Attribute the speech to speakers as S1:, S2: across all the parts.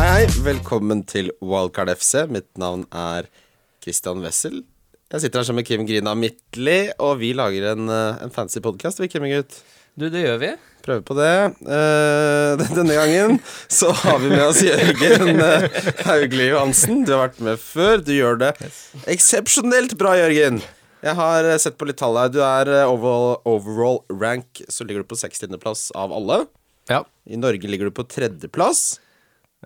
S1: Hei, velkommen til Wildcard FC. Mitt navn er Christian Wessel. Jeg sitter her sammen med Kim Grina Midtli, og vi lager en, eh, en fancy podkast, vi, Kimmingut.
S2: Du, det gjør vi.
S1: Prøver på det. Eh, den- denne gangen så har vi med oss Jørgen eh, Hauglie Johansen. Du har vært med før. Du gjør det eksepsjonelt bra, Jørgen. Jeg har eh, sett på litt tall her. Du er eh, overall, overall rank, så ligger du på 60.-plass av alle.
S3: Ja.
S1: I Norge ligger du på tredjeplass.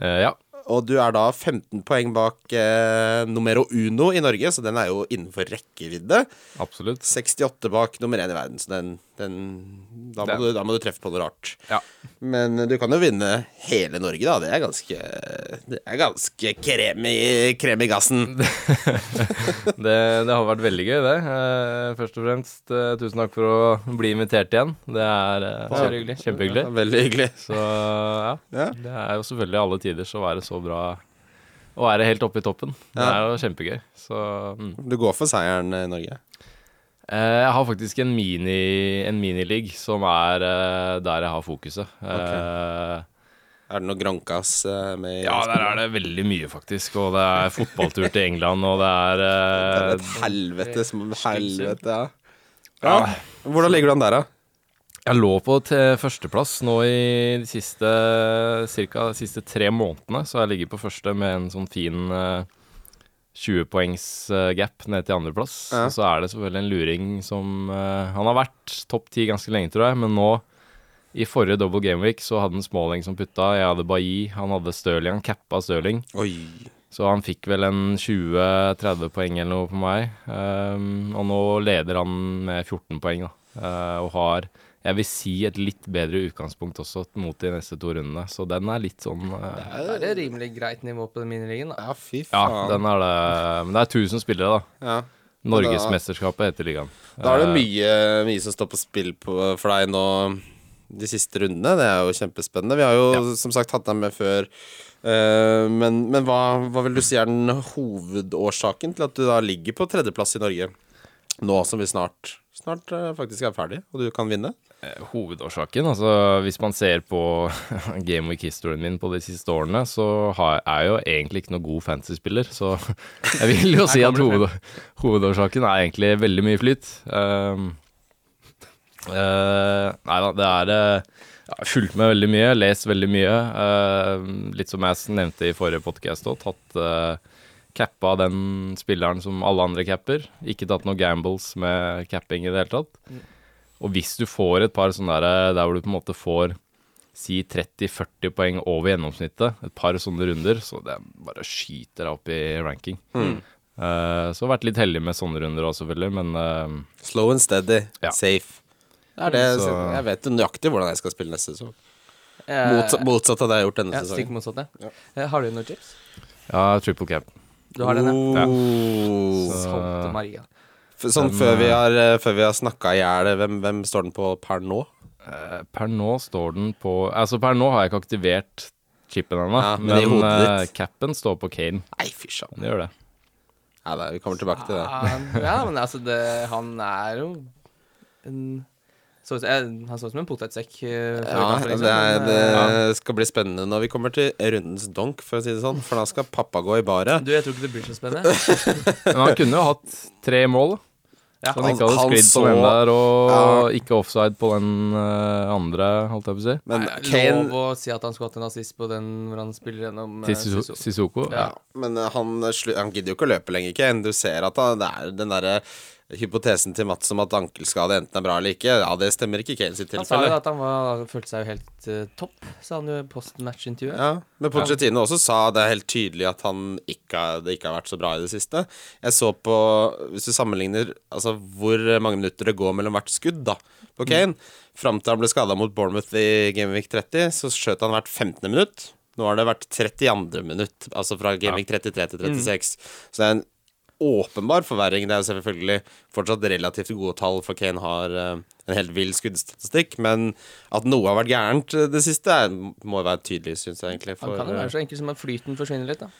S3: Eh, ja.
S1: Og du er da 15 poeng bak eh, numero uno i Norge, så den er jo innenfor rekkevidde.
S3: Absolutt.
S1: 68 bak nummer én i verden, så den, den da, må
S3: Den.
S1: du, da må du treffe på noe rart.
S3: Ja.
S1: Men eh, du kan jo vinne hele Norge, da. Det er ganske, det er ganske krem, i, krem i gassen.
S3: Det, det har vært veldig gøy, det. Eh, først og fremst, eh, tusen takk for å bli invitert igjen. Det er eh,
S1: Bare
S2: hyggelig.
S3: Kjempehyggelig.
S1: Veldig hyggelig.
S3: Så ja.
S1: Ja.
S3: Det er jo selvfølgelig alle tiders å være så bra Å være helt oppe i toppen. Det er
S1: Ja.
S3: jo kjempegøy. Så mm.
S1: Du går for seieren i Norge.
S3: Eh, Jeg har faktisk en mini En miniligg som er eh, der jeg har fokuset. Eh,
S1: Er det noe Grankas eh, med i
S3: ja, der er det veldig mye, faktisk. Og det er fotballtur til England, og det er
S1: Det er
S3: eh,
S1: Et helvete som helvete, ja. ja.
S3: Ja.
S1: Hvordan ligger du an der, da?
S3: Jeg lå på til førsteplass nå i de siste, cirka, de siste tre månedene, så jeg ligger på første med en sånn fin eh, 20 poengs eh, gap ned til andreplass.
S1: Ja.
S3: Og Så er det selvfølgelig en luring som eh, Han har vært topp ti ganske lenge, tror jeg, men nå i forrige double gameweek så hadde han Smalling som putta, jeg hadde Bailly, han hadde Stirling, han cappa Stirling.
S1: Oi.
S3: Så han fikk vel en 20-30 poeng eller noe på meg. Ehm, og nå leder han med 14 poeng, da. Eh, og har, jeg vil si, et litt bedre utgangspunkt også mot de neste to rundene. Så den er litt sånn eh,
S2: Da er det rimelig greit nivå på den miniligaen, da.
S1: Ja, fy
S3: Ja,
S1: faen.
S3: den er det. Men det er 1000 spillere, da.
S1: Ja.
S3: Norgesmesterskapet heter ligaen.
S1: Da er det
S3: Eh,
S1: mye, mye som står på spill på, for deg nå de siste rundene. Det er jo kjempespennende. Vi har jo som sagt hatt deg med før. eh, men men hva, hva vil du si er den hovedårsaken til at du da ligger på tredjeplass i Norge? Nå som vi snart Snart eh, faktisk er ferdig, og du kan vinne?
S3: hovedårsaken. Altså, hvis man ser på Game Week-historien min på de siste årene, så har, er jeg jo egentlig ikke noen god fantasy-spiller. Så jeg vil jo si at hoved, hovedårsaken er egentlig veldig mye flyt. Um, eh, nei da, det er eh, Jeg har fulgt med veldig mye, lest veldig mye. eh, litt som jeg s- nevnte i forrige podkast òg, tatt eh, Cappa den spilleren som alle andre capper. Ikke tatt noen gambles med capping i det hele tatt. Og hvis du får et par sånne der, der hvor du på en måte får si 30-40 poeng over gjennomsnittet, et par sånne runder, så det bare skyter deg opp i ranking.
S1: Mm.
S3: Eh, så vært litt heldig med sånne runder også, selvfølgelig, men eh,
S1: Slow and steady.
S3: Ja.
S1: Safe. Det er det,
S3: Så-
S1: Jeg vet jo nøyaktig hvordan jeg skal spille neste sesong.
S2: Eh,
S1: Motsatt, motsatt av det jeg har gjort denne
S2: ja, stikk
S1: sesongen.
S2: motsatt, ja. Eh, Har du noen chips?
S3: ja, triple cap.
S2: Du har den, ja.
S1: Oh.
S2: Salte Maria.
S1: F- Sånn før vi har, eh, før vi har snakka i hjel, hvem, hvem står den på per nå?
S3: Eh, per nå står den på Altså, per nå har jeg ikke aktivert chipen ennå,
S1: Ja, men i
S3: men, men
S1: hodet ditt.
S3: capen står på Kane.
S1: Nei, fy søren.
S3: Den gjør det.
S1: Nei, nei, vi kommer tilbake til det.
S2: Han- Ja, men altså, det, han er jo en så, ut- eh, Han så ut som en potetsekk. eh, før
S1: Ja,
S2: kampen, liksom.
S1: det, er,
S2: Eh,
S1: det skal bli spennende når vi kommer til rundens donk, for å si det sånn. For da skal pappa gå i baret.
S2: Du, jeg tror ikke det blir så spennende.
S3: Men han kunne jo hatt tre mål.
S2: Ja,
S3: Så han ikke
S1: han-
S3: hadde
S1: han
S3: sklidd på
S1: så-
S3: den der, og
S1: Ja.
S3: ikke offside på den eh, andre, holdt jeg på å si.
S1: Men
S2: Nei,
S1: Kane
S2: Lov å si at han skulle hatt en assist på den hvor han spiller gjennom eh,
S3: Til Sisu-
S2: Sissoko.
S3: Sissoko?
S2: Ja.
S3: Ja.
S1: Men eh, han, slu- han gidder jo ikke å løpe lenger, Kane. Du ser at han, det er den derre hypotesen til Mats om at ankelskade enten er bra eller ikke, ja, det stemmer ikke i Kane sitt
S2: Han sa jo
S1: tilfelle.
S2: at han var, følte seg jo helt eh, topp, sa han jo i post-match-intervjuet.
S1: Ja, men Pochettino også sa det er helt tydelig at han ikke, har- det ikke har vært så bra i det siste. Jeg så på, hvis du sammenligner altså, hvor mange minutter det går mellom hvert skudd da, på Kane Fram til han ble skada mot Bournemouth i Gameweek 30, så skjøt han hvert 15. minutt. Nå har det vært 32. minutt, altså fra Gameweek 33 til 36. Så det er en åpenbar forverring. Det er jo selvfølgelig fortsatt relativt gode tall, for Kane har eh, en helt vill skuddstatistikk. Men at noe har vært gærent eh, det siste, er, må jo være tydelig, syns jeg egentlig.
S2: Han
S1: For,
S2: kan jo
S1: eh,
S2: være så enkel som at flyten forsvinner litt, da.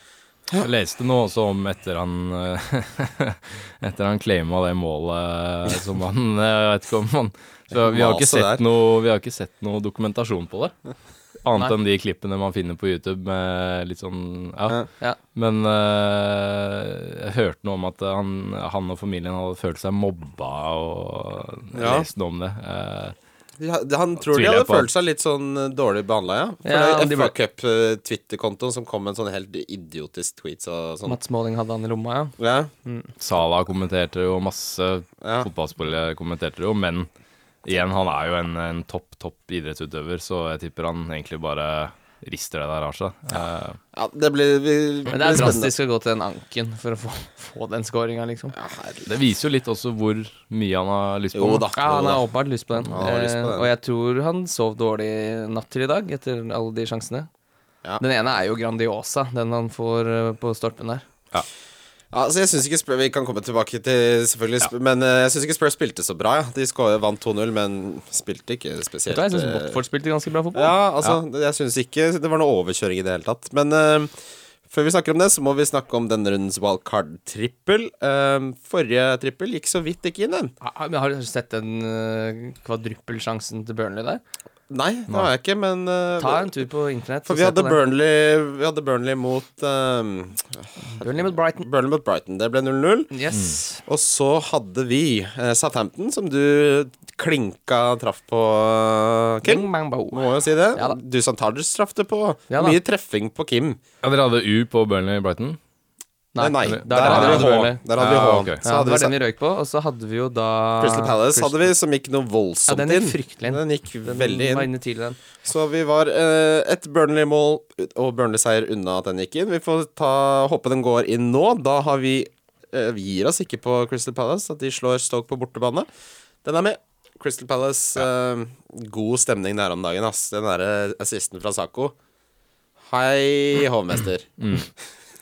S3: Jeg leste noe også om etter han eh, Etter han claima det målet eh, som han eh, Jeg vet ikke om han Så vi har jo ikke
S1: Maset
S3: sett
S1: der.
S3: noe, vi har jo ikke sett noe dokumentasjon på det. Annet
S2: Nei.
S3: enn de klippene man finner på YouTube med litt sånn Ja.
S1: Ja.
S2: Ja.
S3: Men eh, jeg hørte noe om at han, han og familien hadde følt seg mobba og jeg
S1: Ja.
S3: leste noe om det. Eh,
S1: De ha- de- Han tror de
S3: Tviler jeg
S1: hadde
S3: på.
S1: følt seg litt sånn eh, dårlig behandla, ja. For
S2: Ja,
S1: det
S2: de
S1: er
S2: ble-
S1: FA Cup-twitterkontoen eh, som kom med en sånn helt idiotisk tweet og sånn.
S2: Mats Måling hadde han i lomma, ja.
S1: Ja,
S3: Sala kommenterte jo masse,
S1: ja.
S3: fotballspillere kommenterte det jo, men igjen, han er jo en, en topp, topp idrettsutøver, så jeg tipper han egentlig bare rister det der av seg. Eh,
S1: ja det blir vi,
S2: Men det er drastisk å gå til den anken for å få, få den scoringa, liksom.
S3: det viser jo litt også hvor mye han har lyst på.
S1: Jo
S3: da.
S1: da.
S2: Ja, han
S1: jo
S2: har
S1: da.
S2: åpenbart lyst på den.
S1: Han har lyst på
S2: Eh,
S1: den.
S2: og jeg tror han sov dårlig natt til i dag, etter alle de sjansene.
S1: Ja.
S2: Den ene er jo Grandiosa, den han får eh, på stolpen der.
S1: Ja, altså jeg synes ikke Spurs, Vi kan komme tilbake til selvfølgelig Sp- Men eh, jeg syns ikke Spurs spilte så bra. Ja. De skå- vant 2-0, men spilte ikke
S2: Vet
S1: spesielt
S2: du hva, jeg syns
S1: eh,
S2: Watford spilte ganske bra fotball.
S1: Ja, altså, jeg syns ikke det var noe overkjøring i det hele tatt. Men eh, før vi snakker om det, så må vi snakke om denne rundens wildcard-trippel. Eh, forrige trippel gikk så vidt ikke inn, den.
S2: Ah, men Har du sett den eh, kvadruppelsjansen til Burnley der?
S1: Nei, det har jeg ikke, men eh,
S2: Ta en tur på internett.
S1: For
S2: og
S1: vi
S2: se
S1: hadde,
S2: på den.
S1: Burnley, vi hadde Burnley mot eh,
S2: Burnley mot Brighton.
S1: Burnley mot Brighton. Det ble 0-0.
S2: Yes.
S1: Og så hadde vi eh, Southampton, som du klinka traff på, eh, Kim.
S2: Bing, bang, bo.
S1: Må jo si det.
S2: Ja da.
S1: du som Tarders traff det på.
S2: Ja da.
S1: Mye treffing på Kim.
S3: Ja, dere hadde U på Burnley-Brighton?
S1: Nei, nei.
S2: Der,
S1: Der,
S2: hadde
S1: hadde
S2: vi
S1: vi H.
S2: Burnley.
S1: Der hadde vi H.
S3: Ja, ok.
S1: Så
S2: Ja,
S1: hadde
S2: det
S1: vi
S2: var
S1: Sa-
S2: den vi røyk på, og så hadde vi jo da
S1: Crystal Palace hadde vi, som gikk noe
S2: Ja,
S1: voldsomt
S2: den gikk
S1: inn.
S2: fryktelig inn.
S1: Den gikk
S2: Den
S1: veldig
S2: var
S1: inn.
S2: inne tidlig, den.
S1: Så vi var eh, et Burnley-mål og Burnley-seier unna at den gikk inn. Vi får ta, håpe den går inn nå. Da har vi eh, Vi gir oss ikke på Crystal Palace, at de slår Stoke på bortebane. Den er med. Crystal Palace, eh, god stemning der om dagen, ass. Den derre assisten fra Saco. Hei, hovmester.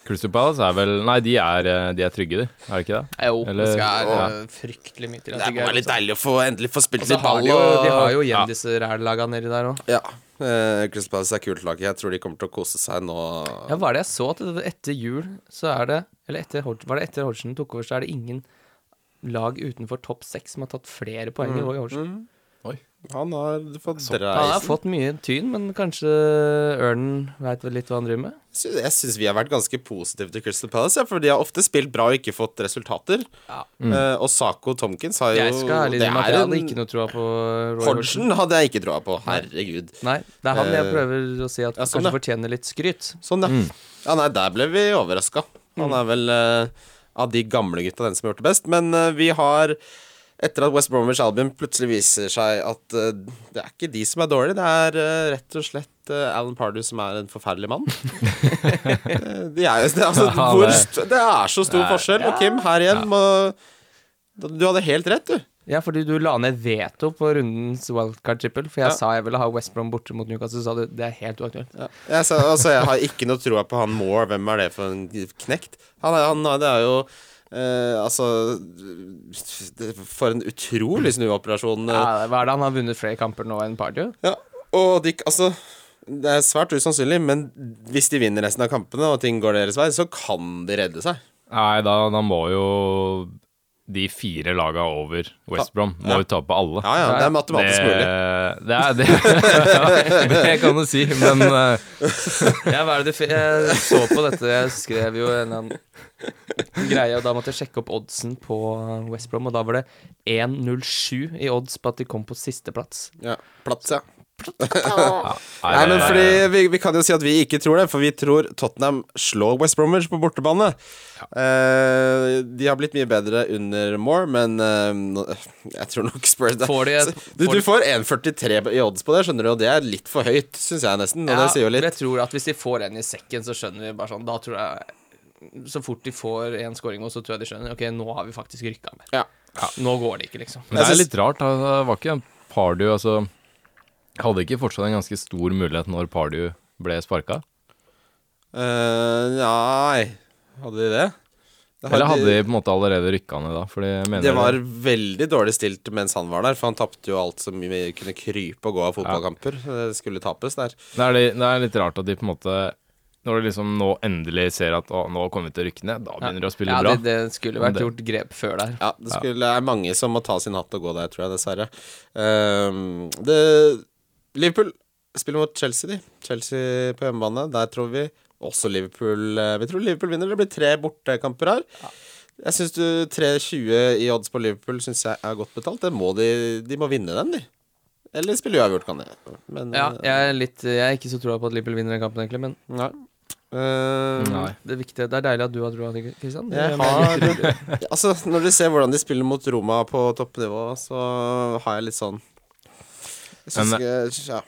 S3: Crystal Palace er vel Nei, de er, eh, de er trygge, de. Er det ikke det?
S2: Jo,
S3: Eller-
S2: det skal
S3: Ja.
S2: eh, fryktelig mye til.
S1: Det
S2: at
S1: er
S2: de
S1: bare
S2: greier
S1: litt
S2: det. altså.
S1: deilig å få endelig få spilt
S2: Og så
S1: litt
S2: har
S1: ball.
S2: de jo, de
S1: og-
S2: har jo
S3: Ja.
S2: igjen disse rællaga nedi der òg.
S1: Ja. eh, Crystal Palace er kult lag. Jeg tror de kommer til å kose seg nå.
S2: Ja, hva er det jeg så? At det- etter jul så er det Eller etter, Hod- var det etter Hodgson tok over, så er det ingen lag utenfor topp seks som har tatt flere poeng enn Roy Hodgson.
S1: Han har fått
S2: Han har
S1: dreisen.
S2: fått mye tyn, men kanskje Ørnen veit vel litt hva han driver med?
S1: Sy- Jeg syns vi har vært ganske positive til Crystal Palace, ja, for de har ofte spilt bra og ikke fått resultater.
S2: Ja.
S1: Eh, og Sako Tomkins har jo
S2: Jeg skal ærlig
S1: Det
S2: innrømme at jeg
S1: er
S2: hadde
S1: en
S2: ikke noe troa på Roy Hodgson.
S1: Hodgson hadde jeg ikke troa på. Herregud.
S2: Nei, det er han jeg
S1: Eh,
S2: prøver å si at
S1: ja, sånn,
S2: kanskje
S1: ja.
S2: fortjener litt skryt.
S1: Sånn, ja. Ja, nei, der ble vi overraska. Han er vel eh, av de gamle gutta den som har gjort det best. Men eh, vi har etter at West Bromwich Albion plutselig viser seg at eh, det er ikke de som er dårlige, det er eh, rett og slett eh, Alan Pardew som er en forferdelig mann. Eh, de er, det, er altså,
S3: Ja,
S1: hvor,
S3: det-
S1: st- det er så stor
S3: Nei.
S1: forskjell. Og Kim, her igjen må Du hadde helt rett, du.
S2: Ja, fordi du la ned veto på rundens wildcard-trippel. For
S1: Ja.
S2: jeg sa jeg ville ha West Brom borte mot Newcastle, så sa du det er helt uaktuelt.
S1: Ja. Jeg, sa, altså, jeg har ikke noe troa på han Moore. Hvem er det for en knekt? Han, er- han er- det er jo eh, Altså det- For en utrolig snuoperasjon. eh.
S2: Ja, hva er det han har vunnet flere kamper nå enn Pardew?
S1: Ja, og de, altså Det er svært usannsynlig, men hvis de vinner resten av kampene, og ting går deres vei, så kan de redde seg.
S3: Nei, da, da må jo de fire laga over West Brom må jo tape alle.
S1: Ja, ja, det er matematisk mulig.
S3: det er det. ja, det kan du si, men eh,
S2: Ja, hva er det du fi- Jeg så på dette, jeg skrev jo en eller annen greie, og da måtte jeg sjekke opp oddsen på West Brom, og da var det 1,07 i odds på at de kom på sisteplass.
S1: Ja, Plats, ja.
S3: nei,
S1: Nei,
S3: det-
S1: men fordi vi, vi kan jo si at vi ikke tror det, for vi tror Tottenham slår West Bromwich på bortebane. Eh, de har blitt mye bedre under Moore, men eh, nå- jeg tror nok Spurs det.
S2: Får de et-
S1: du,
S2: får
S1: du
S2: de-
S1: får 1,43 i odds på det, skjønner du, og det er litt for høyt, syns jeg nesten. Og det sier jo
S2: men
S1: litt.
S2: Jeg tror at hvis de får en i sekken, så skjønner vi bare sånn Da tror jeg Så fort de får en scoring, og så tror jeg de skjønner Ok, nå har vi faktisk rykka med.
S1: Ja.
S2: Nå går det ikke, liksom.
S3: Men det
S1: Jeg
S3: er
S1: syns-
S3: litt rart. da. Det var ikke en Pardew altså, Hadde ikke fortsatt en ganske stor mulighet når Pardew ble sparka?
S1: Eh, nei Hadde de det? Det har
S3: Eller hadde de på en måte allerede rykka ned da? Fordi jeg mener
S1: Det var veldig dårlig stilt mens han var der, for han tapte jo alt som vi kunne krype og gå av fotballkamper. Det skulle tapes der.
S3: det, er, litt- det er litt rart at de på en måte Når du liksom nå endelig ser at å, nå kommer vi til å rykke ned, da begynner de å spille
S2: ja,
S3: bra.
S2: Det, det skulle vært gjort grep før der.
S1: Ja, det skulle, er mange som må ta sin hatt og gå der, tror jeg, dessverre. Ehm, det, Liverpool spiller mot Chelsea, de. Chelsea på hjemmebane. Der tror vi også Liverpool eh, Vi tror Liverpool vinner. Det blir tre bortekamper her. Jeg syns du 3,20 i odds på Liverpool synes jeg er godt betalt. Det må de, de må vinne den, de. Eller spille uavgjort, kan de. Men
S2: Ja,
S1: eh,
S2: jeg er, litt, jeg er ikke så troa på at Liverpool vinner den kampen, egentlig, men
S1: nei. Ehm,
S3: Nei.
S2: det, viktige, det er deilig at du har troa, Kristian. Det
S1: Jeg
S2: mener jeg
S1: har-
S2: litt rolig.
S1: Altså, når du ser hvordan de spiller mot Roma på toppnivå, så har jeg litt sånn jeg synes
S3: Men-
S1: ikke, ja,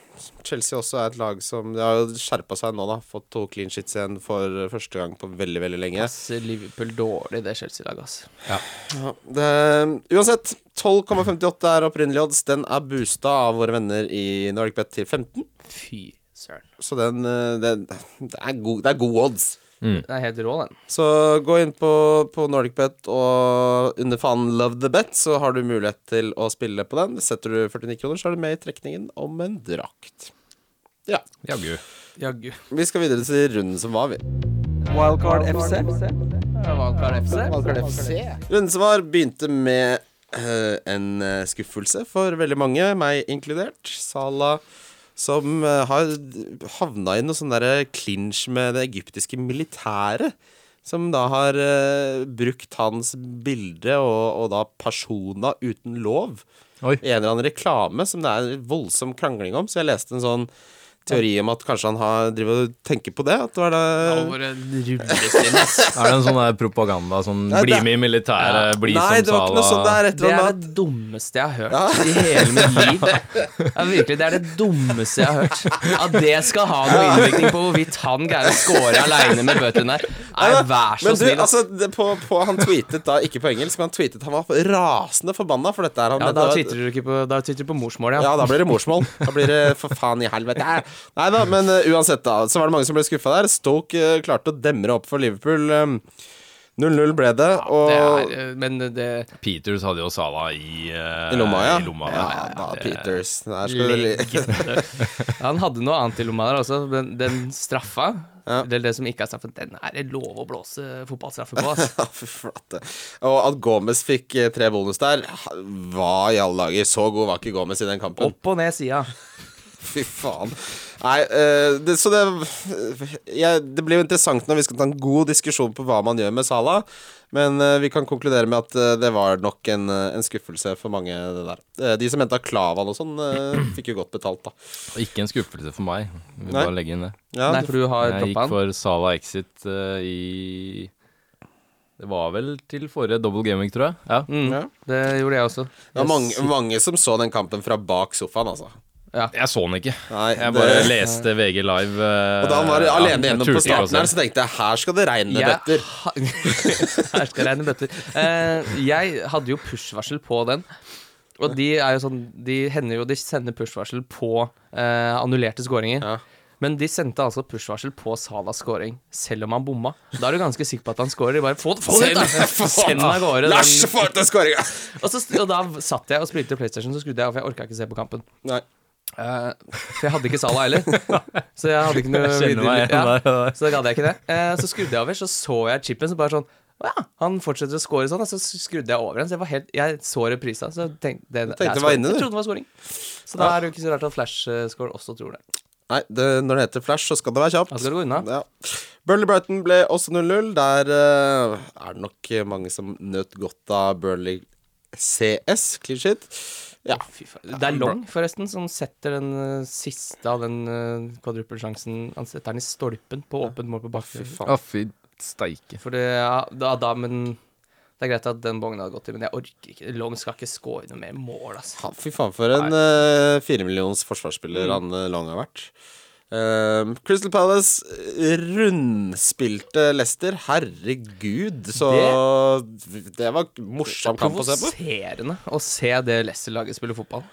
S1: Chelsea også er et lag som De har jo skjerpa seg nå, da. Fått to clean shits igjen for første gang på veldig, veldig lenge.
S2: Passer Liverpool dårlig, det Chelsea-laget, altså.
S1: Ja, det, uansett, 12,58 er opprinnelig odds. Den er boosta av våre venner i Nordic Bet til 15,
S2: Fy søren.
S1: så den, eh, den det, er god, det er god odds.
S3: Mm.
S2: Den er helt rå, den.
S1: Så gå inn på, på NordicBet og under fanen Love the Bet, så har du mulighet til å spille på den. Setter du 49 kroner, så er du med i trekningen om en drakt. Ja.
S3: Jaggu.
S2: Jaggu.
S1: Vi skal videre til runden som var, vi.
S2: Wildcard FC. Wildcard FC.
S1: Runden som var, begynte med eh, en eh, skuffelse for veldig mange, meg inkludert. Sala som eh, har havna i noe sånn derre clinch med det egyptiske militæret. Som da har eh, brukt hans bilde og, og da persona uten lov
S3: Oi.
S1: i en eller annen reklame som det er voldsom krangling om. Så jeg leste en sånn teori om at kanskje han har, driver og tenker på det. At det var det
S2: Våre rullestinn, ass.
S3: Er det en sånn der propaganda som
S1: Nei,
S3: bli
S1: det-
S3: med i militæret, bli
S1: Nei,
S3: som
S1: det var ikke noe sånt. Det
S3: Sala
S1: er et
S2: Det
S1: eller
S2: er
S1: annet
S2: det dummeste jeg har hørt i hele mitt liv. det. Ja, virkelig, det er det dummeste jeg har hørt. At det skal ha noe innvirkning på hvorvidt han greier å score aleine med bøtten der. Nei, vær så
S1: Men du,
S2: snill. ass.
S1: altså, det, på, på, han tweetet da, ikke på engelsk, men han tweetet Han var rasende forbanna, for dette er han
S2: Ja,
S1: mente
S2: da
S1: var-
S2: twitrer du ikke på, da twitrer du på morsmålet,
S1: ja,
S2: ja.
S1: da blir det morsmål. Da blir det for faen i helvete. Nei da, men eh, uansett, da. Så var det mange som ble skuffa der. Stoke eh, klarte å demre opp for Liverpool. eh, 0-0 ble det, og
S2: Det er, eh, men det
S3: Peters hadde jo Sala i, eh,
S1: I lomma, ja.
S3: I lomma
S1: ja,
S3: der.
S1: da,
S3: Det-
S1: Peters. Der skal du li-
S2: Han hadde noe annet i lomma der også. Den, den straffa,
S1: Ja.
S2: eller det som ikke er straffa, den er det lov å blåse fotballstraffe på, ass.
S1: Ja, fy flate. Og at Gomez fikk eh, tre bonus der, hva i alle dager? Så god var ikke Gomez i den kampen.
S2: Opp og ned sida.
S1: Fy faen. Nei, eh, det, så det jeg, Det blir jo interessant når vi skal ta en god diskusjon på hva man gjør med Salah. Men eh, vi kan konkludere med at eh, det var nok en, eh, en skuffelse for mange, det der. Eh, de som henta Klavan og sånn, eh, fikk jo godt betalt, da.
S3: Og Ikke en skuffelse for meg. Vil
S1: Nei.
S3: bare legge inn det.
S1: Ja,
S2: Nei,
S1: du-
S2: for du har
S3: Jeg gikk
S2: droppa han.
S3: for Sala Exit eh, i Det var vel til forrige double gaming, tror jeg. Ja.
S2: Mm,
S1: ja.
S2: det gjorde jeg også.
S1: Det var mange, mange som så den kampen fra bak sofaen, altså.
S3: Jeg så den ikke.
S1: Nei,
S3: Jeg
S1: det-
S3: bare leste VG live. eh,
S1: og da han var
S3: ja,
S1: alene
S3: jeg
S1: gjennom på
S3: turte ikke å
S1: starten her,
S3: se.
S1: så tenkte jeg her skal det regne
S2: Jeg
S1: bøtter.
S2: ha- Her skal jeg regne bøtter. Eh, jeg hadde jo push-varsel på den. Og de er jo sånn De hender jo de sender push-varsel på eh, annullerte skåringer.
S1: Ja.
S2: Men de sendte altså push-varsel på Salas scoring, selv om han bomma. Da er du ganske sikker på at han scorer. De bare få, få det ut, da! Send av gårde
S1: Lars,
S2: den.
S1: få ut den skåringa!
S2: Og, så, og da satt jeg og spilte PlayStation, så skrudde jeg av, for jeg orka ikke se på kampen.
S1: Nei.
S2: Eh, for jeg hadde ikke Sala heller. Så jeg hadde ikke noe
S3: Jeg kjenner meg
S2: videre- ja.
S3: igjen der.
S2: Så da gadd jeg ikke det. Eh, så skrudde jeg over, så så jeg chipen, så bare sånn Å ja, han fortsetter å score sånn. Og så skrudde jeg over igjen. Så jeg var helt Jeg så reprisa, så jeg tenkte det, det er
S1: det var
S2: scoring.
S1: inne, du.
S2: Jeg trodde det var scoring. Så da er det jo ikke så rart at Flash eh, score også tror det.
S1: Nei, det, når det heter flash, så skal det være kjapt.
S2: Da skal det gå unna.
S1: Ja. Burnley Brighton ble også 0-0. Der eh, er det nok mange som nøt godt av Burnley CS, clean shit. Ja.
S2: Fy faen. Det er Long, forresten, som setter den eh, siste av den eh, kvadruppelsjansen. Han setter den i stolpen på åpent mål på bakfri.
S3: Å, fy steike.
S2: For det ja, da, da, men det er greit at den bongen hadde gått til, men jeg orker ikke. Long skal ikke score noe mer mål, altså.
S1: Ja, Fy faen, for en eh, firemillions
S2: Mm.
S1: forsvarsspiller han eh, Long har vært. Ehm, Crystal Palace eh, rundspilte Leicester. Herregud, så Det, var morsom kamp å se på.
S2: Provoserende å se det Leicester-laget spille fotball.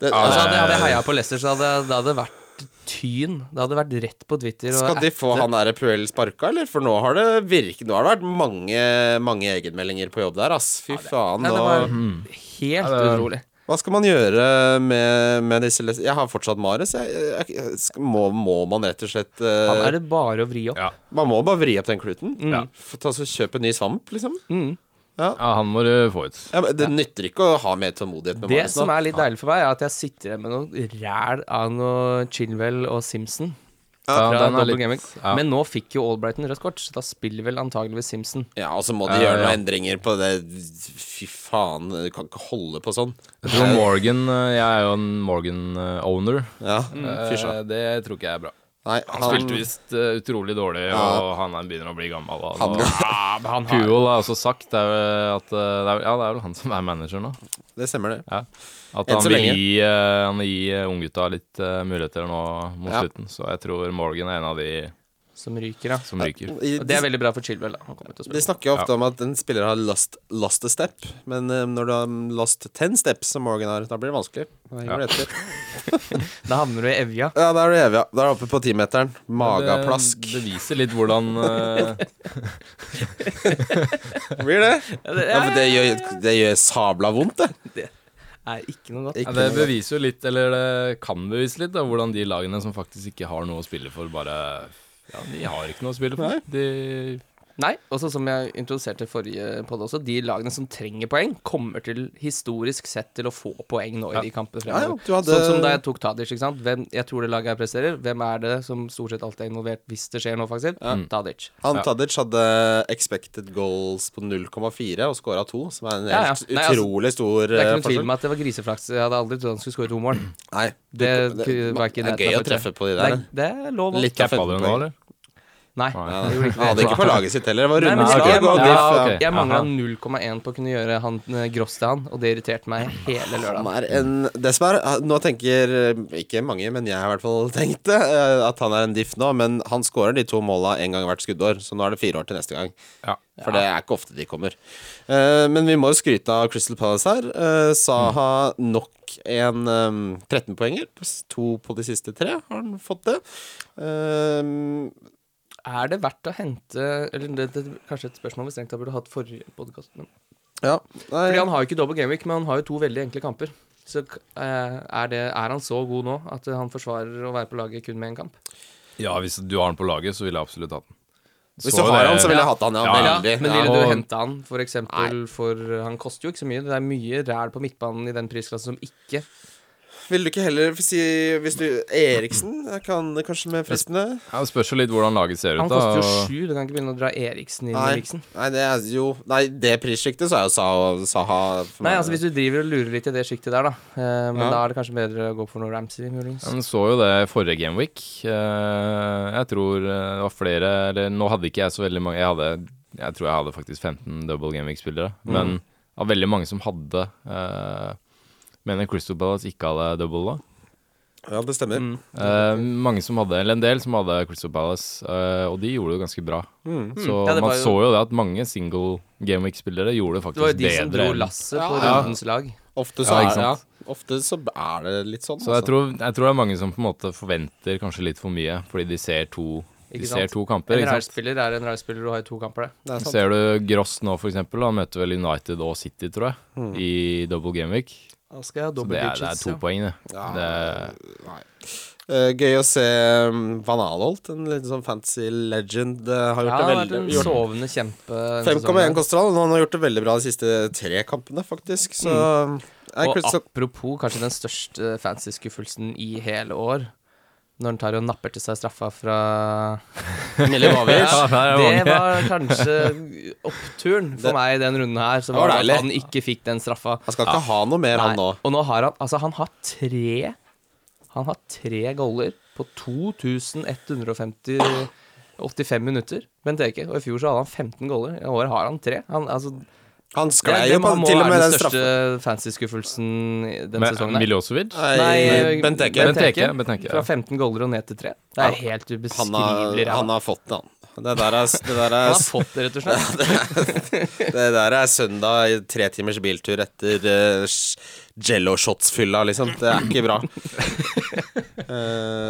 S1: Det,
S2: Altså,
S1: altså,
S2: hadde, hadde jeg heia på Leicester, så hadde det hadde vært tyn. Det hadde vært rett på Twitter. og
S1: skal de få
S2: etter-
S1: han der Puel sparka, eller? For nå har det virket Nå har det vært mange, mange egenmeldinger på jobb der, ass. Fy faen.
S2: Nei, det
S1: nå-
S2: var helt
S3: Mhm. det-
S2: utrolig.
S1: Hva skal man gjøre med, med disse les- Jeg har fortsatt Mares. Jeg, jeg, jeg, skal- må, må man rett og slett eh,
S2: Han er Mm. det bare å vri opp.
S3: Ja.
S1: Man må bare vri opp den kluten.
S3: Ja.
S1: Få ta, så kjøpe en ny svamp, liksom.
S2: Mm.
S3: Ja, han må du få ut.
S1: Ja, men det nytter ikke å ha mer tålmodighet med
S2: Det
S1: Mares.
S2: som
S1: da.
S2: er litt deilig for meg, er at jeg sitter igjen med noe ræl av noe Chilwell og Simpson.
S3: Ja,
S2: fra
S3: den er
S2: Double
S3: litt-
S2: Gaming.
S3: ja.
S2: Men nå fikk jo Albrighton rødt kort, så da spiller vel antageligvis Simpson.
S1: Ja, og så må de
S3: Ja,
S1: gjøre
S3: ja.
S1: noen endringer på det. Fy faen, du kan ikke holde på sånn.
S3: Jeg tror Morgan eh, Jeg er jo en Morgan-owner.
S1: Ja,
S2: Mm.
S1: fysj av.
S3: Eh, Det tror ikke jeg er bra.
S1: Nei,
S3: Han spilte visst eh, utrolig dårlig, og han er- begynner å bli gammel. Og,
S1: Han-
S3: Ja, men han har- Puel har også sagt det er, vel at, eh, det er, vel- Ja, det er vel han som er manager nå.
S1: Det stemmer, det.
S3: Ja. At
S1: Enn
S3: han
S1: så
S3: vil
S1: lenge.
S3: gi, eh, han vil gi eh, unggutta litt eh, muligheter nå mot
S1: Ja.
S3: slutten, så jeg tror Morgan er en av de
S2: Som ryker, ja.
S3: som ryker.
S1: I-
S2: Og det er veldig bra for Chilwell, da. Han kommer til å
S1: De
S2: spille.
S1: snakker jo ofte om at en spiller har lost, lost a step, men eh, når du har lost ten steps, som Morgan har, da blir det vanskelig. Da henger det etter.
S2: Da havner du i Evja.
S1: Ja, da er du evig. ja. Da er du oppe på timeteren.
S2: eh,
S1: Magaplask.
S3: Det, det viser litt hvordan eh,
S1: Blir det? Ja, men det gjør, det gjør sabla vondt, det.
S2: Er ikke noe godt.
S1: Ikke
S3: ja, Det
S1: noe-
S3: beviser jo litt, eller det kan bevise litt, da, hvordan de lagene som faktisk ikke har noe å spille for, bare Ja, de har ikke noe å spille for. De
S2: Nei, også som jeg introduserte i forrige podd også, de lagene som trenger poeng, kommer til historisk sett til å få poeng nå i de kampene
S1: Ja, ja,
S2: fremover.
S1: du hadde-
S2: Sånn som da jeg tok Tadic, ikke sant. Hvem, jeg tror det laget jeg presterer, hvem er det som stort sett alltid er involvert hvis det skjer noe, faktisk?
S1: Mm.
S2: Tadic.
S1: Han Tadic hadde expected goals på 0,4 og scora to, som er en
S2: Ja, ja.
S1: helt
S2: Nei, altså,
S1: utrolig stor
S2: Det er
S1: eh,
S2: ikke noen tvil
S1: forskjell.
S2: om at det var griseflaks. Jeg hadde aldri trodd han skulle skåre to mål.
S1: Nei, du-
S2: Det, var ikke
S1: det er
S2: nærheten
S1: gøy
S2: av
S1: å treffe på de
S2: Det
S1: der.
S2: er, det er lov. å-
S1: Litt av
S3: cappa
S1: 15
S3: du nå,
S1: poeng.
S3: eller?
S2: Nei.
S3: Nei.
S2: jeg gjorde ikke
S1: Han hadde ikke på laget sitt heller. Det var
S2: Nei, men
S1: Rune
S2: jeg, jeg,
S1: Skog og
S2: manglet-
S1: Diff.
S3: ja,
S1: ja.
S3: ok.
S2: jeg mangla
S3: Aha.
S2: 0,1 på å kunne gjøre han eh, gross til han, og det irriterte meg hele lørdagen.
S1: Han er en Det som er Nå tenker eh, ikke mange, men jeg har i hvert fall tenkt det, eh, at han er en diff nå, men han scorer de to måla en gang hvert skuddår, så nå er det fire år til neste gang.
S3: Ja.
S1: For det er ikke ofte de kommer. Eh, men vi må jo skryte av Crystal Palace her. Eh, Saha
S3: Mm.
S1: nok en eh, 13-poenger. To på de siste tre har han fått det. Eh,
S2: Er det verdt å hente Eller det, det er kanskje et spørsmål vi strengt tatt burde hatt forrige podkast. Fordi
S1: ja. Nei,
S2: han har jo ikke double gameweek, men han har jo to veldig enkle kamper. Så eh, er, det, er han så god nå at han forsvarer å være på laget kun med én kamp?
S3: Ja, hvis du har den på laget, så ville jeg absolutt hatt den.
S1: hvis
S3: Så
S1: du har
S3: det-
S1: han, så ville jeg
S2: Ja.
S1: hatt han, ja.
S3: Ja,
S1: veldig.
S2: men
S1: Ja.
S2: ville
S3: og-
S2: du hente han for eksempel for Han koster jo ikke så mye. Det er mye ræl på midtbanen i den prisklassen som ikke
S1: Vil du ikke heller si Hvis du Eriksen kan kanskje med fristende?
S3: Ja, det spørs jo litt hvordan laget ser ut,
S2: Han
S3: da.
S2: koster jo
S3: og-
S2: sju. Du kan ikke begynne å dra Eriksen inn i
S1: Nei,
S2: Eriksen.
S1: nei, det er jo Nei, det prissjiktet, så er jo Saha, Saha for
S2: Nei,
S1: meg-
S2: altså hvis du driver og lurer litt i det sjiktet der, da. Eh, men
S1: Ja.
S2: da er det kanskje bedre å gå for noe Ramsey, muligens.
S3: Han så jo det forrige gameweek. Eh, Jeg tror eh, det var flere eller Nå hadde ikke jeg så veldig mange Jeg, hadde, jeg tror jeg hadde faktisk 15 double gameweek-spillere.
S2: Mm.
S3: Men det var veldig mange som hadde eh, Mener Crystal Palace ikke hadde double, da.
S1: Ja, det stemmer.
S2: Mm.
S3: Eh, mange som hadde, eller en del som hadde Crystal Palace, eh, og de gjorde det ganske bra.
S1: Mm.
S3: Så
S2: Mm. Ja, det
S3: man
S2: var jo-
S3: så jo det at mange single gameweek-spillere gjorde det
S2: Det var
S3: faktisk
S2: jo de som
S3: bedre.
S2: dro
S3: enn-
S2: lasset på
S1: Ja.
S2: rundens lag.
S1: Ofte, så
S3: Ja, ikke
S1: er, ja,
S3: sant.
S1: ofte så er det litt sånn.
S2: altså.
S3: Så jeg tror, jeg tror det er mange som på en måte forventer kanskje litt for mye, fordi de ser to, de
S2: Ikke
S3: ser
S2: sant?
S3: to kamper.
S2: En
S3: Ikke sant?
S2: rarspiller er en rarspiller du har i to kamper, det.
S1: Det er sånn. sant.
S3: Ser du Gross nå, for eksempel. Han møter vel United og City, tror jeg, i double gameweek.
S2: Da skal jeg ha
S3: Så det er, det er to poeng, det.
S1: Hmm. Ja.
S3: det.
S1: Nei. Eh, gøy å se um, Van Alholt, en liten sånn fancy legend. eh, har gjort
S2: Ja, det har vært
S1: det
S2: en sånn-
S1: veldig gjort-
S2: sovende kjempe. denne sesongen.
S1: 5,1 koster han, og han har gjort det veldig bra de siste tre kampene, faktisk. Så mm. Eh, Nei,
S2: Mm. Og
S1: Crystal-
S2: apropos kanskje den største fantasy-skuffelsen i hele år. Når han tar og napper til seg straffa fra
S1: Milivojevic.
S2: Ja,
S3: der er
S2: Det
S3: mange.
S2: var kanskje oppturen for
S1: Det-
S2: meg i den runden her.
S1: Det
S2: Så
S1: var
S2: var det
S1: deilig.
S2: at han ikke fikk den straffa.
S1: Han skal ikke ha noe mer, han nå.
S2: Nei, Og nå har han Altså, han har tre Han har tre goller på 2185 minutter. Bent Eke. Og i fjor så hadde han 15 goller. I år har han tre. Han, altså,
S1: Han
S2: det,
S1: sklei
S2: det
S1: jo
S2: må
S1: på
S2: må
S1: til og
S2: være
S1: med
S2: den
S1: den
S2: største
S1: straffen.
S2: fantasy-skuffelsen i den
S3: Men
S2: sesongen. her.
S3: Milosevic?
S1: Nei, Bent Eke.
S3: Bent Eke, Bent Eke,
S2: Fra
S3: ja.
S2: 15 goller og ned til tre. Det er helt
S1: Han har,
S2: ubeskrivelig.
S1: han
S2: ræva.
S1: har fått det, han. Det der er, det der
S2: Han
S1: er,
S2: har fått det, rett og slett.
S1: det der er søndag, i tre timers eh, biltur etter uh, Jello Shots-fylla, liksom. Det er ikke bra. Eh,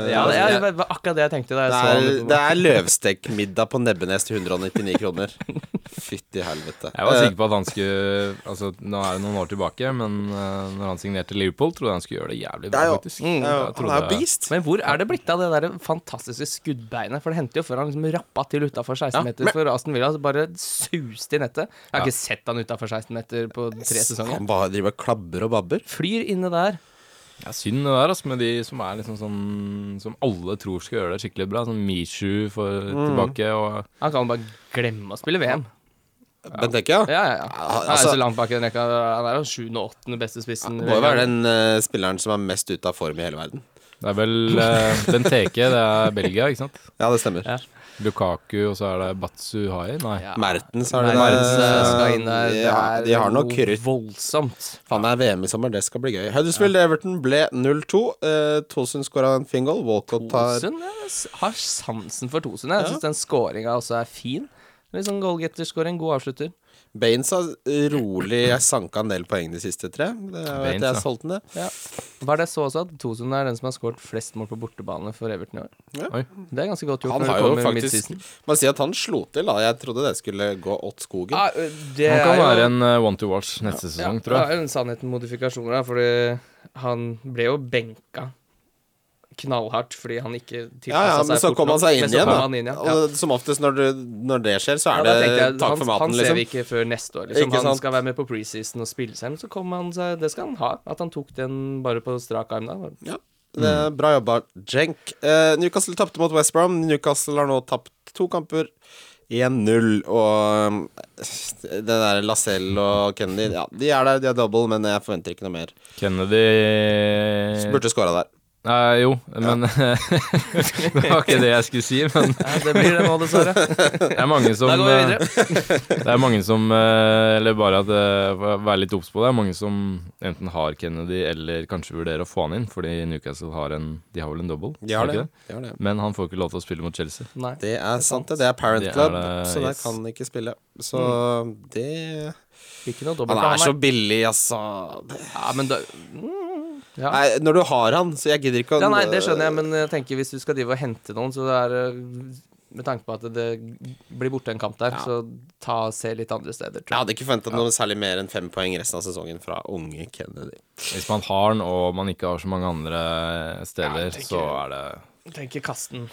S2: Ja, det er
S1: jeg-
S2: det var akkurat det jeg tenkte da jeg
S1: det
S2: så
S1: er, det er løvstekmiddag på Nebbenes til 199 kroner. Fytti helvete.
S3: Jeg var sikker
S2: Eh.
S3: på at han skulle Altså, nå er det noen år tilbake, men eh, når han signerte Liverpool, trodde jeg han skulle gjøre det jævlig bra,
S1: Ja, ja.
S3: faktisk.
S1: Eh,
S3: Jeg
S1: Han er jo beast.
S2: Men hvor er det blitt av det der fantastiske skuddbeinet? For det hendte jo før han liksom rappa til utafor 16 meter for Aston Villa. Så bare suste i nettet. Jeg
S3: Ja.
S2: har ikke sett han utafor 16 meter på tre sesonger.
S1: Han bare driver og klabber og babber.
S2: Flyr inne der.
S3: Ja, synd det der, altså, med de som er liksom sånn Som alle tror skal gjøre det skikkelig bra. Sånn Mishu for
S1: Mm.
S3: tilbake og
S2: Han kan bare glemme å spille VM.
S1: Benteke, ja.
S2: Ja, ja, ja. Han er
S1: altså-
S2: jo så langt bak i den rekka. Han er jo sjuende og åttende beste spissen.
S1: Må jo være den eh, spilleren som er mest ute av form i hele verden.
S3: Det er vel eh, Benteke, det er Belgia, ikke sant?
S1: Ja, det stemmer.
S2: Ja.
S3: Lukaku, og så er det Batsuhai. Nei.
S2: Ja.
S1: Mertens har det
S2: Mertens eh, skal inn der.
S1: De,
S2: Det
S1: har-
S2: er
S1: de har nok
S2: noe
S1: krytt.
S2: Voldsomt.
S1: Faen, det er VM i sommer, det skal bli gøy. Huddersfield Everton ble 0-2. Eh, Tosun skåra en fin goal. Walcott tar
S2: Tosund jeg s- har sansen for Tosund. Jeg syns den scoringa også er fin. Litt sånn goalgetter-scoring, god avslutter.
S1: Baines har rolig sanka en del poeng de siste tre. Det er jo
S3: Baines,
S1: etter jeg
S3: ja.
S1: solgte den, det.
S2: Ja. Hva er det jeg så også? At Tosund er den som har skåret flest mål på bortebane for Everton i år.
S3: Oi.
S2: Det er ganske godt gjort.
S1: Han
S2: når
S1: har
S2: du
S1: jo
S2: kommer
S1: faktisk
S2: midtseason.
S1: Man sier at han slo til, da. Jeg trodde det skulle gå åt skogen.
S2: Ja, ø, det
S3: Han kan
S2: er jo-
S3: være en eh, one to watch neste sesong,
S2: ja,
S3: tror jeg.
S2: Det er jo en sannhet med modifikasjoner, da, fordi han ble jo benka knallhardt fordi han ikke tilpassa
S1: Ja, ja, men så
S2: altså, fort
S1: kom han
S2: nok.
S1: seg inn
S2: Men så
S1: igjen,
S2: kom
S1: da.
S2: han inn igjen, ja.
S1: Og som oftest når, du, når det skjer, så
S2: Ja,
S1: er
S2: da
S1: det
S2: tenkte jeg,
S1: takk
S2: han,
S1: for
S2: han
S1: maten,
S2: ser
S1: liksom.
S2: vi ikke før neste år.
S1: Ikke
S2: Liksom. Han
S1: sant?
S2: skal være med på preseason og spille seg, men så kom han seg Det skal han ha. At han tok den bare på strak arm da.
S1: Ja, det er Bra jobba, Jenk. Eh, Newcastle tapte mot West Brom. Newcastle har nå tapt to kamper. 1-0, og um, det der Lacelle og Kennedy Ja, de er der, de er double, men jeg forventer ikke noe mer.
S3: Kennedy
S1: Burde skåra der.
S3: Nei, jo, men Det var ikke det jeg skulle si, men
S2: Nei, det blir det nå, dessverre.
S3: det er mange som
S2: Da går vi
S3: eh,
S2: videre.
S3: Det er mange som eh, Eller bare at eh, vær vær litt obs på det. Det er mange som enten har Kennedy eller kanskje vurderer å få han inn, fordi Newcastle har en De har vel en double?
S1: De har
S3: er
S1: det.
S3: ikke
S1: De har det.
S3: Men han får ikke lov til å spille mot Chelsea.
S2: Nei.
S1: Det er sant, det. Det er Parent
S3: Det er
S1: Club,
S3: det,
S1: så der
S3: yes.
S1: kan han ikke spille. Så det
S2: Blir ikke noe
S1: Han
S2: dobbelt.
S1: er så
S2: nei.
S1: billig, altså.
S2: Ja, men da mm, ja.
S1: Nei, når du har han, så jeg gidder ikke å
S2: ja, nei, det skjønner jeg, men jeg tenker hvis du skal drive og hente noen, så det er eh, med tanke på at det blir borte en kamp der,
S1: Ja.
S2: så ta se litt andre steder,
S1: Jeg
S2: tror jeg.
S1: hadde ikke forventa noe særlig mer enn fem poeng resten av sesongen fra unge Kennedy.
S3: Hvis man har han, og man ikke har så mange andre eh,
S2: Ja, jeg
S3: steder,
S2: tenker-
S3: så er det
S2: Tenker kasten.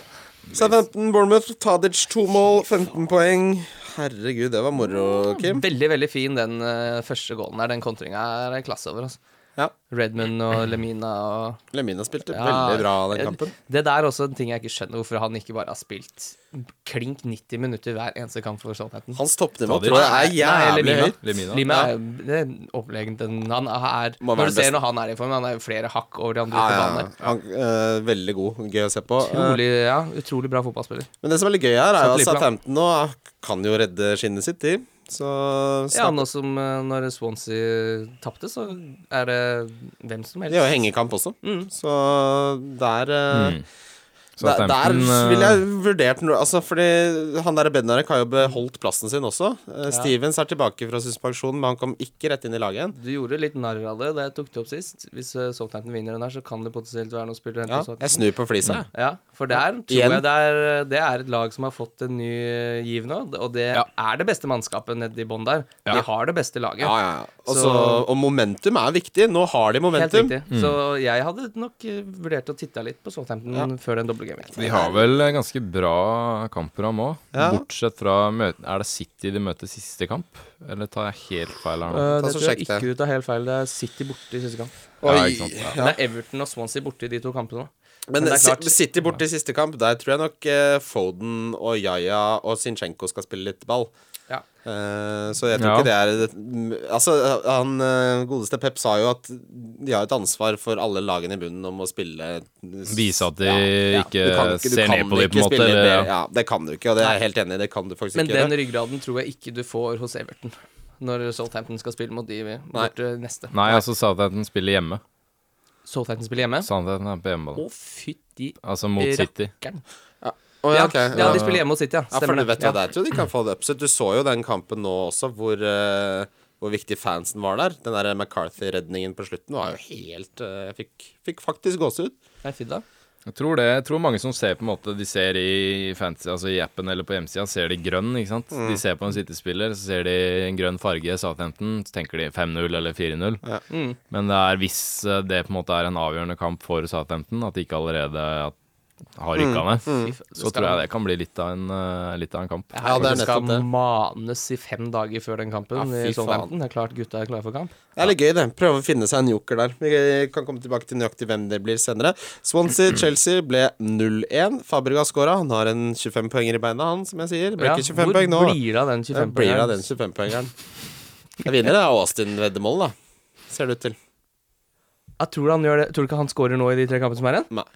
S1: Så 15 Bournemouth, Tadic to mål, 15 poeng. Herregud, det var moro, Kim.
S2: Veldig, veldig fin den eh, første goalen der. Den kontringa er en klasse over, altså.
S1: Ja.
S2: Redmond og Lemina og
S1: Lemina spilte
S2: Ja,
S1: veldig bra den
S2: eh,
S1: kampen.
S2: Det der er også en ting jeg ikke skjønner, hvorfor han ikke bare har spilt klink 90 minutter hver eneste kamp for Southampton.
S1: Hans toppnivå
S3: Tadic?
S1: tror jeg
S2: Nei,
S1: er jævlig
S2: Lemina.
S1: høyt.
S3: Lemina.
S2: Lima er det er overlegent. Den- Han er
S1: Må være den
S2: Når du ser
S1: beste.
S2: når han er i form, han er jo flere hakk over de
S1: Ja,
S2: andre ute
S1: ja,
S2: på banen der.
S1: Han, eh, veldig god. Gøy å se på. Eh,
S2: Utrolig, ja, utrolig bra fotballspiller.
S1: men det som er litt gøy her, er jo at
S2: Satellittplan.
S1: Southampton nå eh, kan jo redde skinnet sitt, de. Så
S2: Ja,
S1: snakk
S2: nå som eh, når Swansea tapte, så er det hvem som
S1: Det er jo
S2: helst.
S1: hengekamp også.
S2: Mm.
S1: Så der eh,
S3: Mm. Så
S1: Der, der
S3: Southampton, eh,
S1: ville jeg vurdert noe altså Fordi han der Bednarek har jo beholdt plassen sin også. Eh, Stevens er tilbake fra suspensjon, men han kom ikke rett inn i laget igjen.
S2: Du gjorde litt narr av det da jeg tok det opp sist. Hvis eh, Southampton vinner den her, så kan det potensielt være noen spillere å hente
S1: Ja,
S2: hos Southampton.
S1: jeg snur på flisa. jeg.
S2: Ja, for der tror
S1: Igjen.
S2: jeg det er, det er et lag som har fått en ny eh, giv nå, og det
S3: Ja.
S2: er det beste mannskapet nede i bånn der.
S3: Ja.
S2: De har det beste laget.
S1: Ja, ja, ja. Og, så,
S2: Så-
S1: og momentum er viktig. Nå har de
S2: Helt
S1: momentum.
S2: riktig. Så jeg hadde nok eh, vurdert å titte litt på Southampton før den doble gamet.
S3: De har vel eh, ganske bra kampprogram òg,
S1: Ja.
S3: bortsett fra møte, Er det City de møter siste kamp, eller tar jeg helt feil her nå?
S1: Ta
S2: Eh,
S1: så
S2: det tror jeg
S1: sjekk det.
S2: ikke du tar helt feil. Det er City borte i siste kamp.
S1: Oi.
S3: Ja, ikke sant, ja.
S2: Det er Everton og Swansea borte i de to kampene.
S1: Men
S2: Men det er
S1: Si-
S2: klart.
S1: City borte i siste kamp, der tror jeg nok eh, Foden og Yaya og Zinchenko skal spille litt ball.
S2: Ja.
S1: Eh, så jeg tror
S3: Ja.
S1: ikke det er det- m- Altså, han eh, godeste Pep sa jo at de har et ansvar for alle lagene i bunnen om å spille
S3: Vise at de
S1: Ja,
S3: ikke
S1: du kan du
S3: ser
S1: kan
S3: ned på
S1: ikke
S3: dem, på en måte.
S1: spille
S3: Eller,
S1: bedre. Ja, det kan du ikke, og det er jeg helt enig i. Det kan du faktisk
S2: Men
S1: ikke
S2: den
S1: gjøre.
S2: ryggraden tror jeg ikke du får hos Everton når Southampton skal spille mot de borte neste.
S3: Nei, altså Southampton spiller hjemme.
S2: Southampton spiller hjemme.
S3: Southampton er på hjemmebane.
S2: Å, fytti
S3: Altså mot City.
S2: rakkeren.
S1: Å,
S2: Ja,
S1: ja, ok.
S2: ja, de
S1: ja.
S2: spiller hjemme mot City, ja.
S1: Ja, for
S2: Stemmer
S1: du vet
S2: det.
S1: hva det er. Jeg tror de kan få det upset. Du så jo den kampen nå også, hvor, eh, hvor viktig fansen var der. Den der McCarthy-redningen på slutten var jo helt eh, Jeg fikk, fikk faktisk gåsehud.
S2: Ja. Nei, fy da.
S3: Jeg tror det. Jeg tror mange som ser på en måte De ser i fantasy, altså i appen eller på hjemmesida, ser de grønn, ikke sant. De ser på en City-spiller, så ser de en grønn farge, Southampton, så tenker de 5-0 eller 4-0.
S1: Ja.
S2: Mm.
S3: Men det er hvis eh, det på en måte er en avgjørende kamp for Southampton, at de ikke allerede at, har rykka ned,
S2: Mm.
S1: Mm.
S3: så tror jeg det kan bli litt av en, eh, litt av en kamp.
S1: Ja, det er
S2: skal
S1: nettopp det.
S2: manes i fem dager før den kampen.
S1: Ja, fy
S2: i Southampton. Det er klart gutta er klare for kamp.
S1: Det er litt gøy, det. Prøve å finne seg en joker der. Vi kan komme tilbake til nøyaktig hvem det blir senere.
S2: Mm.
S1: Swansea-Chelsea ble 0-1. Fabregas scora. Han har en 25 poenger i beina, han, som jeg sier. Det ble
S2: Ja,
S1: ikke 25 poeng nå.
S2: Hvor blir det av den
S1: Det
S2: 25
S1: blir
S2: poengeren?
S1: av den 25-poengeren. Jeg vinner det av Austin-veddemålet, da. Ser det ut til.
S2: Jeg tror, han gjør det. tror du ikke han scorer nå i de tre kampene som er igjen?
S1: Nei.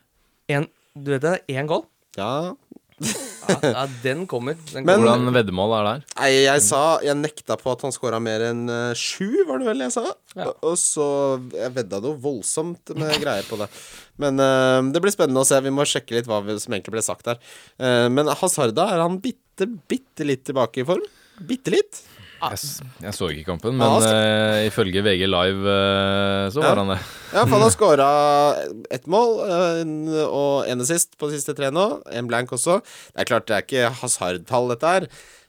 S2: En, du vet det, det er én goal.
S1: Ja
S2: Ja, ja, den kommer. Den
S1: Men-
S2: kommer.
S3: Hvordan veddemål er der?
S1: Nei, jeg sa Jeg nekta på at han scora mer enn eh, sju, var det vel jeg sa? Og, og så Jeg vedda noe voldsomt med greier på det. Men eh, det blir spennende å se. Vi må sjekke litt hva vi- som egentlig ble sagt der. Eh, men Hazarda, er han bitte, bitte litt tilbake i form? Bitte litt?
S3: Jeg, s- jeg så ikke kampen,
S1: Ja,
S3: men
S1: skal-
S3: eh, ifølge VG Live eh, så
S1: Ja.
S3: var han det.
S1: Ja, for han har scora ett mål eh, en- og en assist på de siste tre nå. En blank også. Det er klart det er ikke hasardtall, dette her.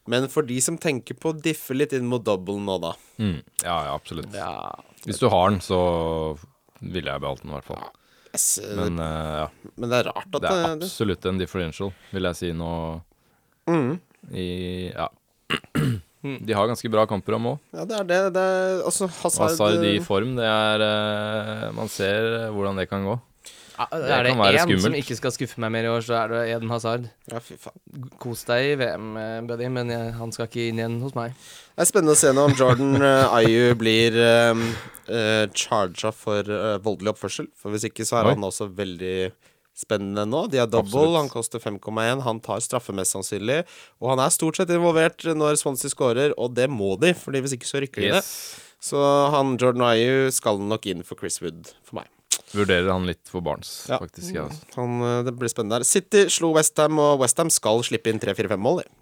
S1: Men for de som tenker på å diffe litt inn mot double nå, da.
S3: Mm. Ja, ja, absolutt.
S2: Ja.
S3: Hvis du har den, så ville jeg beholdt den, i hvert fall.
S1: Yes, eh,
S3: Men eh, ja,
S1: men det er rart at eh,
S3: det er
S1: det, det
S3: absolutt en differential, vil jeg si nå.
S1: Mm.
S3: I Ja. De har ganske bra kampprogram òg.
S1: Ja, det er det. det er, altså, Hazard,
S3: Hazard i form, det er eh, Man ser eh, hvordan det kan gå.
S2: Ja,
S3: Det
S2: Er det
S3: kan være
S2: én som
S3: skummelt.
S2: ikke skal skuffe meg mer i år, så er det Eden Hazard.
S1: Ja, fy faen.
S2: Kos deg i VM, eh, buddy, men jeg, han skal ikke inn igjen hos meg.
S1: Det er spennende å se nå om Jordan eh, Ayew blir um, charga for eh, voldelig oppførsel. For hvis ikke, så er
S3: Oi.
S1: han også veldig spennende nå. De er double,
S3: Absolutt.
S1: han koster 5,1, han tar straffe mest sannsynlig. Og han er stort sett involvert når Swansea scorer, og det må de, Fordi hvis ikke så rykker de det.
S3: Yes.
S1: Så han Jordan Ayew skal nok inn for Chris Wood, for meg.
S3: Vurderer han litt for Barnes,
S1: Ja.
S3: faktisk. jeg altså. også.
S1: Han, eh, det blir spennende der. City slo Westham, og Westham skal slippe inn 3-4-5 mål. de.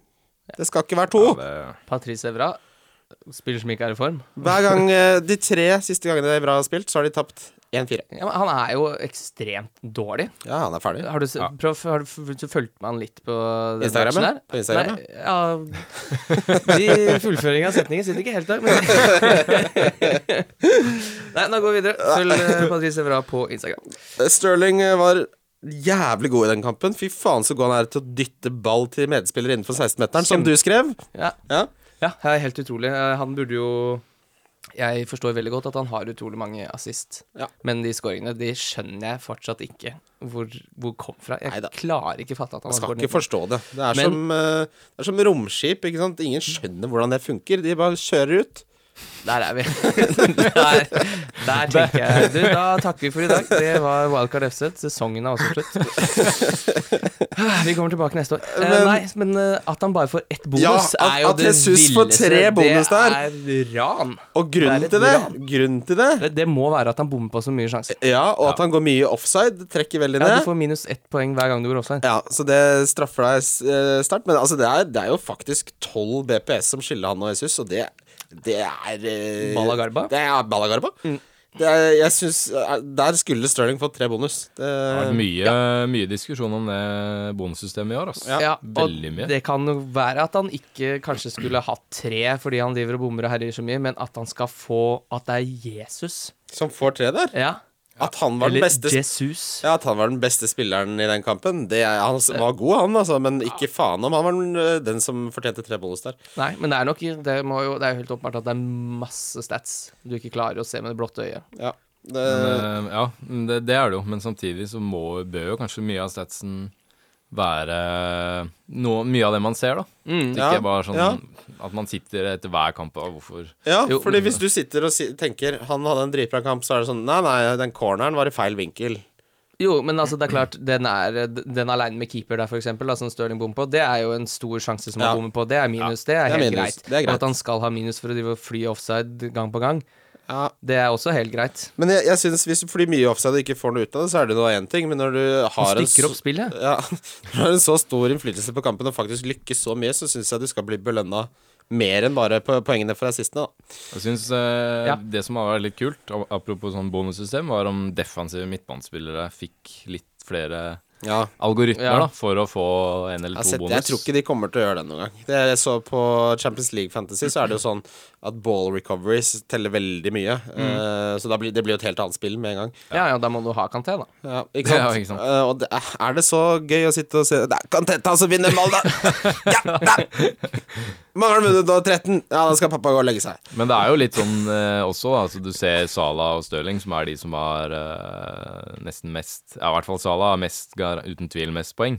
S1: Det skal ikke være to.
S3: Ja, det,
S2: Patrice Evra spiller som ikke er i form.
S1: Hver gang eh, de tre siste gangene Evra har spilt, så har de tapt 1-4.
S2: Ja, men han er jo ekstremt dårlig.
S1: Ja, han er ferdig.
S2: Har du, se-
S3: Ja.
S2: prøv, har du f- fulgt med han litt på den
S1: Instagrammen?
S2: matchen her?
S1: På Instagram,
S2: Nei, ja. De fullføringa av setningen sitter ikke helt der, men Nei, nå går vi videre. Følg eh, Patrice Evra på Instagram.
S1: Sterling eh, var jævlig god i den kampen. Fy faen så god han er til å dytte ball til medspiller innenfor 16-meteren, som du skrev.
S2: Ja,
S1: Ja.
S2: ja det er helt utrolig. Eh, Han burde jo Jeg forstår veldig godt at han har utrolig mange assist,
S1: Ja.
S2: men de scoringene de skjønner jeg fortsatt ikke hvor, hvor kom fra. Jeg
S1: Neida.
S2: klarer ikke fatte at han
S1: Man
S2: har
S1: skal
S2: scoret
S1: ikke forstå det. Det er,
S2: Men-
S1: som, eh, det er som romskip. ikke sant? Ingen skjønner hvordan det funker. De bare kjører ut.
S2: Der er vi. der, der tenker jeg. Du, da takker vi for i dag. Det var Wildcard FC. Sesongen er også slutt. Vi kommer tilbake neste år. Eh,
S1: Men-
S2: nei, men eh, at han bare får ett bonus,
S1: Ja, at-
S2: er jo
S1: at
S2: det
S1: Jesus får tre
S2: villeste.
S1: bonus der.
S2: Det er ran.
S1: Og
S2: Det er
S1: grunnen
S2: et
S1: til det
S2: ran.
S1: Grunnen til det
S2: Det, det må være at han bommer på så mye sjanser.
S1: Ja, og at han går mye offside. det Trekker veldig
S2: Ja,
S1: ned.
S2: du får minus ett poeng hver gang du går offside.
S1: Ja, så det straffer deg eh, sterkt. Men altså, det, er, det er jo faktisk 12 BPS som skiller han og Jesus, og det, det er eh,
S2: Balagarba?
S1: Det er Balagarba. Det er, jeg synes, eh, Der skulle Sterling fått tre bonus. Det,
S3: det har vært mye, mye diskusjon om det bonussystemet i år, ass.
S1: Ja.
S3: Veldig mye.
S2: Og det kan jo være at han ikke kanskje skulle hatt tre fordi han driver og bommer og herjer så mye, men at han skal få At det er Jesus.
S1: Som får tre der.
S2: Ja.
S1: At han var den beste
S2: Jesus.
S1: ja, at han var den beste spilleren i den kampen. Det, er- han var god, han, altså, men ikke faen om han var den, eh, den som fortjente tre bonus der.
S2: Nei, men det er nok det, må jo, det er jo helt åpenbart at det er masse stats du ikke klarer å se med det blotte øyet.
S1: Ja, det,
S3: Men, eh, ja, men det, det er det jo, men samtidig så må, bør jo kanskje mye av statsen være noe, mye av det man ser, da.
S2: Mm.
S3: Ikke
S1: Ja,
S3: bare sånn
S1: ja.
S3: at man sitter etter hver kamp og hvorfor
S1: Ja,
S2: Jo.
S1: fordi hvis du sitter og si, tenker han hadde en dritbra kamp, så er det sånn Nei, nei, den corneren var i feil vinkel.
S2: Jo, men altså, det er klart, den, er, den aleine med keeper der, for eksempel, da, som Stirling bommer på, det er jo en stor sjanse som
S1: Ja.
S2: han bommer på. Det er minus, det er
S1: det er
S2: helt
S1: minus.
S2: greit.
S1: Det er greit.
S2: Og at han skal ha minus for å drive og fly offside gang på gang,
S1: Ja,
S2: det er også helt greit.
S1: Men jeg, jeg synes hvis fordi mye offside og ikke får noe ut av det, så er det noe én ting, men når du
S2: Han
S1: har en,
S2: stykker
S1: så,
S2: opp spillet.
S1: ja, når du har en så stor innflytelse på kampen og faktisk lykkes så mye, så syns jeg du skal bli belønna mer enn bare på poengene for assistene, da.
S3: Jeg syns
S2: Ja.
S3: det som har vært litt kult, a- apropos sånn bonussystem, var om defensive midtbanespillere fikk litt flere
S1: Ja.
S3: algoritmer
S2: Ja.
S3: da, for å få en eller
S1: Jeg, har
S3: to
S1: sett,
S3: bonus.
S1: jeg tror ikke de kommer til å gjøre det noen gang. Det jeg så På Champions League Fantasy så er det jo sånn at ball recoveries teller veldig mye. Eh, så da blir, det blir jo et helt annet spill med en gang.
S2: Ja, ja, da må du ha Kanté, da.
S1: Ja, ikke sant?
S3: Ja, ikke sant.
S1: Eh, og det, er det så gøy å sitte og se Det er Cantetta som vinner mål, da! ja, der! Mangler minutt og 13. Ja, da skal pappa gå og legge seg.
S3: Men det er jo litt sånn eh, også, da, altså, du ser Sala og Stirling, som er de som har eh, nesten mest Ja, i hvert fall Sala har mest, gar- uten tvil mest poeng.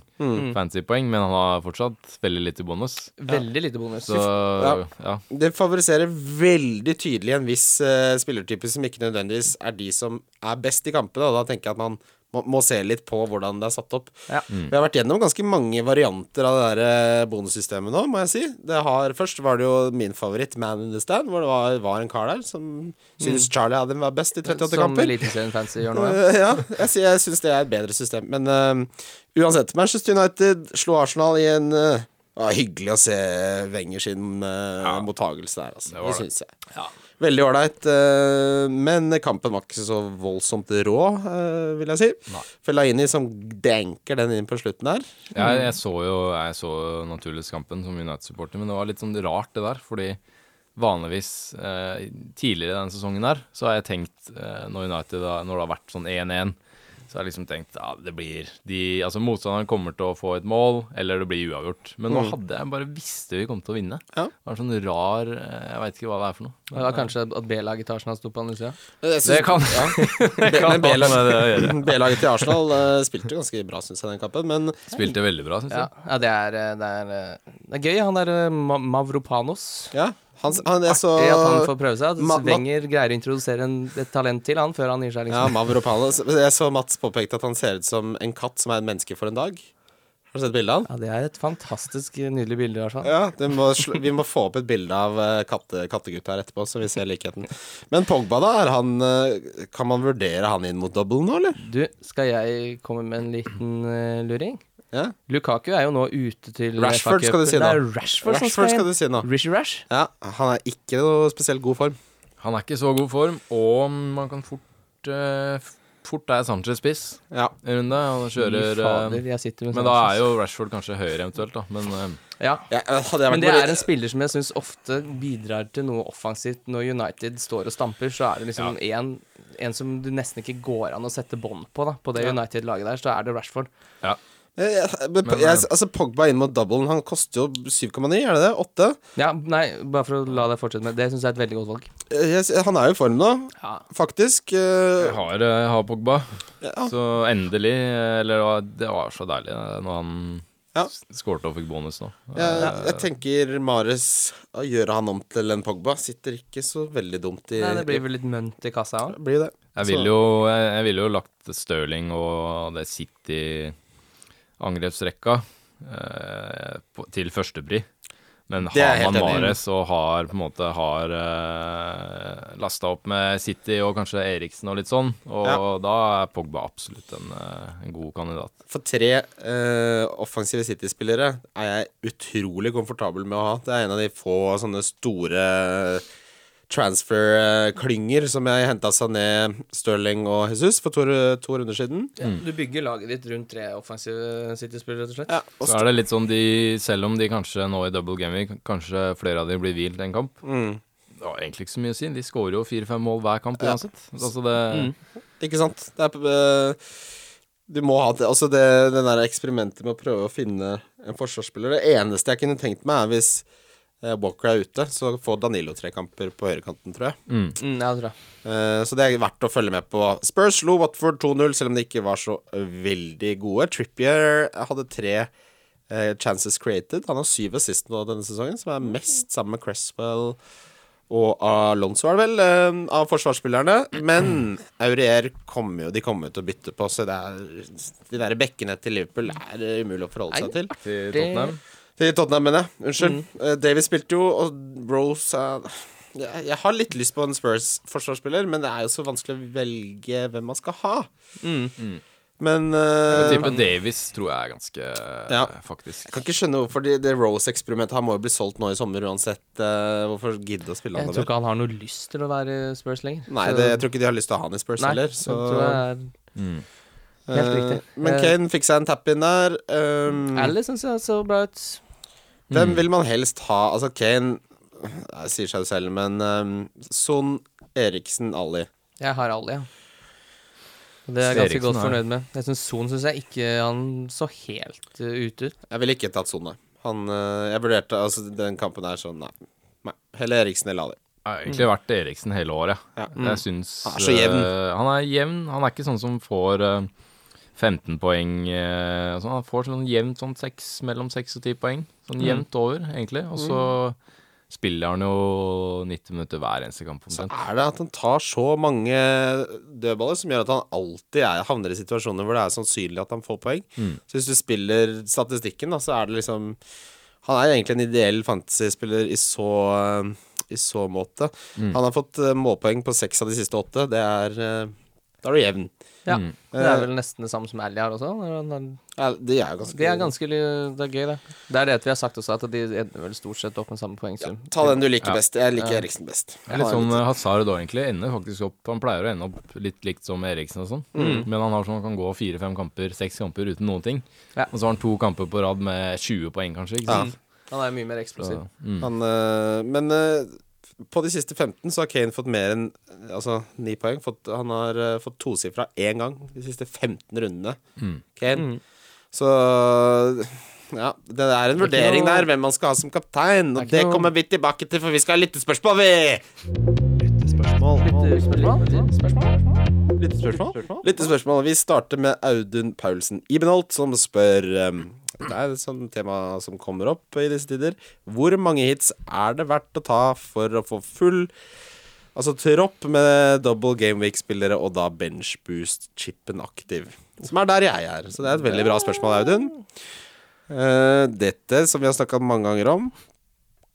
S3: Fancy poeng, men han har fortsatt veldig lite bonus.
S2: Veldig lite bonus.
S3: Så ja.
S1: Ja. Det favoriserer veldig tydelig en viss eh, spillertype som ikke nødvendigvis er de som er best i kampene. Og da tenker jeg at man må, må se litt på hvordan det er satt opp. Mm.
S2: Ja.
S1: Vi har vært gjennom ganske mange varianter av det der eh, bonussystemet nå, må jeg si. Det har, først var det jo min favoritt, Man in the Stand, hvor det var, var en kar der
S3: Mm.
S1: som syntes Charlie Adam var best i 38
S3: Sånn
S2: Som
S1: kamper.
S2: Eliteserien Fancy gjør nå, ja.
S1: Eh, ja, jeg, sier- jeg syns det er et bedre system. Men eh, uansett, Manchester United slo Arsenal i en eh, ah, Hyggelig å se Wenger sin eh, mottagelse der, altså.
S3: var
S1: Det,
S3: det.
S1: syns jeg. Veldig ålreit. eh, men kampen var ikke så voldsomt rå, eh, vil jeg si. Fellaini som danker den inn på slutten der.
S3: Jeg, jeg så jo jeg så jo naturligvis kampen som United-supporter, men det var litt sånn rart det der, fordi vanligvis eh, tidligere i denne sesongen her, så har jeg tenkt eh, når United da, når det har vært sånn 1-1, så har jeg liksom tenkt ja, det blir de, Altså motstanderen kommer til å få et mål, eller det blir uavgjort. Men nå hadde jeg bare visste vi kom til å vinne.
S1: Mm. Ja.
S3: Det var en sånn rar eh, Jeg veit ikke hva det er for noe.
S2: Det var kanskje at B-laget til Arsenal sto på andre sida.
S1: Jeg
S3: Det kan-
S1: ja. Men
S3: ha med
S1: B-laget
S3: det å gjøre.
S1: Eh, B-laget til Arsenal eh, spilte ganske bra, syns jeg, den kampen. Men
S3: Spilte veldig bra, syns
S2: Ja,
S3: jeg.
S2: ja det, er, eh, det, er, eh, det er gøy. Han der eh, Ma- Mavropanos.
S1: ja, han, han jeg så
S2: Artig at han får prøve seg.
S1: Ma-
S2: At
S1: Ma-
S2: Wenger greier å introdusere en, et talent til han før han gir seg,
S1: Ja,
S2: liksom.
S1: Mavropanos. Jeg så Mats påpekte at han ser ut som en katt som er et menneske for en dag. Har du sett bildet av han?
S2: Ja, det er et fantastisk eh, nydelig bilde, i hvert fall.
S1: Ja, det må, sl- Vi må få opp et bilde av eh, katte, kattegutt her etterpå, så vi ser likheten. Men Pogba, da? Er han, eh, kan man vurdere han inn mot double nå, eller?
S2: Du, skal jeg komme med en liten eh, luring?
S1: Ja,
S2: Lukaku er jo nå ute til eh,
S1: Rashford skal du si
S2: fuck-up.
S1: nå.
S2: Det er Rashford, som
S1: Rashford skal
S2: skal
S1: du
S2: inn.
S1: si nå.
S2: Rishi Rash.
S1: Ja, Han er ikke i noe spesielt god form.
S3: Han er ikke i så god form, og man kan fort eh, f- Fort er Sanchez spiss
S1: Ja,
S3: en runde, og kjører
S2: Fy
S3: eh,
S2: fader, jeg sitter med sånn-
S3: Men da er jo Rashford kanskje høyere eventuelt, da. Men eh,
S2: ja.
S1: jeg, hadde jeg vært
S2: Men det
S1: Mourinho-
S2: er en spiller som jeg syns ofte bidrar til noe offensivt. Når United står og stamper, så er det liksom en, en som du nesten ikke går an å sette bånd på. da På det
S1: Ja.
S2: United-laget der, så er det Rashford.
S3: ja.
S1: Eh, jeg- men,
S3: Men,
S1: jeg, altså, Pogba inn mot doublen, han koster jo 7,9, er det det? 8?
S2: Ja, nei, bare for å la deg fortsette med det. syns jeg er et veldig godt valg.
S1: Eh, jeg- Han er jo i form nå,
S2: Ja.
S1: faktisk. Eh,
S3: Jeg har, eh, har Pogba,
S1: Ja.
S3: så endelig eh, Eller det var- det var så deilig eh, når han
S1: Ja.
S3: s- skårte og fikk bonus nå.
S1: Jeg, jeg tenker Mares å gjøre han om til en Pogba sitter ikke så veldig dumt i
S2: Nei, det blir vel litt mønt i kassa òg.
S1: Blir det.
S3: Jeg
S1: Så-
S3: ville jo, jeg, jeg ville jo lagt Stirling og det City-angrepsrekka eh, på- til førstepri. Men
S1: Det er jeg
S3: har man
S1: helt enig i.
S3: Mares og har på en måte har eh, lasta opp med City og kanskje Eriksen og litt sånn, og
S1: Ja. da
S3: er Pogba absolutt en, eh, en god kandidat.
S1: For tre eh, offensive City-spillere er jeg utrolig komfortabel med å ha. Det er en av de få sånne store eh, transfer-klynger som jeg henta seg ned Stirling og Jesus for to, to runder siden.
S2: Du bygger laget ditt rundt tre offensive City-spillere, rett og slett.
S1: Ja, og
S3: Så er det litt sånn de, selv om de kanskje nå i double game week, kanskje flere av de blir hvilt en kamp,
S1: Mm.
S3: det har egentlig ikke så mye å si. De skårer jo fire-fem mål hver kamp uansett. Altså det,
S1: Mm. Ikke sant? Det er, eh, du må ha det. Altså det, den der eksperimentet med å prøve å finne en forsvarsspiller Det eneste jeg kunne tenkt meg, er hvis eh, Walker er ute, så får Danilo tre kamper på høyrekanten, tror jeg.
S3: mm.
S2: Mm, ja, det tror jeg.
S1: Eh, så det er verdt å følge med på. Spurs slo Watford 2-0, selv om de ikke var så veldig gode. Trippier hadde tre eh, chances created. Han har syv assist nå denne sesongen, som er mest sammen med Cresswell og Alonso, er det vel, eh, av forsvarsspillerne. Men Aurier kommer jo de kommer jo til å bytte på, så det er, de der bekkene til Liverpool er eh, umulig å forholde seg til.
S3: Til Tottenham.
S1: Til Tottenham, mener jeg. Unnskyld.
S2: Mm.
S1: Eh, Davies spilte jo, og Rose er jeg, jeg har litt lyst på en Spurs-forsvarsspiller, men det er jo så vanskelig å velge hvem man skal ha.
S2: Mm.
S1: Men eh,
S3: Jeg tipper Davis tror jeg er ganske eh,
S1: Ja.
S3: faktisk.
S1: jeg kan ikke skjønne hvorfor det, det Rose-eksperimentet Han må jo bli solgt nå i sommer uansett. eh, hvorfor gidde å spille han
S2: Jeg tror
S1: over?
S2: ikke han har noe lyst til å være Spurs lenger.
S1: Nei,
S2: Så-
S1: det, jeg tror ikke de har lyst til å ha han i Spurs
S2: Nei,
S1: heller.
S2: så
S1: Så
S2: tror jeg er- Helt riktig. Mm,
S1: Eh, men Kane fikk seg en tap-in der. Um,
S2: Ally syns jeg så bra ut. Mm.
S1: Hvem vil man helst ha? Altså, Kane eh, sier seg selv, men um, Son Eriksen Ali.
S2: Jeg har Ally, ja. Og Det er
S3: Så
S2: jeg ganske
S3: Eriksen
S2: godt
S3: har-
S2: fornøyd med. Jeg syns Son syns jeg ikke han så helt uh, ute ut.
S1: Jeg ville ikke tatt Son, nei. Han, eh, jeg vurderte altså, den kampen her sånn, nei. nei. Heller Eriksen eller Ali.
S3: Jeg har egentlig vært Eriksen hele året.
S1: Ja. Mm.
S3: Jeg syns
S1: Han er så jevn.
S3: eh, han er jevn. Han er ikke sånn som får eh, 15 poeng eh, og sånn. Han får sånn jevnt sånn 6, mellom 6 og 10 poeng. Sånn
S1: Mm.
S3: jevnt over, egentlig. Og så spiller han jo 90 minutter hver eneste kamp.
S1: Så
S3: omtrent.
S1: er det at han tar så mange dødballer som gjør at han alltid er, havner i situasjoner hvor det er sannsynlig at han får poeng. Så hvis du spiller statistikken, da, så er det liksom Han er egentlig en ideell fantasyspiller i så i så måte. Han har fått eh, målpoeng på seks av de siste åtte. Det er eh, Da er du jevn.
S2: Ja.
S1: Mm.
S2: Det er
S1: Eh,
S2: vel nesten det samme som Ally har også. når han er-
S1: Ja, de er jo ganske,
S2: Det er ganske li- det er gøy, det. Det er det vi har sagt også, at de ender vel stort sett opp med samme poengsum.
S1: Ta den du liker
S3: Ja.
S1: best. Jeg liker Eriksen best.
S3: Det er litt sånn eh, Hazard da, egentlig. Ender faktisk opp Han pleier å ende opp litt likt som Eriksen og sånn. Men han har sånn, han kan gå fire-fem kamper, seks kamper uten noen ting.
S2: Ja.
S3: Og så har han to kamper på rad med 20 poeng, kanskje. Ikke
S1: Ja.
S3: sant?
S2: Han er mye mer eksplosiv.
S3: Så, mm.
S1: Han, eh, men eh, på de siste 15 så har Kane fått mer enn eh, altså, 9 poeng. Fått, han har eh, fått tosifra én gang de siste 15 rundene. Kane.
S2: Mm.
S1: Så ja, det er en
S2: Det er ikke
S1: vurdering
S2: noe-
S1: der, hvem man skal ha som kaptein. Og
S2: Det er ikke
S1: det
S2: noe-
S1: kommer vi tilbake til, for vi skal ha lyttespørsmål, vi! Lyttespørsmål. Vi starter med Audun Paulsen Ibenholt, som spør eh, Det er et sånt tema som kommer opp i disse tider. Hvor mange hits er det verdt å ta for å få full Altså tropp med double gameweek-spillere og da benchboost-chipen aktiv. Som er der jeg er. Så det er et veldig bra spørsmål, Audun. Eh, dette, som vi har snakka mange ganger om,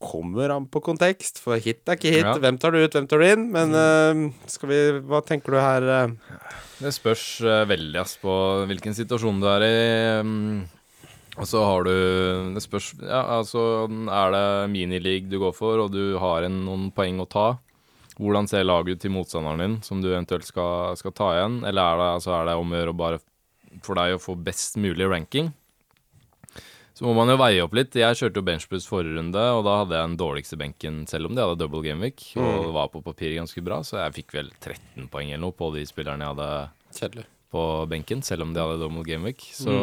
S1: kommer an på kontekst. For hit er ikke hit.
S3: Ja.
S1: Hvem tar du ut, hvem tar du inn? Men eh, skal vi Hva tenker du her? eh?
S3: Det spørs eh, veldig ass, på hvilken situasjon du er i. mm. Og så har du Det spørs ja, altså, Er det minileague du går for, og du har en, noen poeng å ta? Hvordan ser laget ut til motstanderen din, som du eventuelt skal, skal ta igjen? Eller er det, altså, er det om å gjøre å bare for deg å få best mulig ranking? Så må man jo veie opp litt. Jeg kjørte jo benchboost forrige runde, og da hadde jeg den dårligste benken, selv om de hadde double gameweek, og var på papiret ganske bra, så jeg fikk vel 13 poeng eller noe på de spillerne jeg hadde
S1: Kjedelig.
S3: på benken, selv om de hadde double gameweek. Så,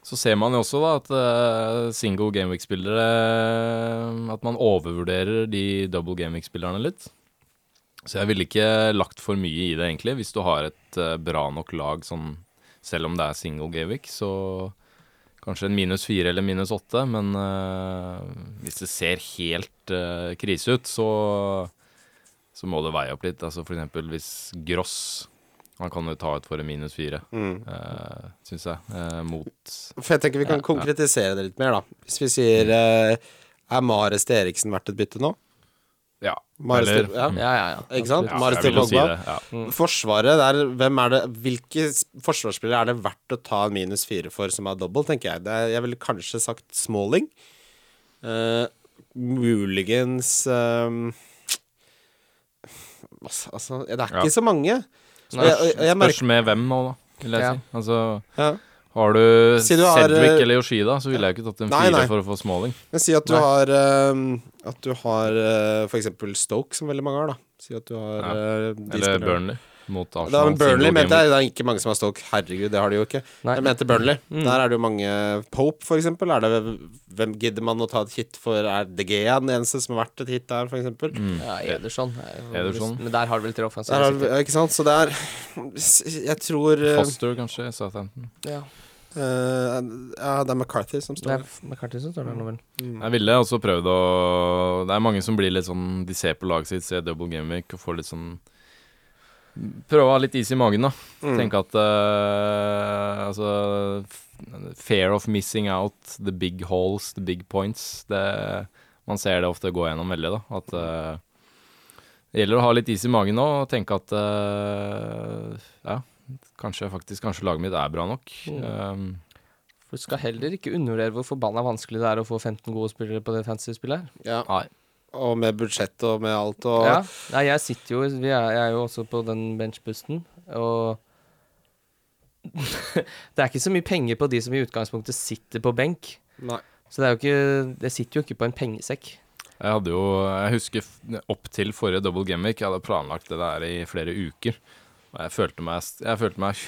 S3: så ser man jo også da at eh, single gameweek-spillere eh, At man overvurderer de double gameweek-spillerne litt. Så jeg ville ikke lagt for mye i det, egentlig. Hvis du har et eh, bra nok lag sånn selv om det er single gameweek, så kanskje en minus fire eller minus åtte. Men eh, hvis det ser helt eh, krise ut, så, så må det veie opp litt. Altså for eksempel hvis Gross han kan jo ta ut for en minus fire,
S1: Mm.
S3: uh, syns jeg. eh, mot
S1: For jeg tenker vi kan
S3: Ja, ja.
S1: konkretisere det litt mer, da. Hvis vi sier eh, Er Mares til Eriksen verdt et bytte nå?
S3: Ja.
S1: Mares
S3: Eller-
S1: til, ja.
S2: Ja, ja, ja.
S1: Ikke sant?
S3: Ja,
S1: Marius
S3: jeg vil jo
S1: til
S3: si
S1: Pogba.
S3: det, Mm. ja.
S1: Forsvaret der, hvem er det Hvilke s- forsvarsspillere er det verdt å ta en minus fire for som er dobbel, tenker jeg. Det er, jeg ville kanskje sagt Smalling. Eh, muligens eh, Altså, det er ikke
S3: Ja.
S1: så mange. Og
S3: Spørs,
S1: jeg, og jeg
S3: spørs
S1: merker
S3: med hvem nå, da. Vil jeg
S2: Ja.
S3: si. Altså,
S1: ja.
S3: har du,
S1: Si du har,
S3: Cedric
S1: eh,
S3: eller Yoshida, så ville jeg ikke tatt en
S1: Nei,
S3: fire
S1: nei.
S3: for å få Smalling.
S1: Men si at du
S3: Nei.
S1: har eh, At du har eh, for eksempel Stoke, som veldig mange har, da. Si at du har
S3: Ja.
S1: eh, de
S3: Eller
S1: spillerne.
S3: Burnley mot Arsenal.
S1: Da, men Burnley
S3: single
S1: mente
S3: game
S1: jeg. Det er ikke mange som har Stoke. Herregud, det har de jo ikke.
S2: Nei.
S1: Jeg mente Burnley.
S3: Mm.
S1: Der er det jo mange Pope, for eksempel. Er det, hvem gidder man å ta et hit for? Er De Gea den eneste som har vært et hit der, for eksempel?
S3: Mm.
S2: ja Ederson. er jo-
S3: Ederson.
S2: Men der har du vel tre offensive.
S1: Der har,
S2: sikkert.
S1: ikke sant? Så det er Jeg tror eh,
S3: week. Foster, kanskje. Southampton.
S2: Ja.
S1: eh, Ja, det er McCarthy som
S2: Det er
S1: står der.
S2: McCarthy som står der nå, vel.
S3: Jeg ville også prøvd å Det er mange som blir litt sånn De ser på laget sitt, ser double gameweek og får litt sånn Prøve å ha litt is i magen, da.
S1: Mm.
S3: Tenke at eh, Altså f- Fear of missing out, the big holes, the big points. Det, man ser det ofte gå gjennom veldig, da. At eh, det gjelder å ha litt is i magen nå og tenke at eh, Ja, kanskje faktisk Kanskje laget mitt er bra nok. Um,
S2: For du skal heller ikke undervurdere hvor forbanna vanskelig det er å få 15 gode spillere på det fantasy-spillet her.
S1: Ja.
S3: nei.
S1: Og med budsjett og med alt og
S2: Ja. Nei, jeg sitter jo vi er, Jeg er jo også på den benchbusten, og Det er ikke så mye penger på de som i utgangspunktet sitter på benk.
S1: Nei.
S2: Så det er jo ikke Det sitter jo ikke på en pengesekk.
S3: Jeg hadde jo, jeg husker f- opp til forrige Double Game Week, jeg hadde planlagt det der i flere uker. Og jeg følte meg, jeg følte meg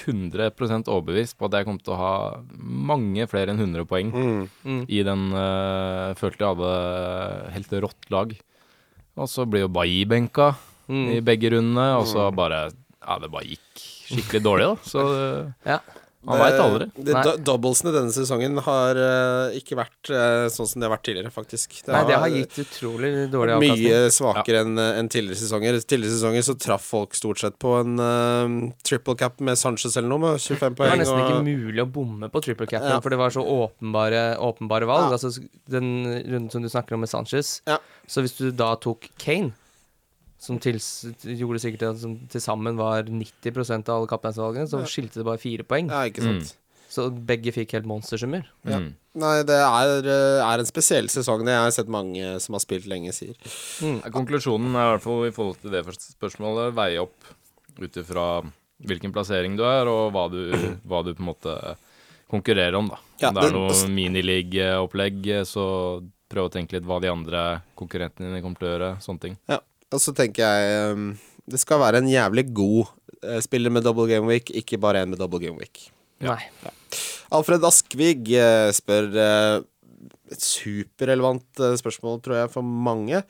S3: 100 overbevist på at jeg kom til å ha mange flere enn 100 poeng
S1: Mm.
S3: i den eh, Følte jeg hadde eh, helt rått lag. Og så blir jo Bailly benka i
S2: Mm.
S3: begge rundene, og så bare Ja, det bare gikk skikkelig dårlig, da. Så
S2: Ja.
S3: man veit aldri.
S1: Det, det,
S2: Nei.
S1: do- doublesene denne sesongen har eh, ikke vært eh, sånn som de har vært tidligere, faktisk.
S2: Nei, det har gitt utrolig dårlig avkastning.
S1: mye svakere enn eh, enn tidligere sesonger. Tidligere sesonger så traff folk stort sett på en eh, triple cap med Sanchez eller noe, med 25
S2: Det var
S1: poeng.
S2: nesten
S1: og-
S2: ikke mulig å bomme på triple capen,
S1: Ja.
S2: for det var så åpenbare, åpenbare valg.
S1: Ja.
S2: Altså den runden som du snakker om med Sanchez.
S1: Ja.
S2: Så hvis du da tok Kane, som tils gjorde sikkert at som til sammen var 90 av alle kapteinsvalgene, så
S1: Ja.
S2: skilte det bare fire poeng.
S1: ja, ikke
S3: Mm.
S1: sant.
S2: Så begge fikk helt monstersummer.
S1: Ja.
S3: Mm.
S1: Nei, det er, eh, er en spesiell sesong. Det har jeg sett mange som har spilt lenge, sier.
S3: Ja, Konklusjonen er i hvert fall i forhold til det første spørsmålet veie opp ut ifra hvilken plassering du er, og hva du, hva du på en måte konkurrerer om, da.
S1: Ja,
S3: om det
S1: det-
S3: er noe minileague-opplegg, så prøv å tenke litt hva de andre konkurrentene dine kommer til å gjøre, sånne ting.
S1: Ja, og så tenker jeg um, Det skal være en jævlig god eh, spiller med double game week, ikke bare en med double game week.
S2: Nei.
S1: Alfred Askvig eh, spør eh, et superrelevant eh, spørsmål, tror jeg, for mange.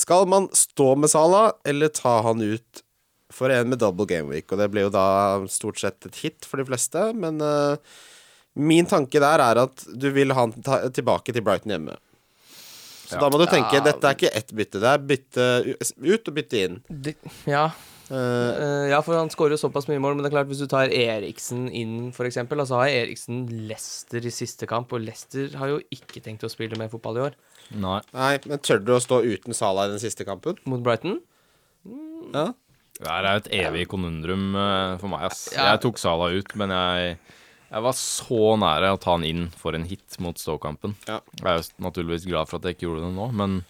S1: Skal man stå med Salah, eller ta han ut for en med double game week? Og det blir jo da stort sett et hit for de fleste, men eh, min tanke der er at du vil ha han ta tilbake til Brighton hjemme. Så
S3: Ja.
S1: da må du tenke, dette er ikke ett bytte, det er bytte u- ut og bytte inn.
S2: Det, ja.
S1: Eh,
S2: Eh, ja, for han skårer jo såpass mye mål, men det er klart hvis du tar Eriksen inn, f.eks., og så har Eriksen Leicester i siste kamp, og Leicester har jo ikke tenkt å spille mer fotball i år.
S3: Nei.
S1: nei, men tør du å stå uten Salah i den siste kampen?
S2: Mot Brighton?
S1: Ja.
S3: Det her er jo et evig konundrum eh, for meg, ass.
S2: Ja.
S3: Jeg tok Sala ut, men jeg, jeg var så nære å ta han inn for en hit mot Stoke-kampen.
S1: Ja.
S3: Jeg er jo s- naturligvis glad for at jeg ikke gjorde det nå, men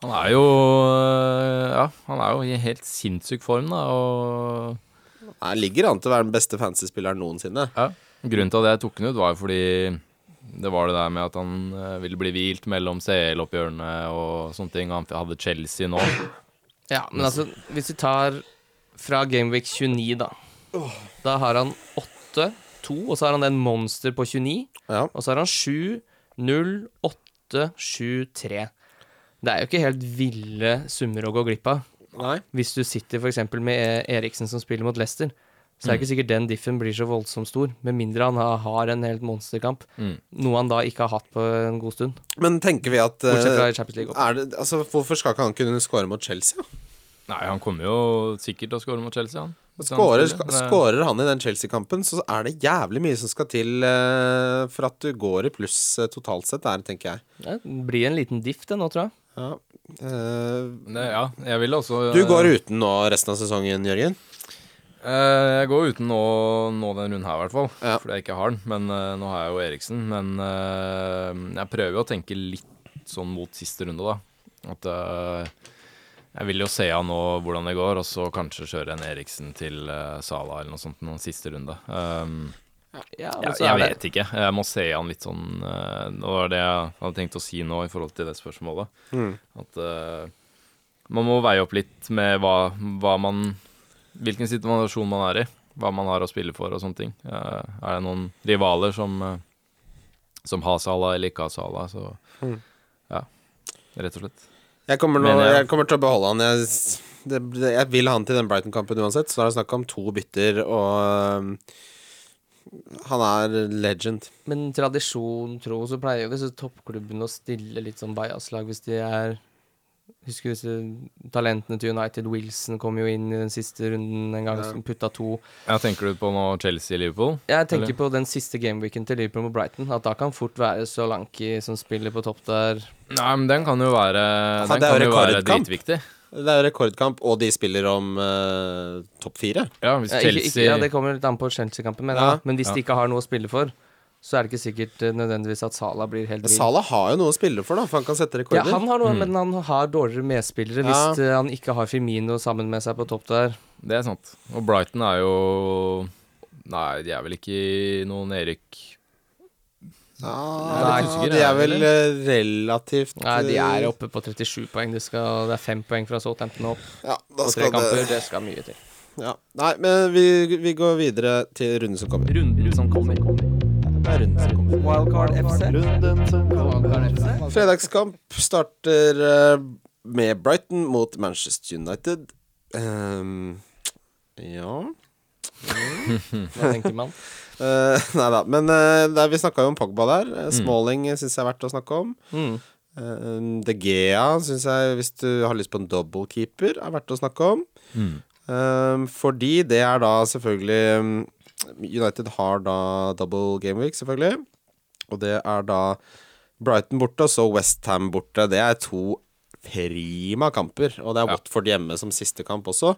S3: han er jo eh, Ja, han er jo i helt sinnssyk form, da, og
S1: Nei, ligger an til å være den beste fantasy-spilleren noensinne.
S3: ja. Grunnen til at jeg tok han ut, var jo fordi det var det der med at han eh, ville bli hvilt mellom CL-oppgjørene og sånne ting. Han hadde Chelsea nå.
S2: Ja, men altså, hvis vi tar fra Gameweek 29, da. Da har han 8, 2, og så har han den monster på 29.
S1: Ja.
S2: Og så har han 7, 0, 8, 7, 3. Det er jo ikke helt ville summer å gå glipp av.
S1: Nei.
S2: Hvis du sitter f.eks. med E- Eriksen som spiller mot Leicester, så
S3: Mm.
S2: er det ikke sikkert den diffen blir så voldsomt stor, med mindre han har- har en helt monsterkamp.
S3: Mm.
S2: Noe han da ikke har hatt på en god stund.
S1: Men tenker vi at eh,
S2: Bortsett fra i Champions League. opp.
S1: er det, altså, Hvorfor skal ikke han kunne score mot Chelsea? da?
S3: Nei, han kommer jo sikkert til å skåre mot Chelsea, han.
S1: Skårer,
S3: Hvis
S1: ska-
S3: han spiller. eh, Det-
S1: skårer han i den Chelsea-kampen, så er det jævlig mye som skal til eh, for at du går i pluss eh, totalt sett der, tenker jeg.
S2: Ja, Det blir en liten diff, det nå, tror jeg.
S1: Ja. Eh,
S3: Det, ja, jeg vil også
S1: du går uten nå resten av sesongen, Jørgen?
S3: Eh, jeg går uten nå, nå den runden her, i hvert fall.
S1: Ja.
S3: Fordi jeg ikke har den. Men eh, nå har jeg jo Eriksen. Men eh, jeg prøver jo å tenke litt sånn mot siste runde, da. At eh, jeg vil jo se an nå hvordan det går, og så kanskje kjøre en Eriksen til eh, Sala eller noe sånt noen siste runde. Um,
S2: Ja, men
S3: jeg,
S2: så er
S3: jeg
S2: det-
S3: vet ikke. Jeg må se an litt sånn eh, Det var det jeg hadde tenkt å si nå i forhold til det spørsmålet. At eh, man må veie opp litt med hva, hva man Hvilken situasjon man er i. Hva man har å spille for og sånne ting. Eh, er det noen rivaler som, eh, som har Sala eller ikke har Sala, så Ja. Rett og slett.
S1: Jeg kommer, nå,
S3: Men, ja.
S1: jeg kommer til å beholde han. Jeg, s- det, det- jeg vil ha han til den Brighton-kampen uansett. Så da er det snakk om to bytter, og eh, han er legend.
S2: Men tradisjon tro, så pleier jo disse toppklubbene å stille litt sånn bajaslag hvis de er Husker disse talentene til United. Wilson kom jo inn i den siste runden en gang
S1: Ja.
S2: som putta to.
S3: Ja, tenker du på nå Chelsea-Liverpool?
S2: Jeg tenker
S3: Eller?
S2: på den siste gameweeken til Liverpool mot Brighton. At da kan fort være Solanki som spiller på topp der.
S3: Nei, men den kan jo være, den
S1: det er
S3: kan
S1: jo
S3: jo være
S1: rekordkamp.
S3: dritviktig.
S1: Det er jo rekordkamp, og de spiller om eh, topp fire.
S3: Ja, hvis
S2: Ja, ikke, ikke,
S3: Chelsea
S2: ja, det kommer litt an på Chelsea-kampen, men,
S1: Ja.
S2: ja. men hvis
S3: Ja.
S2: de ikke har noe å spille for, så er det ikke sikkert eh, nødvendigvis at Sala blir
S1: Men
S2: helt vill.
S1: Salah har jo noe å spille for, da, for han kan sette
S2: Ja,
S1: rekorder.
S2: han har noe, men han har dårligere
S1: Ja.
S2: medspillere hvis eh, han ikke har Firmino sammen med seg på topp der.
S3: Det er sant. Og Brighton er jo Nei, de er vel ikke i noen Erik
S1: Ja,
S2: Nei,
S3: usikker,
S1: de er vel
S3: eller?
S1: eh, relativt
S2: Nei, de er
S1: eh,
S2: oppe på 37 poeng. Det, skal, det er fem poeng fra Southampton opp
S1: ja, da
S2: på tre
S1: skal
S2: kamper.
S1: det,
S2: Det skal mye til.
S1: ja. Nei, men vi, vi går videre til runden som kommer.
S2: Runden som kommer.
S1: Det er runden som kommer.
S2: Wildcard FC. Wildcard FC.
S1: Fredagskamp starter eh, med Brighton mot Manchester United. Ehm, ja
S2: Hva tenker man?
S1: Eh, Nei da. Men eh, der, vi snakka jo om Pogba der. Eh, Smalling mm. syns jeg er verdt å snakke om.
S2: Mm.
S1: Eh, De Gea syns jeg, hvis du har lyst på en dobbeltkeeper, er verdt å snakke om. Eh, fordi det er da selvfølgelig mm, United har da double game week, selvfølgelig. Og det er da Brighton borte, og så Westham borte. Det er to prima kamper. Og det er Watford hjemme som siste kamp også.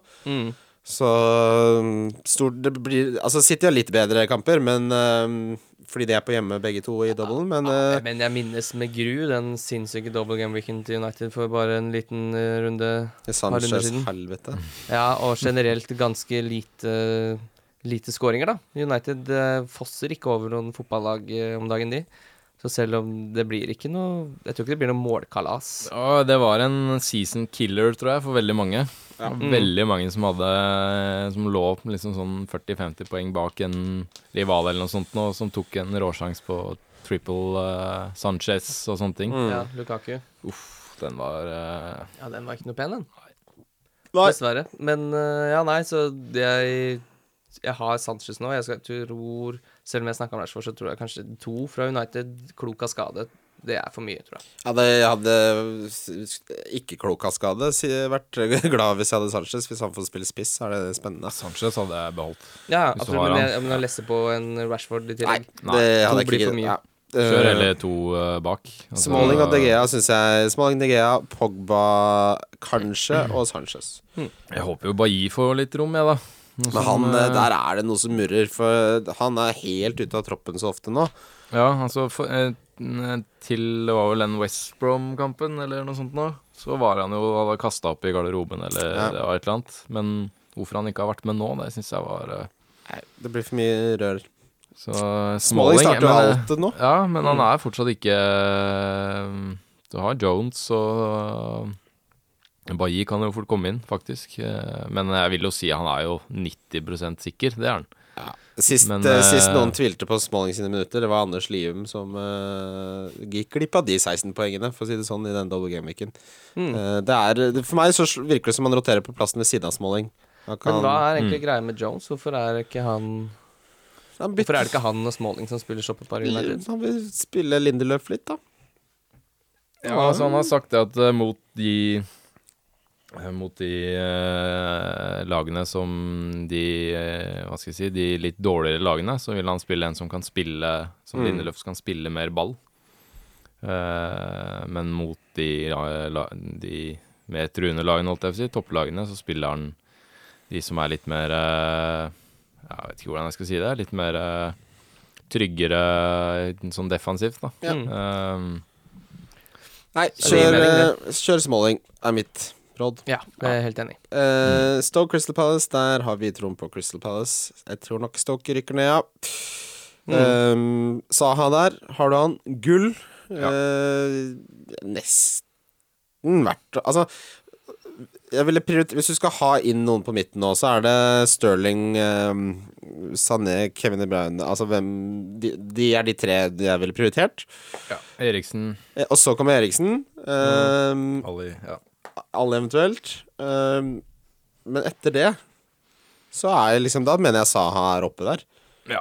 S1: Så mm, stor, det blir Altså, City har litt bedre kamper, men eh, fordi de er på hjemme begge to i doublen, men eh,
S2: Men jeg minnes med gru den sinnssyke double game weekend til United for bare en liten eh, runde.
S1: Sanchez,
S2: siden.
S1: helvete.
S2: Ja, og generelt ganske lite Lite skåringer, da. United eh, fosser ikke over noen fotballag eh, om dagen, de. Så selv om det blir ikke noe Jeg tror ikke det blir noe målkalas.
S3: Ja, det var en season killer, tror jeg, for veldig mange. Det
S2: Mm.
S3: var Veldig mange som hadde Som lå opp med liksom sånn 40-50 poeng bak en rival eller noe sånt, nå, som tok en råsjanse på triple eh, Sanchez og sånne ting.
S2: Ja, Lukaku.
S1: Mm.
S3: Uff, den var eh,
S2: Ja, den var ikke noe pen, den.
S1: Nei.
S2: Dessverre. Men eh, ja, nei, så jeg Jeg har Sanchez nå. Jeg skal, tror Selv om jeg snakka om Rashford, så tror jeg kanskje to fra United. Klok av skade. Det er for mye, tror jeg.
S1: Ja, det jeg hadde s- s- ikke klok av skade si- vært glad hvis jeg hadde Sanchez. Hvis han får spille spiss, er det spennende. altså.
S3: Sanchez hadde jeg beholdt.
S2: Ja,
S3: Hvis du
S2: absolutt.
S3: har
S2: Men
S3: han.
S2: jeg, men jeg lesser på en Rashford i
S1: Nei,
S2: tillegg.
S1: det hadde jeg
S2: to blir
S1: ikke
S2: for mye.
S1: ja.
S3: Kjør
S1: Eh,
S3: heller to eh, bak. Altså,
S1: Smalling og De Gea syns jeg Smalling, De Gea, Pogba kanskje, og Sanchez.
S3: Jeg håper jo Bailly får litt rom, jeg, da. Noe
S1: Men
S3: som,
S1: han, eh,
S3: eh,
S1: der er det noe som murrer, for han er helt ute av troppen så ofte nå.
S3: Ja, altså for, eh, n- til det var vel den West Brom-kampen eller noe sånt nå, så var han jo hadde kasta opp i garderoben eller
S1: Ja.
S3: det var et eller annet. Men hvorfor han ikke har vært med nå, det syns jeg var eh,
S1: Det blir for mye rør.
S3: Så
S1: Smalling starter jo
S3: men, eh,
S1: alltid nå. Mm.
S3: Ja, men han er fortsatt ikke eh, Du har Jones og eh, Bailly kan jo fort komme inn, faktisk. Eh, Men jeg vil jo si han er jo 90 sikker, det er han.
S1: Sist,
S3: Men,
S1: eh, sist
S3: eh,
S1: noen tvilte på Smalling sine minutter, det var Anders Lium som eh, gikk glipp av de 16 poengene, for å si det sånn, i den double game-weeken.
S2: Hmm.
S1: Eh, det er, det- for meg så virker det som han roterer på plassen ved siden av Smalling. Han kan,
S2: Men hva er egentlig
S3: Mm.
S2: greia med Jones? Hvorfor er, ikke han,
S1: han bytter-
S2: hvorfor er det ikke han og Smalling som spiller shoppepar i United?
S1: Han vil spille Lindeløf litt, da.
S3: Ja, altså han har sagt det at eh, mot de eh, mot de eh, lagene som de eh, Hva skal jeg si De litt dårligere lagene, så vil han spille en som kan spille Som
S1: Mm.
S3: Lindeløf kan spille mer ball. Eh, men mot de, la- la- de mer truende lagene, holdt jeg på å si, topplagene, så spiller han de som er litt mer eh, Jeg vet ikke hvordan jeg skal si det. Litt mer eh, tryggere sånn defensivt, da.
S1: Mm. Ja.
S2: Mm.
S3: Eh,
S1: Nei,
S2: Så det er
S1: kjør,
S2: meningen,
S1: eh, kjør Smalling, er mitt råd.
S2: Ja, det er jeg helt enig i. Hmm.
S1: Eh, Stoke Crystal Palace, der har vi troen på Crystal Palace. Jeg tror nok Stoke rykker ned, ja. Mm.
S2: Mm.
S1: Eh, Saha der, har du han? Gull. Eh, nesten verdt Altså jeg ville prioriter- Hvis du skal ha inn noen på midten nå, så er det Sterling, eh, Sané, Kevin De Bruyne Altså hvem de, de er de tre jeg ville prioritert.
S3: Eriksen,
S1: Eh, Og så kommer Eriksen. Eh,
S3: Ali ja.
S1: alle eventuelt. Ehm, men etter det så er jeg liksom Da mener jeg Saha er oppe der.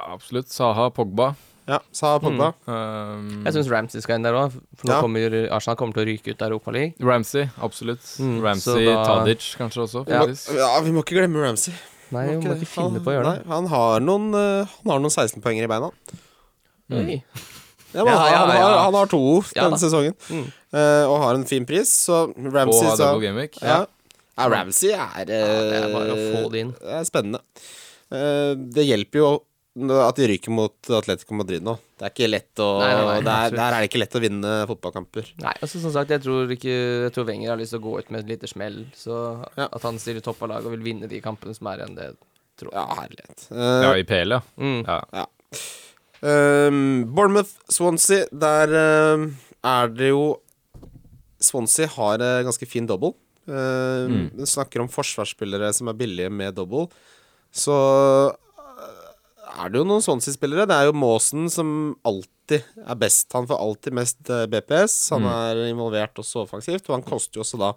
S3: absolutt. Saha, Pogba.
S1: Ja, Mm. Saha Pogba.
S3: Um,
S2: Jeg syns Ramsey skal inn der òg, for nå
S1: Ja.
S2: kommer Arsenal kommer til å ryke ut av Europa League.
S3: Ramsey, absolutt.
S2: Mm,
S3: Ramsey,
S2: så da-
S3: Tadic kanskje også,
S1: Ja.
S3: faktisk.
S1: ja, vi må ikke glemme Ramsey.
S2: Nei,
S1: Må
S2: vi må ikke finne
S1: han,
S2: på å gjøre det.
S1: nei, han har noen eh, Han har noen 16-poenger i beina.
S2: Oi.
S1: Ja, men
S2: Ja,
S1: han,
S2: ja,
S1: han, har,
S2: ja.
S1: han har to
S2: Ja
S1: denne
S2: da.
S1: sesongen,
S2: Mm.
S1: Eh, og har en fin pris, så
S3: Og
S1: Ramsey
S3: har
S1: så
S3: double gameweek.
S1: ja. Ja, Ramsey er
S2: det er bare å
S1: eh,
S2: få det inn.
S1: Det er spennende. Eh, det hjelper jo at de ryker mot Atletico Madrid nå. Det er ikke lett å
S2: Nei, nei, nei,
S1: der,
S2: absolutt.
S1: der er det ikke lett å vinne fotballkamper.
S2: Nei, altså som sagt, jeg tror ikke Jeg tror Wenger har lyst til å gå ut med et lite smell. Så
S1: Ja.
S2: at han stiller topp av laget og vil vinne de kampene som er igjen, det tro.
S1: Ja, herlighet.
S3: Ja,
S1: Eh,
S3: i PL, ja.
S2: Mm.
S3: ja.
S1: ehm, Bournemouth-Swansea, der ehm, er det jo Swansea har eh, ganske fin double. Eh, Den snakker om forsvarsspillere som er billige med double. Så eh, er det jo noen Swansea-spillere. Det er jo Maasen som alltid er best. Han får alltid mest eh, BPS. Han
S2: Mm.
S1: er involvert også offensivt, og han koster jo også da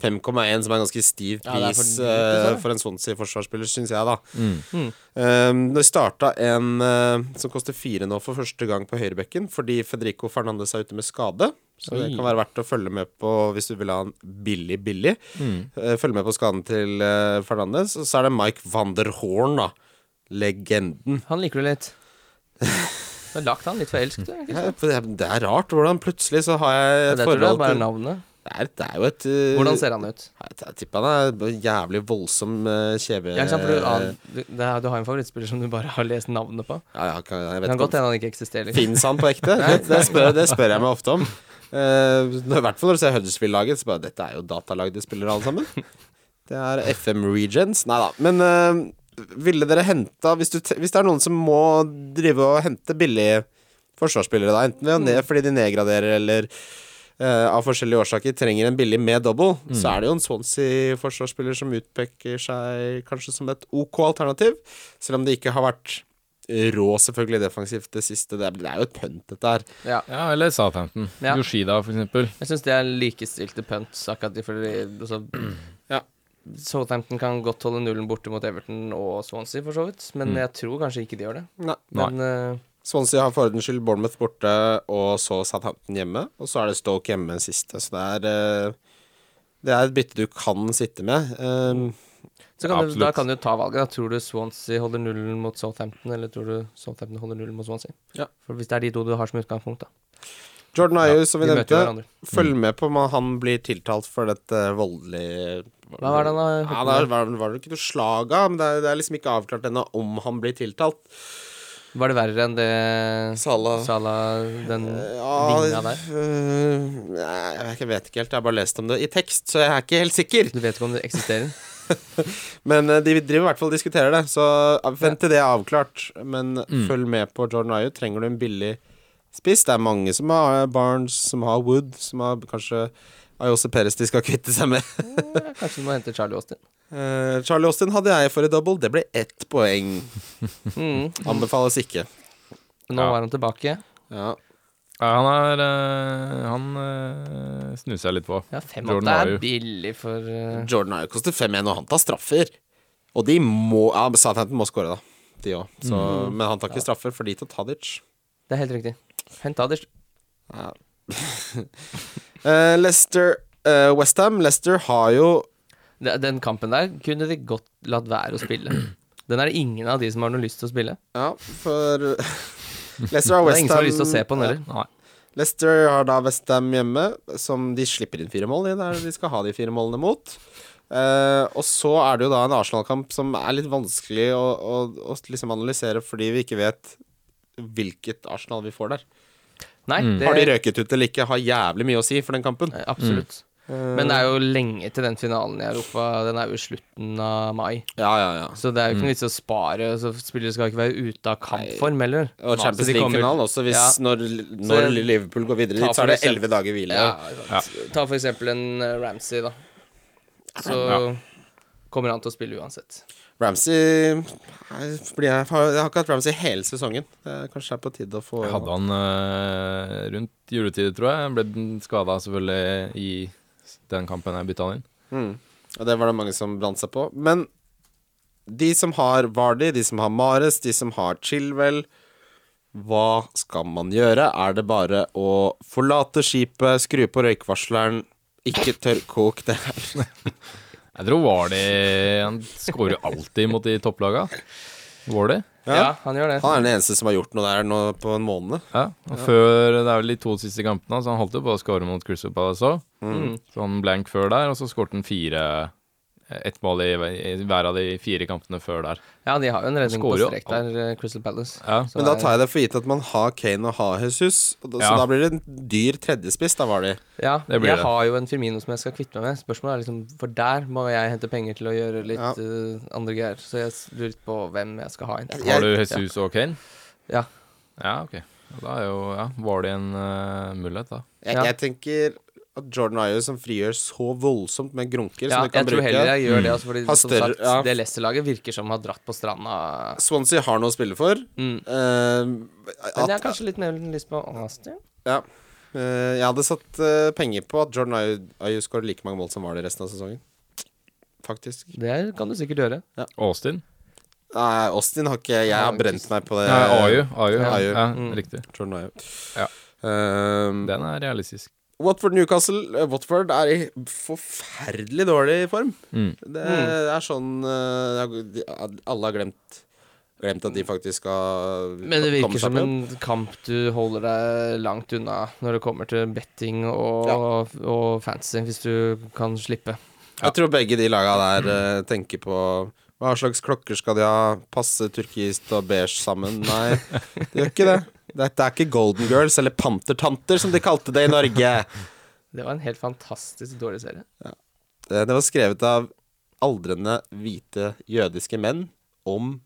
S1: 5,1, som er en ganske stiv
S2: Ja, det er for
S1: pris
S2: dyrt,
S1: eh,
S2: liksom.
S1: for en Swansea-forsvarsspiller, syns jeg, da.
S2: Mm.
S1: Um, det starta en eh, som koster fire nå for første gang på høyrebekken, fordi Federico Fernandez er ute med skade. Så det
S2: Oi.
S1: kan være verdt å følge med på hvis du vil ha en billig, billig.
S2: Mm.
S1: Eh, følge med på skaden til eh, Fernandez. Og så er det Mike van der Horn, da. Legenden.
S2: Han liker du litt. Du har lagt han litt for elsk, du. ikke sant?
S1: Ja, for det, det er rart hvordan plutselig så har jeg
S2: Men
S1: et
S2: Det tror jeg
S1: forhold
S2: er bare
S1: til
S2: navnet.
S1: det er, det er jo et eh,
S2: Hvordan ser han ut?
S1: Jeg, jeg tipper han er en jævlig voldsom eh, kjeve...
S2: Ja, ikke sant, for du, aner- du, det er, du har en favorittspiller som du bare har lest navnet på.
S1: Ja, jeg, kan- jeg vet
S2: Det kan
S1: ikke om
S2: godt hende han ikke eksisterer.
S1: Fins han på ekte? Det, det, spør, det spør jeg meg ofte om. Eh, når- I hvert fall når du ser Huddersfield-laget. Så bare, Dette er jo datalagde spillere, alle sammen. Det er FM Regions. Nei da. Men eh, ville dere henta hvis, du, te- hvis det er noen som må drive og hente billige forsvarsspillere, da, enten ved å
S2: Mm.
S1: ned, fordi de nedgraderer eller eh, av forskjellige årsaker trenger en billig med double,
S2: Mm.
S1: så er det jo en Swansea-forsvarsspiller som utpeker seg kanskje som et ok alternativ, selv om det ikke har vært rå, selvfølgelig, defensivt det siste. Det er, det er jo et pønt, dette her.
S2: Ja.
S3: ja eller Southampton.
S2: Ja.
S3: Yoshida, for eksempel.
S2: Jeg syns det er likestilte punts, akkurat de fordi altså,
S1: Ja.
S2: Southampton kan godt holde nullen borte mot Everton og Swansea, for så vidt. Men jeg tror kanskje ikke de gjør det.
S1: Mm. Nei.
S2: Men eh,
S1: Swansea har for ordens skyld Bournemouth borte, og så Southampton hjemme. Og så er det Stoke hjemme den siste, så det er eh, Det er et bytte du kan sitte med. Eh,
S2: så kan du,
S3: Absolutt.
S2: da kan du ta valget. Da. Tror du Swansea holder nullen mot Southampton, eller tror du Southampton holder nullen mot Swansea?
S1: Ja.
S2: For Hvis det er de to du har som utgangspunkt, da.
S1: Jordan Ayew, som vi
S2: de møter
S1: nevnte,
S2: jo hverandre. Mm.
S1: følg med på om han blir tiltalt for dette voldelige
S2: Hva er det han har
S1: Ja,
S2: holdt
S1: det
S2: på
S1: er- var, var det ikke noe slag av, men det er, det er liksom ikke avklart ennå om han blir tiltalt.
S2: med? Var det verre enn det
S1: Salah.
S2: Salah, den
S1: Eh, Ja,
S2: vinga der?
S1: øh, nei, jeg vet ikke helt, jeg har bare lest om det i tekst, så jeg er ikke helt sikker.
S2: Du vet ikke om det eksisterer?
S1: Men øh, de driver i hvert fall og diskuterer det, så øh, vent til det er avklart. Men
S2: Mm.
S1: følg med på Jordan Ayew. Trenger du en billig spiss? Det er mange som har eh, Barnes, som har Wood, som har kanskje Ayose Perez de skal kvitte seg med.
S2: Ja, kanskje du må hente Charlie Austin.
S1: Eh, Charlie Austin hadde jeg for i double, det ble ett poeng.
S2: Mm.
S1: Anbefales ikke.
S2: Men Nå
S3: Ja.
S2: var han tilbake.
S1: Ja.
S3: Ja, han er eh, Han eh, snuser jeg litt på.
S2: Ja, fem
S3: Jordan
S2: åtte er
S3: Ayew.
S2: billig for eh,
S1: Jordan Ayew koster 5-1, og han tar straffer. Og de må ja, men Southampton må skåre, da. De òg.
S2: Mhm.
S1: Men han tar ikke straffer, for de tar Tadic.
S2: Det er helt riktig. Hent Adish.
S1: Ja. Eh, Leicester uh, Westham. Leicester har jo
S2: De- Den kampen der kunne de godt latt være å spille. Den er det ingen av de som har noe lyst til å spille.
S1: Ja, for Leicester har
S2: Det er ingen som har lyst til å se
S1: Westham
S2: på den heller.
S3: Nei.
S1: Leicester har da Westham hjemme, som de slipper inn fire mål i. Det er det de skal ha de fire målene mot. Eh, og så er det jo da en Arsenal-kamp som er litt vanskelig å, å, å liksom analysere, fordi vi ikke vet hvilket Arsenal vi får der.
S2: Nei, det
S1: Har de røket ut eller ikke, har jævlig mye å si for den kampen.
S2: Eh, Absolutt.
S1: Mm.
S2: Men det er jo lenge til den finalen i Europa. Den er jo i slutten av mai.
S1: Ja, ja, ja.
S2: Så det er jo ikke noe vits i å spare. Så Spillere skal ikke være ute av kampform heller.
S1: Og Champions
S2: Så de kommer-
S1: League-finalen også, hvis
S2: Ja.
S1: når, når
S2: Så-
S1: Liverpool går videre
S2: Ta
S1: dit, så er det
S2: for eksempel-
S1: elleve dager hvile.
S2: Ja, Ta for eksempel en eh, Ramsey, da. Så kommer han til å spille uansett.
S1: Ramsey Nei, fordi jeg, har, jeg har ikke hatt Ramsey hele sesongen. Det er kanskje det er på tide å få
S3: Jeg hadde han eh, rundt juletid, tror jeg. Ble skada selvfølgelig i den kampen jeg bytta han inn.
S1: Mm. Og det var det mange som brant seg på. Men de som har Vardy, de som har Mares, de som har Chilwell Hva skal man gjøre? Er det bare å forlate skipet, skru på røykvarsleren, ikke tørrkok det her?
S3: Jeg tror Wardy Han skårer jo alltid mot de topplaga. Wardy.
S1: Ja.
S2: Ja, han gjør det.
S1: Han er den eneste som har gjort noe der nå på en måned.
S3: Ja. Og før Det er vel de to siste kampene, så han holdt jo på å skåre mot Crystal Palace òg.
S2: Mm.
S3: Så han blank før der, og så skårte han fire ett mål i, i hver av de fire kampene før der.
S2: Ja, de har jo en redning på
S3: Skårer jo.
S2: strek der, eh, Crystal Palace.
S3: Ja.
S2: Så
S1: Men da
S2: det er-
S1: tar jeg det for gitt at man har Kane og har Jesus, og da,
S3: Ja.
S1: så da blir det en dyr tredjespiss, da var de.
S2: Ja,
S3: Det blir
S2: jeg
S3: det.
S2: har jo en Firmino som jeg skal kvitte meg med. Spørsmålet er liksom, For der må jeg hente penger til å gjøre litt
S1: Ja.
S2: eh, andre greier. Så jeg s- lurer litt på hvem jeg skal ha inn.
S1: Jeg-
S3: Har du Jesus og Kane?
S2: Ja.
S3: Ja, ok. Da er jo ja, Var det en eh, mulighet, da?
S1: Jeg,
S2: Ja.
S1: jeg tenker at Jordan Ayew, som frigjør så voldsomt med grunker
S2: Ja,
S1: som du
S2: jeg
S1: kan
S2: tror heller
S1: bruke
S2: jeg gjør det. Altså, fordi
S1: Har
S2: som
S1: større-
S2: sagt,
S1: ja.
S2: Det Leicester-laget virker som har dratt på stranda.
S1: Swansea har noe å spille for.
S2: Mm.
S1: Eh,
S2: Men jeg
S1: at,
S2: har kanskje litt mer lyst på Austin.
S1: ja. Eh, jeg hadde satt eh, penger på at Jordan Ayew- Ayew skårer like mange mål som var det resten av sesongen. Faktisk.
S2: Det kan du sikkert gjøre.
S3: Austin?
S1: Nei, Austin har ikke Jeg har
S2: Ja,
S1: brent meg på det.
S3: Ja, AU. AU, ja.
S1: AU.
S3: ja,
S2: Mm.
S3: Riktig.
S1: Jordan Ayew.
S3: Ja.
S1: Ehm,
S3: Den er realistisk.
S1: Watford Newcastle eh, Watford er i forferdelig dårlig form.
S3: Mm.
S1: Det er sånn eh, det er- de- Alle har glemt Glemt
S3: Mm.
S1: at de faktisk skal
S2: Men det
S1: komme
S2: virker
S1: seg
S2: som
S1: på
S2: en kamp du holder deg langt unna når det kommer til betting og, og fantasy, hvis du kan slippe.
S1: jobb. Jeg tror begge de laga der eh, tenker på hva slags klokker skal de ha? Passe turkist og beige sammen? Nei, de gjør ikke det. Dette er ikke Golden Girls eller Pantertanter, som de kalte det i Norge.
S2: Det var en helt fantastisk dårlig serie.
S1: Eh, Det var skrevet av aldrende hvite jødiske menn om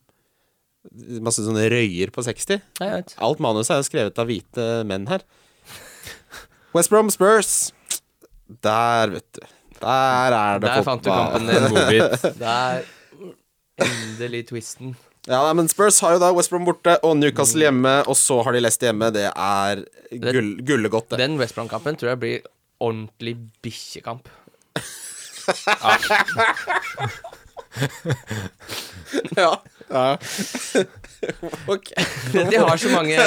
S1: masse sånne røyer på 60.
S2: Nei, jeg vet.
S1: Alt manuset er jo skrevet av hvite menn her. West Brom Spurs. Der, vet du. Der er det
S2: Der fant du
S1: fotball.
S2: kampen
S3: En
S2: din.
S3: godbit.
S2: Det er endelig twisten.
S1: Ja, nei, men Spurs har jo da West Brom borte og Newcastle hjemme, og så har de Leicester hjemme. Det er gull, gullegodt, det.
S2: Den West Brom-kampen tror jeg blir ordentlig bikkjekamp.
S1: Ja. ja. ok.
S2: De har så mange,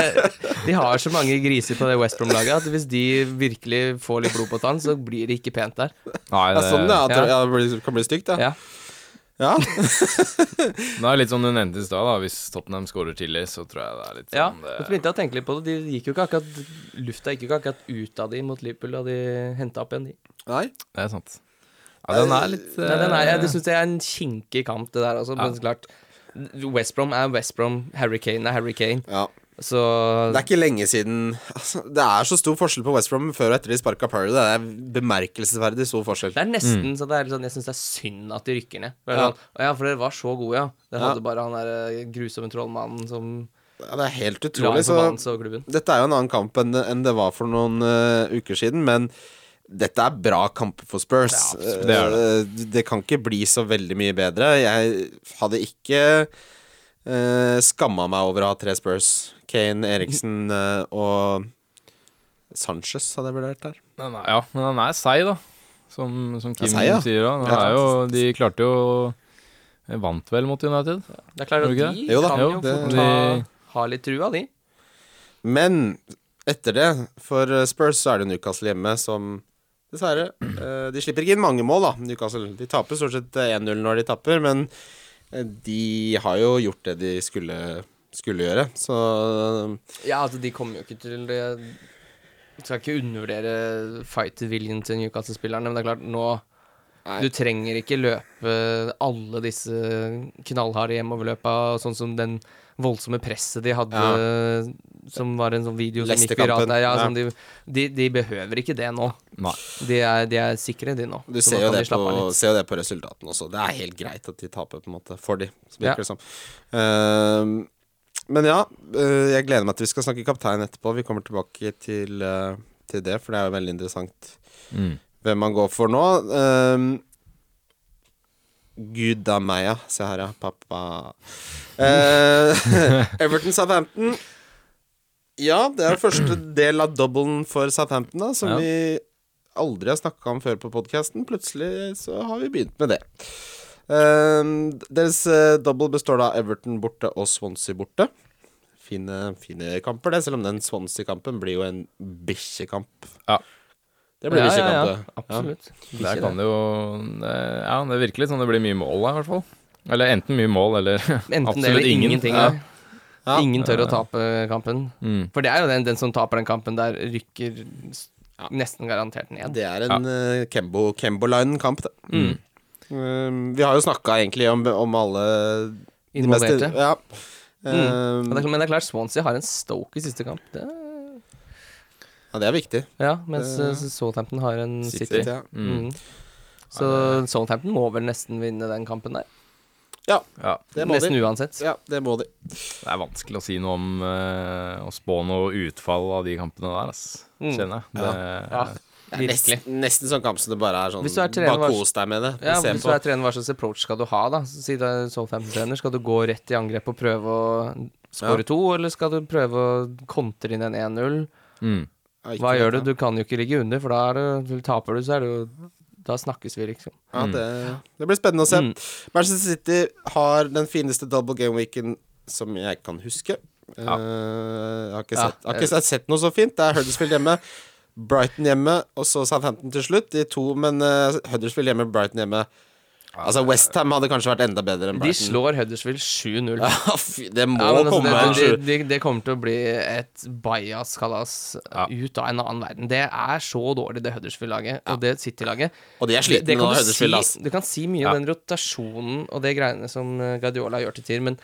S2: de har så mange griser på det West Brom-laget at hvis de virkelig får litt blod på tann, så blir det ikke pent der.
S3: Nei,
S1: Det er sånn, ja. at
S2: Ja.
S1: det- Ja, det blir- kan bli stygt, ja.
S2: Ja.
S1: ja.
S3: Det er litt som du nevnte i stad, da. Hvis Tottenham skårer tidlig, så tror jeg det er litt
S2: Ja,
S3: sånn
S2: og så
S3: det,
S2: begynte jeg å tenke litt på det. De gikk jo ikke akkurat, lufta gikk jo ikke akkurat ut av de mot Liverpool, og de henta opp igjen de.
S1: Nei.
S3: det er sant. Ja, den er litt
S2: Nei, den er,
S3: eh,
S2: jeg, det syns jeg er en kinkig kamp, det der. Altså, Men så klart, West Brom er West Brom, Harry Kane er Harry Kane.
S1: Ja.
S2: Så
S1: Det er ikke lenge siden altså, Det er så stor forskjell på West Brom før og etter de sparka Parry. Det er bemerkelsesverdig stor forskjell.
S2: det er nesten så det er litt sånn, jeg syns det er synd at de rykker ned. For det er
S1: Mm. Ja.
S2: sånn, «Å ja, for dere var så gode, ja. Dere
S1: Ja.
S2: hadde bare han der eh, grusomme trollmannen som
S1: Ja, det er helt
S2: la
S1: utrolig.
S2: en
S1: Så
S2: forbannelse over klubben.
S1: dette er jo en annen kamp enn, enn det var for noen eh, uker siden, men dette er bra kamper for Spurs.
S3: Ja, absolutt, det er
S1: Eh, det kan ikke bli så veldig mye bedre. Jeg hadde ikke uh, skamma meg over å ha tre Spurs. Kane, Eriksen eh, og Sanchez hadde jeg vurdert der.
S3: Den er, ja, men den er seig, da. Som, som Kim
S1: Den er seig, ja.
S3: sier. Da. Den
S1: Ja.
S3: er jo, de klarte jo Vant vel mot United?
S2: Det er klart at
S3: Gjorde
S2: de
S1: det? Jo da,
S2: kan
S3: jo,
S2: jo
S1: det-
S2: fort
S3: de-
S2: ha- ha litt trua, de.
S1: Men etter det, for eh, Spurs, så er det Newcastle hjemme som Dessverre. eh, De slipper ikke inn mange mål, da, Newcastle. De taper stort sett 1-0 når de tapper, men eh, de har jo gjort det de skulle, skulle gjøre, så
S2: Ja, altså, de kommer jo ikke til det Skal ikke undervurdere fight-viljen til Newcastle-spillerne, men det er klart, nå
S1: Nei.
S2: Du trenger ikke løpe alle disse knallharde hjemoverløpa, sånn som den voldsomme presset de hadde, som var en sånn video som gikk
S1: Leicester-kampen.
S2: viralt der. Ja, sånn, de, de, de behøver ikke det nå.
S3: Nei.
S2: De er, de er sikre, de nå.
S1: Du
S2: Så
S1: ser
S2: nå
S1: jo,
S2: kan de
S1: det på,
S2: slappe av litt.
S1: ser jo det på resultatene også. Det er helt greit at de taper, på en måte, for de, så
S2: Ja.
S1: virker det som. Ehm, men ja, eh, jeg gleder meg til vi skal snakke kaptein etterpå. Vi kommer tilbake til, eh, til det, for det er jo veldig interessant.
S3: Mm.
S1: hvem man går for nå. Um, Gud da meg, ja. Se her, ja. Pappa. Eh, Everton Southampton. Ja, det er første del av dobbelen for Southampton, da, som
S3: Ja.
S1: vi aldri har snakka om før på podkasten. Plutselig så har vi begynt med det. Um, deres uh, double består da av Everton borte og Swansea borte. Fine, fine kamper, det, selv om den Swansea-kampen blir jo en bikkjekamp.
S3: Ja.
S1: Det blir
S2: Ja, ja,
S1: bikkjekamp,
S2: ja,
S1: det.
S2: Absolutt. Ikke
S3: Der kan det jo det, Ja, det virker litt sånn det blir mye mål, da, i hvert fall. Eller enten mye mål, eller
S2: Enten det
S3: absolutt
S2: eller
S3: ingen.
S2: ingenting.
S3: Ja.
S2: da. Ingen tør å tape kampen.
S3: Mm.
S2: For det er jo den, den som taper den kampen der, rykker s-
S1: Ja.
S2: nesten garantert ned.
S3: Mm.
S1: Det er en eh, Kembo- Kembo-line-kamp, det.
S2: Mm.
S1: Um, vi har jo snakka egentlig om, om alle de mest-
S2: Involverte.
S1: Ja.
S2: Men
S1: Um,
S2: det er- Men det er klart, Swansea har en Stoke i siste kamp. Det,
S1: ja, det er viktig.
S2: ja, mens
S1: Det-
S2: eh, Southampton har en City.
S1: City, ja.
S3: Mm.
S2: Mm. Så Southampton må vel nesten vinne den kampen der.
S3: Ja.
S1: Det må
S2: Nesten
S1: de.
S2: uansett.
S1: Ja, det må de.
S3: Det er vanskelig å si noe om eh, å spå noe utfall av de kampene der, ass.
S2: Mm.
S3: Kjenner jeg.
S1: Ja.
S3: Det-
S2: Ja, virkelig.
S1: Nesten, nesten sånn kamp som det bare er sånn
S2: Hvis du er trener,
S1: Bare
S2: hva-
S1: kos deg med det.
S2: Ja,
S1: Se
S2: hvis du
S1: på.
S2: er trener, hva slags approach skal du ha, da? Si du er Southampton-trener, skal du gå rett i angrep og prøve å skåre
S1: Ja.
S2: to, eller skal du prøve å kontre inn en 1-0?
S3: Mm.
S1: Ja, ikke
S2: Hva
S1: det,
S2: gjør du?
S1: ja.
S2: Du kan jo ikke ligge under, for da er det, taper du, så er det jo Da snakkes vi, liksom.
S1: Ja, det, det blir spennende å se.
S2: Mm.
S1: Manchester City har den fineste double game-weeken som jeg kan huske. Eh, jeg har ikke,
S2: Ja,
S1: sett, har ikke sett, sett noe så fint. Det er Huddersfield hjemme, Brighton hjemme og så Southampton til slutt. De to, men eh, Huddersfield hjemme, Brighton hjemme. Altså Westham hadde kanskje vært enda bedre enn
S2: De
S1: Brighton.
S2: slår Huddersfield 7-0.
S1: Ja, fy, det må
S2: Ja, men altså,
S1: komme en
S2: det,
S1: sju.
S2: det, det, det kommer til å bli et bajas-kalas
S3: Ja.
S2: ut av en annen verden. Det er så dårlig, det Huddersfield-laget og det City-laget.
S1: Og de er
S2: Det, det
S1: slitne nå,
S2: kan du, si,
S1: Huddersfield. ass.
S2: du kan si mye
S3: Ja.
S2: om den rotasjonen og det greiene som eh, Guardiola gjør til tider, men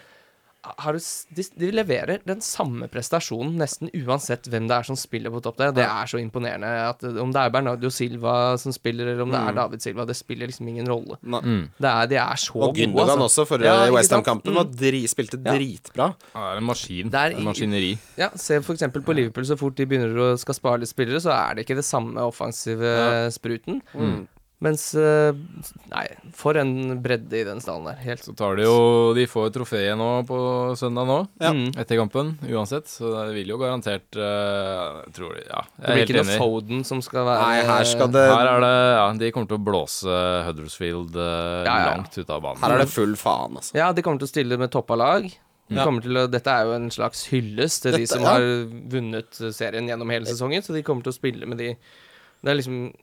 S2: har du, s- de, de leverer den samme prestasjonen nesten uansett hvem det er som spiller på topp der. og Det er så imponerende. At, eh, om det er Bernardo Silva som spiller, eller om det er David Silva, det spiller liksom ingen rolle.
S1: Mm. Nei.
S2: Det er, de er så
S1: Og
S2: gode.
S1: Gündogan
S2: altså.
S1: også, for eh,
S2: Ja,
S1: i
S2: ikke sant? Mm.
S1: Westham-kampen. var Dri, spilte
S2: Ja.
S1: dritbra.
S3: Ja, Det er en maskin.
S2: Det er
S3: en
S2: i-
S3: maskineri.
S2: Ja, se for eksempel på Liverpool, så fort de begynner å skal spare litt spillere, så er det ikke det samme offensive eh, spruten.
S1: Mm.
S2: Mens eh, Nei, for en bredde i den stallen der. Helt
S3: Så tar de jo De får trofeet nå på søndag nå,
S1: Ja.
S2: Mm.
S3: etter kampen, uansett. Så det vil jo garantert eh, Jeg tror de Ja, jeg
S2: Det
S3: er
S2: blir ikke
S3: helt
S2: noe
S3: enig.
S2: Foden som skal være
S1: Nei, her skal det
S3: Her er det Ja, de kommer til å blåse Huddersfield eh,
S2: Ja, ja, ja.
S3: langt ut av banen.
S1: Her er det full faen, altså.
S2: Ja, de kommer til å stille med toppa lag. De
S3: Ja.
S2: kommer til å, dette er jo en slags hyllest til de
S1: Dette-
S2: som
S1: ja.
S2: har vunnet eh, serien gjennom hele sesongen, så de kommer til å spille med de Det er liksom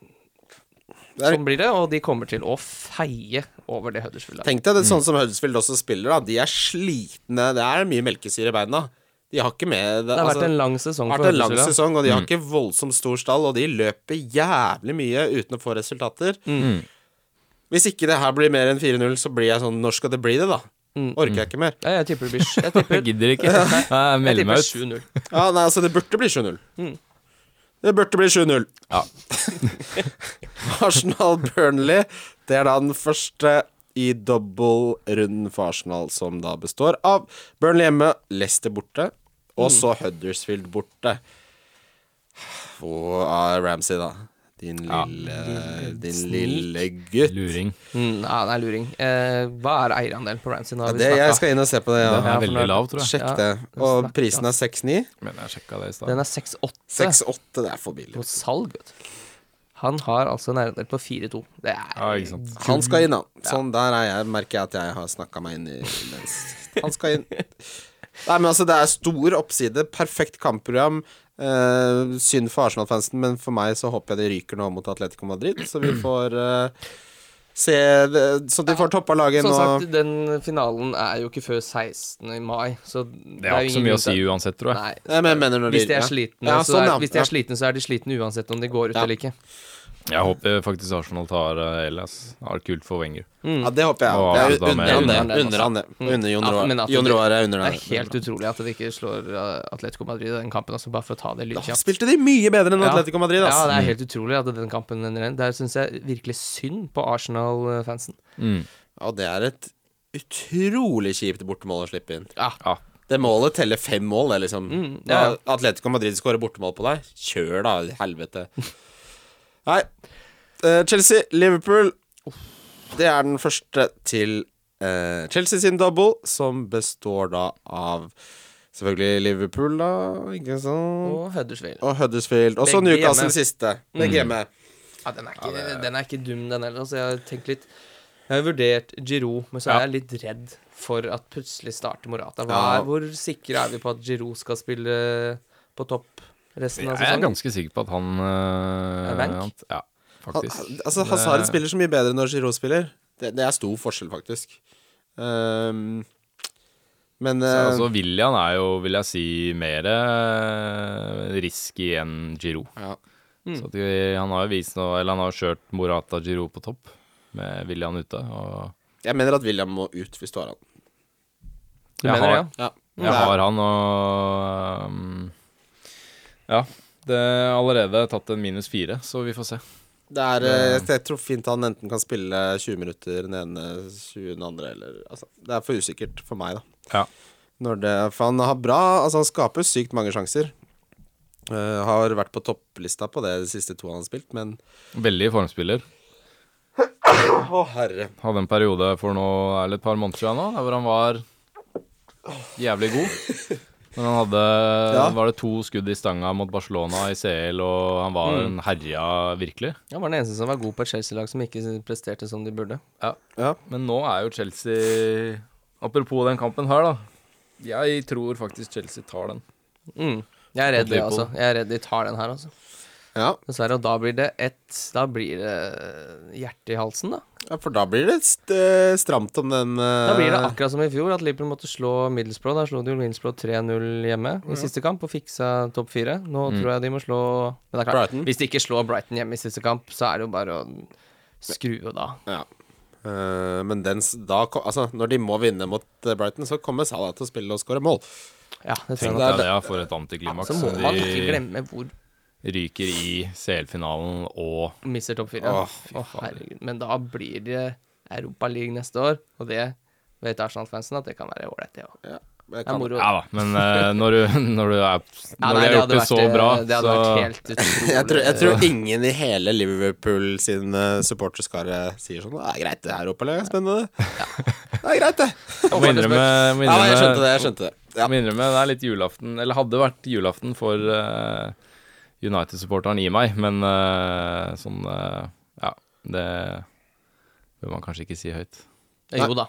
S1: Det er-
S2: Sånn blir det, og de kommer til å feie over det Huddersfield.
S1: Tenk deg det
S2: Mm.
S1: sånn som Huddersfield også spiller, da. De er slitne. Det er mye melkesyre i beina. De har ikke med
S2: Det har
S1: altså,
S2: vært en lang Mm. sesong
S1: det har
S2: for
S1: vært en lang
S2: Huddersfield.
S1: sesong, og de har ikke voldsomt stor stall, og de løper jævlig mye uten å få resultater.
S2: Mm.
S1: Hvis ikke det her blir mer enn 4-0, så blir jeg sånn Når skal det bli det, da?
S2: Mm.
S1: Orker jeg ikke mer.
S2: Ja, jeg tipper det blir Jeg tipper,
S3: Jeg gidder ikke. Nei, jeg
S2: jeg
S3: melder
S2: tipper
S3: meg ut.
S2: 7-0.
S1: Ja, nei, altså, det burde bli 7-0. Det burde bli 7-0.
S3: Ja.
S1: Arsenal-Burnley, det er da den første i dobbeltrunden for Arsenal, som da består av Burnley hjemme, Leicester borte, og så
S3: Mm.
S1: Huddersfield borte. Hvor er Ramsey, da? Din lille, din lille gutt.
S3: Luring.
S2: Mm, ja, det er luring. Eh, hva er eierandelen på Ramsey nå?
S1: Ja,
S2: har vi
S1: det,
S2: snakket?
S1: jeg skal inn og se på det, ja.
S3: Den
S2: Ja,
S3: er
S2: for nå-
S3: veldig lav, tror jeg.
S1: Sjekk
S2: Ja,
S1: det. Og
S2: snakket,
S1: prisen er 6,9.
S3: Men jeg sjekka det i stad.
S2: Den er 6-8
S1: 6,8, det er for billig.
S2: på salg, vet du. Han har altså en eierandel på 4-2. Det er
S3: Ja, ikke sant.
S1: Han skal inn, han. Sånn, der er jeg, merker jeg at jeg har snakka meg inn i mens. Han skal inn. Nei, men altså, det er stor oppside. Perfekt kampprogram. Eh, synd for Arsenal-fansen, men for meg så håper jeg de ryker nå mot Atletico Madrid, så vi får eh, se det, Så de får toppa laget
S2: Som
S1: nå.
S2: sagt, den finalen er jo ikke før 16. i mai, så det
S3: Det har ikke så mye å si uansett, tror jeg.
S2: Nei.
S1: Nei, men jeg mener når
S2: Hvis de
S1: ja.
S2: er slitne,
S1: Ja,
S2: så
S1: sånn,
S2: er,
S1: ja.
S2: hvis de er
S1: Ja.
S2: slitne, så er de slitne uansett om de går ut
S1: Ja.
S2: eller ikke.
S3: Jeg håper faktisk Arsenal tar eh, Elias. Det hadde vært kult for Wenger.
S1: ja, det håper jeg.
S3: Å,
S1: jeg
S3: da med-
S1: unner han det.
S2: Under han det,
S1: Unner han det. Under Jon
S2: Mm. Ja,
S1: Roar.
S2: men at
S1: Jon
S2: det-
S1: Roar er under
S2: Det er
S1: det.
S2: helt utrolig at de ikke slår eh, Atletico Madrid i den kampen, altså bare for å ta det
S1: Da
S2: lydkjapt.
S1: spilte de mye bedre enn Atletico Madrid,
S2: Ja,
S1: altså.
S2: det er helt utrolig at den kampen ender igjen. Der syns jeg virkelig synd på Arsenal-fansen.
S3: Mm.
S1: Og det er et utrolig kjipt bortemål å slippe inn.
S2: Ja.
S3: Ja.
S1: Det målet teller fem mål, det, liksom.
S2: ja, ja.
S1: Da Atletico Madrid skårer bortemål på deg. Kjør, da, i helvete. Nei. Eh, Chelsea, Liverpool. Det er den første til eh, Chelsea sin double, som består da av selvfølgelig Liverpool, da. Ikke sant?
S2: Og Huddersfield.
S1: Og Huddersfield. Og så
S2: Begge hjemme.
S1: Newcastle siste. Begge hjemme.
S2: Ja, den er ikke, den er ikke dum, den heller. Altså, jeg har tenkt litt Jeg har vurdert Giroud, men så er
S3: Ja.
S2: jeg litt redd for at plutselig starter Morata. Hva
S1: Ja.
S2: er, hvor sikre er vi på at Giroud skal spille på topp resten av
S3: Jeg er
S2: sesongen?
S3: ganske sikker på at han eh,
S2: Er bank?
S3: han- Ja,
S1: Han,
S3: faktisk.
S1: altså, Hazard spiller så mye bedre når Giroud spiller. Det, det er stor forskjell, faktisk. Ehm, men
S3: Så,
S1: eh,
S3: altså, William er jo, vil jeg si, mer eh, risky enn Giroud. eh,
S1: ja.
S2: Mm.
S3: Så at vi, han har jo vist nå, eller han har jo kjørt Morata Giroud på topp. med William ute. Og
S1: Jeg mener at William må ut hvis du har han.
S2: Du
S3: Jeg
S2: mener det,
S3: har-
S2: ja?
S1: Ja.
S3: jeg har han og um, Ja. Det er allerede tatt en minus fire, så vi får se.
S1: Det er, eh, jeg- jeg tror fint han enten kan spille 20 minutter den ene, 20 den andre, eller altså, Det er for usikkert for meg, da.
S3: Ja.
S1: Når det, for han har bra Altså, han skaper sykt mange sjanser. Eh, har vært på topplista på det de siste to han har spilt, men
S3: Veldig formspiller.
S1: Å, herre.
S3: Hadde en periode for nå, eller et par måneder siden nå, der hvor han var jævlig god. Men han hadde
S1: Ja.
S3: Var det to skudd i stanga mot Barcelona i CL, og han var en herja virkelig.
S2: Han var den eneste som var god på et Chelsea-lag som ikke presterte som de burde.
S1: Ja.
S3: Men nå er jo Chelsea Apropos den kampen her, da. Jeg tror faktisk Chelsea tar den.
S2: Mm. Jeg er redd det,
S3: Liverpool.
S2: altså. Jeg er redd de tar den her, altså.
S1: ja.
S2: Dessverre. Og da blir det et Da blir det eh, hjerte i halsen, da.
S1: Ja, for da blir det st eh, stramt om den eh,
S2: Da blir det akkurat som i fjor, at Liverpool måtte slå Middlesbrough. Da slo de jo Middlesbrough 3-0 hjemme i siste kamp og fiksa topp fire. Nå
S3: Mm.
S2: tror jeg de må slå Men det er klart,
S1: Brighton.
S2: hvis de ikke slår Brighton hjemme i siste kamp, så er det jo bare å skru av da.
S1: Ja. Eh, men den, s- da, ko- altså, når de må vinne mot eh, Brighton, så kommer Salah til å spille og skåre mål.
S2: Ja, det
S3: Tenk
S2: tror jeg nok.
S1: det er
S3: deg det, ja, for et antiklimaks.
S2: Så må man ikke
S3: De
S2: glemme hvor
S3: ryker i CL-finalen og
S2: mister topp fire.
S1: Åh,
S2: Å, herregud. Men da blir det Europa League neste år, og det vet Arsenal-fansen at det kan være ålreit, det òg.
S1: Ja, men jeg
S2: Det er
S1: kan,
S2: moro.
S3: Ja da, men eh, når, du, når du er
S2: Ja,
S3: Når du har gjort det så
S2: vært, eh,
S3: bra,
S2: det hadde
S3: så
S2: vært helt utrolig.
S1: jeg, tror, jeg tror ingen i hele Liverpool sin eh, supporterskare sier sånn Det er greit, det her oppe, eller? Spennende. Det er greit, det.
S3: Jeg må innrømme, jeg må
S1: Ja, nei, jeg skjønte
S3: innrømme,
S1: det. jeg skjønte det ja.
S3: jeg må innrømme det er litt julaften Eller hadde vært julaften for eh, United-supporteren i meg, men eh, sånn eh, Ja, det bør man kanskje ikke si høyt.
S2: Eh, Jo da.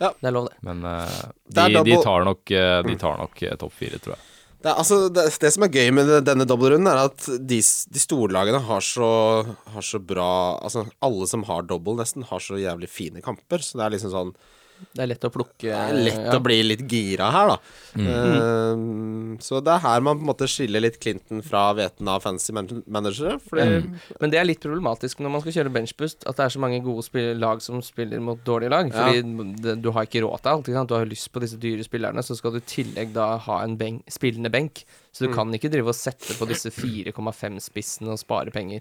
S1: Ja.
S2: Det er lov, det.
S3: Men eh,
S1: Det er Mm.
S3: de, de
S1: double-
S3: tar nok, eh, de tar nok eh, topp fire, tror jeg.
S1: Det, er, altså, det, det som er gøy med det- denne dobbeltrunden, er at de, s- de storlagene har så, har så bra Altså, alle som har dobbel, nesten, har så jævlig fine kamper. Så det er liksom sånn
S2: Det er lett å plukke
S1: Det er lett å bli litt gira her, da.
S3: Mm.
S1: Eh, så det er her man på en måte skiller litt Clinton fra hveten av fancy man managere.
S2: Mm.
S1: Fordi
S2: Men det er litt problematisk når man skal kjøre benchbust, at det er så mange gode spill- lag som spiller mot dårlige lag. Fordi det- du har ikke råd til alt. Ikke sant? Du har lyst på disse dyre spillerne, så skal du i tillegg da ha en benk, spillende benk. Så du kan ikke drive og sette på disse 4,5-spissene og spare penger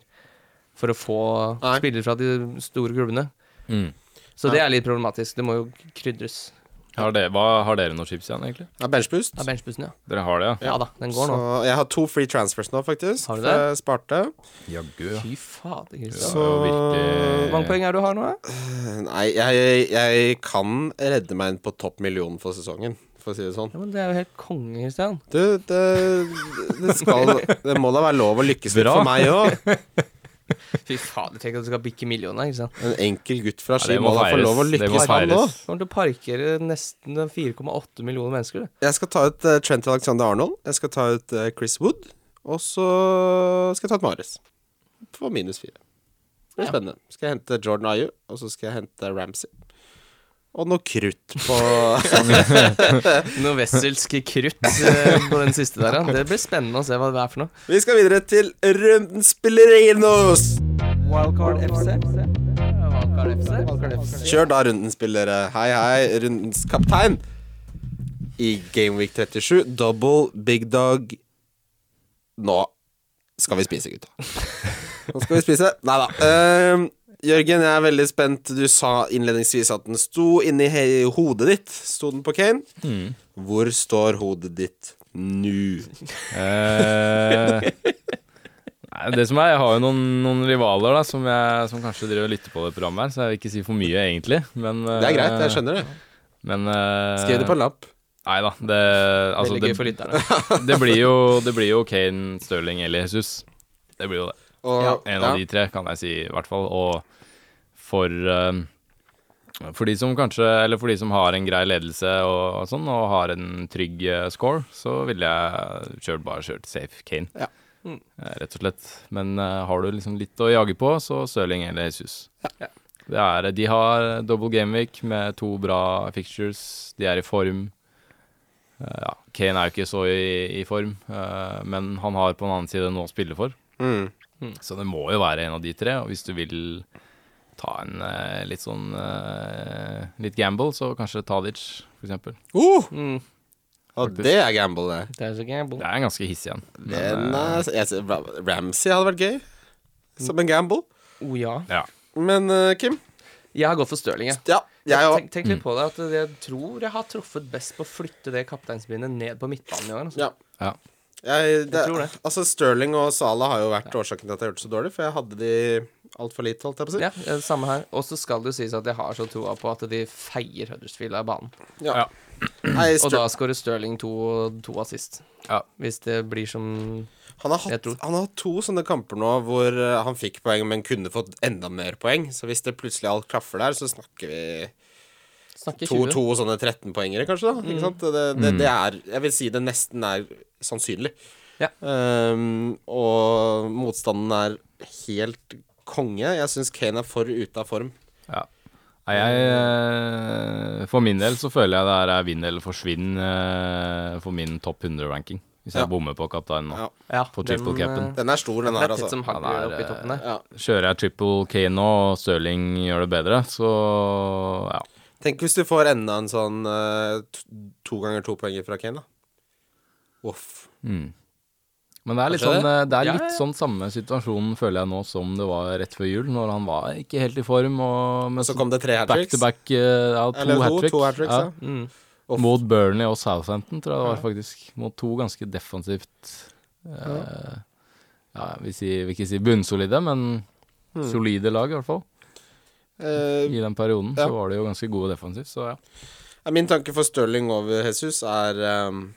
S2: for å få
S1: Nei.
S2: spillere fra de store klubbene.
S3: Mm.
S2: Så det er litt problematisk. Det må jo krydres
S3: Har, dere- hva, har dere noen chips igjen, egentlig?
S1: ja, benchboost.
S2: av benchbussen, ja.
S3: Dere har det, ja?
S2: Ja da, den går
S1: Så
S2: nå.
S1: jeg har to free transfers nå, faktisk.
S2: Har du
S1: for jeg
S2: det?
S1: Sparte.
S3: Jaggu. ja.
S2: Fy fader,
S3: Det
S2: Kristian.
S1: Så-
S3: var jo
S2: Hvor mange
S3: virkelig
S2: poeng er det du har nå, da?
S1: Nei, jeg, jeg kan redde meg inn på topp million for sesongen, for å si det sånn.
S2: Ja, men det er jo helt konge, Kristian.
S1: Du, det, det skal Det må da være lov å lykkes litt for
S3: Bra.
S1: meg òg.
S2: Fy fader, tenk at du skal bikke millioner, ikke sant.
S1: En enkel gutt fra
S3: Ja,
S1: Ski
S3: det må
S1: må da få
S3: feires.
S1: lov å
S3: Det må
S1: lykkes, han
S3: feires.
S1: òg.
S2: Kommer til å parkere nesten 4,8 millioner mennesker. Det.
S1: Jeg skal ta ut eh, Trent Alexander Arnold. Jeg skal ta ut eh, Chris Wood. Og så skal jeg ta ut Mares. For minus fire. Det blir
S2: Ja.
S1: spennende. Skal jeg hente Jordan Ayew, og så skal jeg hente Ramsey. Og noe krutt på
S2: Noe wesselsk krutt eh, på den siste der, ja. Det blir spennende å se hva det er for noe.
S1: Vi skal videre til runden spillerinos!
S2: Wildcard FC. Wildcard FC.
S1: Kjør da runden spillere. Hei, hei, rundens kaptein. I Gameweek 37, double big dog. Nå skal vi spise, gutta. Nå skal vi spise. Nei da. Ehm, Jørgen, jeg er veldig spent. Du sa innledningsvis at den sto inni he- hodet ditt. Sto den på Kane? Hvor står hodet ditt nå?
S3: Eh, Nei, det som er, Jeg har jo noen, noen rivaler da som, jeg, som kanskje driver og lytter på det programmet, her så jeg vil ikke si for mye, egentlig. Men, eh,
S1: Det er greit, jeg skjønner det.
S3: Men eh,
S1: Skriv det på en lapp.
S3: Nei da. Det, altså,
S2: Veldig gøy for
S3: det,
S2: lytterne.
S3: det, blir jo, det blir jo Kane, Stirling eller Jesus. Det blir jo det.
S1: Og,
S3: En
S1: ja.
S3: av de tre, kan jeg si, i hvert fall. Og for eh, for de som kanskje, eller for de som har en grei ledelse og, og sånn, og har en trygg eh, score, så ville jeg kjørt bare kjørt safe Kane.
S1: Ja.
S2: Mm.
S3: Eh, rett og slett. Men eh, har du liksom litt å jage på, så Stirling eller Jesus.
S2: Ja.
S3: Det er, de har double gameweek med to bra fixtures. De er i form. Eh, ja, Kane er jo ikke så i, i form, eh, men han har på den annen side noe å spille for.
S1: Mm.
S3: Så det må jo være en av de tre. Og hvis du vil ta en eh, litt sånn eh, litt gamble, så kanskje Tadic, for eksempel.
S1: Uh,
S2: Mm.
S1: ja, det er gamble, det.
S2: Det er så gamble.
S3: Det er en ganske hissig en. men,
S1: Den
S3: eh,
S1: er, jeg, ser- Ra- Ramsey hadde vært gøy som en gamble.
S2: Å Oh, ja.
S3: ja.
S1: Men eh, Kim
S2: Jeg har gått for Stirling, jeg. Mm.
S1: Ja, jeg òg.
S2: Tenk, tenk litt på det, at jeg tror jeg har truffet best på å flytte det kapteinsbindet ned på midtbanen i år. Altså.
S1: Ja.
S3: Ja.
S1: Jeg, det,
S2: tror det.
S1: Altså, Sterling og Salah har jo vært årsaken til at jeg har gjort det så dårlig, for jeg hadde de altfor lite, holdt jeg på å si.
S2: Ja, eh, samme her. Og så skal det jo sies at jeg har så troa på at de feier Huddersfield av banen.
S1: Ja.
S3: Ja.
S1: Nei,
S2: Og
S1: Ster
S2: da skårer Stirling to, to assist.
S3: Ja.
S2: Hvis det blir som
S1: han, har
S2: jeg
S1: hatt,
S2: tror-
S1: han har hatt to sånne kamper nå hvor eh, han fikk poeng, men kunne fått enda mer poeng. Så hvis det plutselig alt klaffer der, så snakker vi
S2: Snakker 20.
S1: to-to sånne 13-poengere, kanskje, da. Ikke sant? Det, det, det er Jeg vil si det nesten er sannsynlig.
S2: Ja.
S1: Ehm, og motstanden er helt konge. Jeg syns Kane er for ute av form.
S3: Ja. Nei, jeg eh, For min del så føler jeg det her er vinn eller forsvinn eh, for min topp 100-ranking. Hvis jeg
S1: Ja.
S3: bommer på kapteinen nå.
S1: Ja.
S2: Ja,
S3: På
S2: den,
S3: triple cap'n.
S2: eh,
S1: Den er stor, den
S2: Det
S1: her,
S2: er tett
S1: altså.
S2: som hagler
S3: Han er,
S2: oppi toppen der.
S1: Ja.
S3: Kjører jeg triple K nå, og Stirling gjør det bedre, så ja.
S1: Tenk hvis du får enda en sånn eh, to- to ganger to poenger fra Kane, da. Voff.
S3: Mm. Men det er litt,
S1: Kanskje
S3: sånn, eh, det
S2: Ja,
S3: er
S2: ja,
S3: litt
S2: ja.
S3: sånn samme situasjonen, føler jeg nå, som det var rett før jul, når han var ikke helt i form. Og, men
S1: Så kom det tre hat
S3: back
S1: tricks.
S3: to back, eh, ja,
S1: Eller to,
S3: to hat tricks.
S1: to hat-tricks, ja.
S2: Mm.
S1: Off.
S3: Mot Burnley og Southampton, tror jeg det var faktisk. Mot to ganske defensivt eh, Ja, jeg vil, si, jeg vil ikke si bunnsolide, men
S1: Hmm.
S3: solide lag, i hvert fall.
S1: Eh,
S3: I den perioden
S1: Ja.
S3: så var de jo ganske gode defensivt, så ja.
S1: min tanke for Stirling over Jesus er ehm,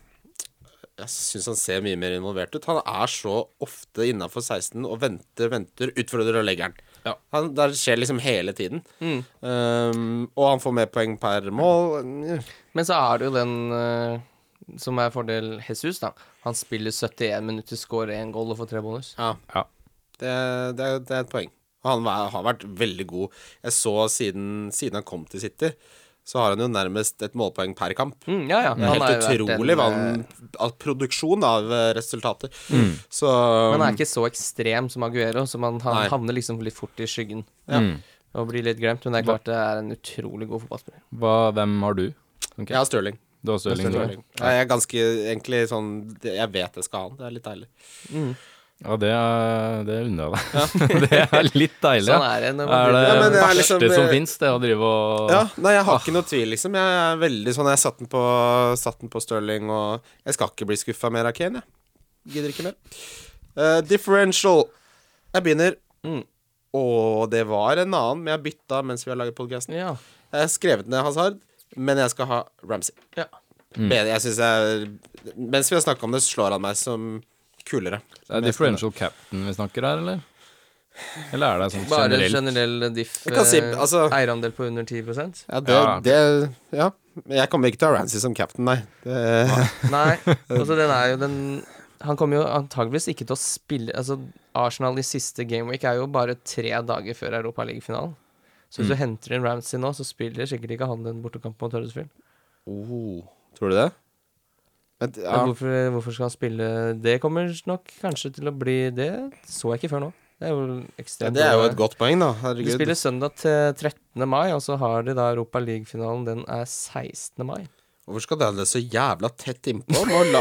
S1: Jeg syns han ser mye mer involvert ut. Han er så ofte innafor 16 og venter, venter, utfordrer og legger den.
S3: Ja.
S1: Han, det skjer liksom hele tiden.
S2: Mm.
S1: Ehm, og han får mer poeng per mål. Mm.
S2: Men så er det jo den eh, som er fordel Jesus, da. Han spiller 71 minutter, scorer én goal og får tre bonus.
S1: Ja.
S3: Ja.
S1: Det, det, er- det er et poeng. Og han var, har vært veldig god. Jeg så siden, siden han kom til City, så har han jo nærmest et målpoeng per kamp.
S2: Mm, ja, ja.
S1: Det er
S2: Han har
S1: helt
S2: jo vært en,
S1: utrolig hva
S2: eh,
S1: han av Produksjon av eh, resultater. Så
S2: Mm. Men han er ikke så ekstrem som Aguero, så man, han
S1: Nei.
S2: havner liksom litt fort i skyggen.
S1: Ja.
S3: Mm.
S2: Og blir litt glemt, men det er klart det er en utrolig god fotballspiller.
S3: Hva, hvem har du? Ok.
S1: Jeg har Stirling.
S3: Du har Stirling, du.
S1: Stirling. Jeg er ganske egentlig sånn Jeg vet jeg skal ha han. Det er litt deilig.
S3: Ja, det, er- det unner jeg deg. det er litt deilig.
S2: Sånn
S3: ja.
S2: er det
S3: Er
S2: når
S3: det
S2: man blir
S1: Ja, men det er
S3: verste
S1: liksom,
S3: som
S1: eh,
S3: fins, det å drive og
S1: Ja, nei, jeg har ikke noe tvil, liksom. Jeg er veldig sånn Jeg satt den på, satt den på Stirling, og jeg skal ikke bli skuffa mer av Kane, jeg. Gidder ikke mer. Eh, differential. Jeg begynner.
S2: Mm.
S1: Og det var en annen, men jeg bytta mens vi har laget podkasten.
S2: Ja.
S1: Jeg har skrevet ned Hazard, men jeg skal ha Ramsey.
S2: ja.
S1: Bedre, jeg synes jeg Mens vi har snakka om det, slår han meg som kulere.
S3: Det er differential captain vi snakker her, eller? Eller er det sånn
S2: Bare
S3: generelt?
S2: generell diff.
S1: Jeg kan si-
S2: eh,
S1: altså-
S2: Eierandel på under 10
S1: Ja, det,
S3: Ja.
S1: det Ja. Men jeg kommer ikke til å ha Ramsey som captain, nei. Det,
S2: Nei, altså den er jo den Han kommer jo antageligvis ikke til å spille Altså Arsenal i siste gameweek er jo bare tre dager før Europaligafinalen. Så
S1: Mm.
S2: hvis du henter inn Ramsey nå, så spiller sikkert ikke han den bortekampen mot Huddersfield.
S1: oh, tror du det? Men, ja.
S2: Men hvorfor, hvorfor skal han spille Det kommer nok kanskje til å bli Det så jeg ikke før nå. Det er jo
S1: Ja,
S2: ekstremt
S1: det er jo
S2: bra.
S1: et godt poeng, da.
S2: De
S1: Herregud.
S2: spiller søndag til 13. mai, og så har de da Europa League-finalen. Den er 16. mai.
S1: Hvorfor skal det være så jævla tett innpå? Må la,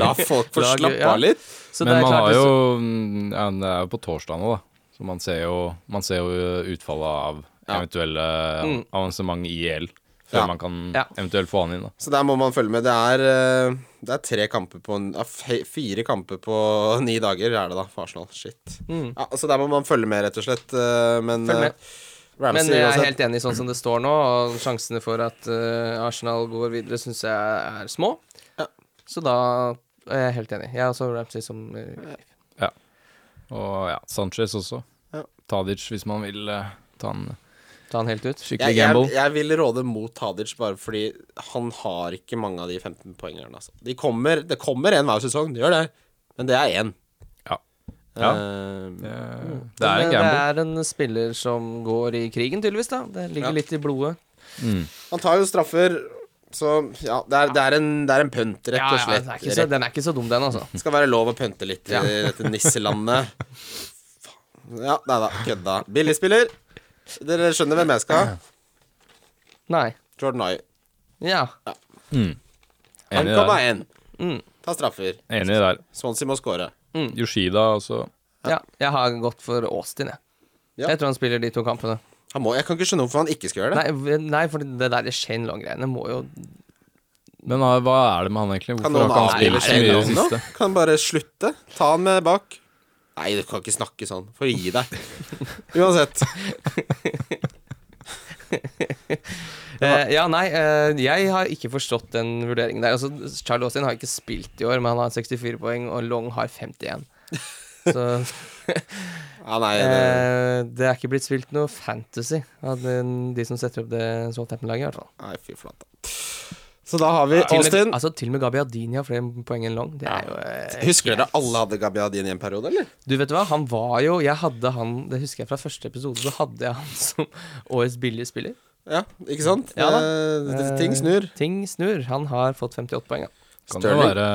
S1: la folk få
S2: Lag-
S1: slappe
S2: ja.
S1: av litt.
S2: Så
S3: Men
S2: det er
S3: man
S2: klart
S3: har
S2: det-
S3: jo mm, ja, Det er jo på torsdag nå, da. Så man ser jo, man ser jo utfallet av
S1: Ja.
S3: eventuelle
S2: Mm.
S3: avansement i EL. Før
S1: Ja.
S3: man kan
S2: Ja.
S3: eventuelt få han inn, da.
S1: Så der må man følge med. Det er, eh, det er tre kamper på en- ja, fe- Fire kamper på ni dager er det, da, for Arsenal. Shit.
S2: Mm.
S1: Ja, så der må man følge med, rett og slett. eh, Men
S2: Følg med.
S1: eh, Ramsey
S2: Men jeg er
S1: uansett.
S2: helt enig sånn som det står nå, og sjansene for at eh, Arsenal går videre syns jeg er små.
S1: Ja.
S2: Så da er jeg helt enig. Jeg er også Ramsey som eh,
S3: Og ja, Sanchez også.
S1: Ja.
S3: Tadic, hvis man vil eh, ta en
S2: tar han helt ut.
S3: skikkelig
S1: Jeg, jeg,
S3: gamble.
S1: jeg vil råde mot Tadic bare fordi han har ikke mange av de 15 poengerne. Altså. De kommer, det kommer en hver sesong, det gjør det, men det er én.
S3: Ja. Ja.
S1: Eh,
S3: Det,
S1: Mm.
S3: det er
S2: Men
S3: en gamble.
S2: Det er en spiller som går i krigen, tydeligvis. da Det ligger
S1: Ja.
S2: litt i blodet.
S3: Mm.
S1: han tar jo straffer, så ja, det er, det er en, det er en pønt, rett og slett.
S2: den, er ikke så, den er ikke så dum, den, altså.
S1: Det skal være lov å pønte litt i
S2: Ja.
S1: dette nisselandet. Faen. Ja, nei da, kødda. Billigspiller. Dere skjønner hvem jeg skal ha?
S2: Nei.
S1: Jordan Ayew.
S2: Ja.
S3: Enig
S1: Han kan
S3: der.
S1: være en.
S2: Mm.
S1: Ta straffer.
S3: Enig der.
S1: Swansea må score.
S3: Yoshida altså. også.
S2: ja. Jeg har gått for Austin, jeg.
S1: Ja.
S2: Jeg tror han spiller de to kampene.
S1: Han må, jeg kan ikke skjønne hvorfor han ikke skal gjøre det.
S2: Nei, v- nei for det der Shane Long-greiene må jo
S3: Men ah, hva er det med han egentlig?
S1: Kan
S3: Hvorfor har
S1: noen
S3: ikke han
S1: avspille
S3: spilt så mye i det
S1: Shane nå?
S3: siste?
S1: Kan han bare slutte? Ta han med bak. Nei, du kan ikke snakke sånn. Får gi deg. Uansett.
S2: Eh, ja, nei, eh, jeg har ikke forstått den vurderingen der. Altså, Charlie Austin har ikke spilt i år, men han har 64 poeng, og Long har 51. Så
S1: Ja, nei, det,
S2: eh, det er ikke blitt spilt noe fantasy av den, de som setter opp det Southampton-laget, i hvert fall.
S1: nei fy flate. Så da har vi
S2: Til og med-
S1: Eh, Austin.
S2: Altså, til og med Gabi Adini har flere poeng enn Long. Det er jo eh,
S1: Husker dere alle hadde Gabiadin i en periode, eller?
S2: Du vet hva, han var jo Jeg hadde han Det husker jeg fra første episode, så hadde jeg han som årets billige spiller.
S1: Ja, ikke sant?
S2: Ja da.
S1: Eh, det-
S2: Eh,
S1: ting snur.
S2: Ting snur. Han har fått 58 poeng, ja.
S3: Kan det
S1: Sterling.
S3: være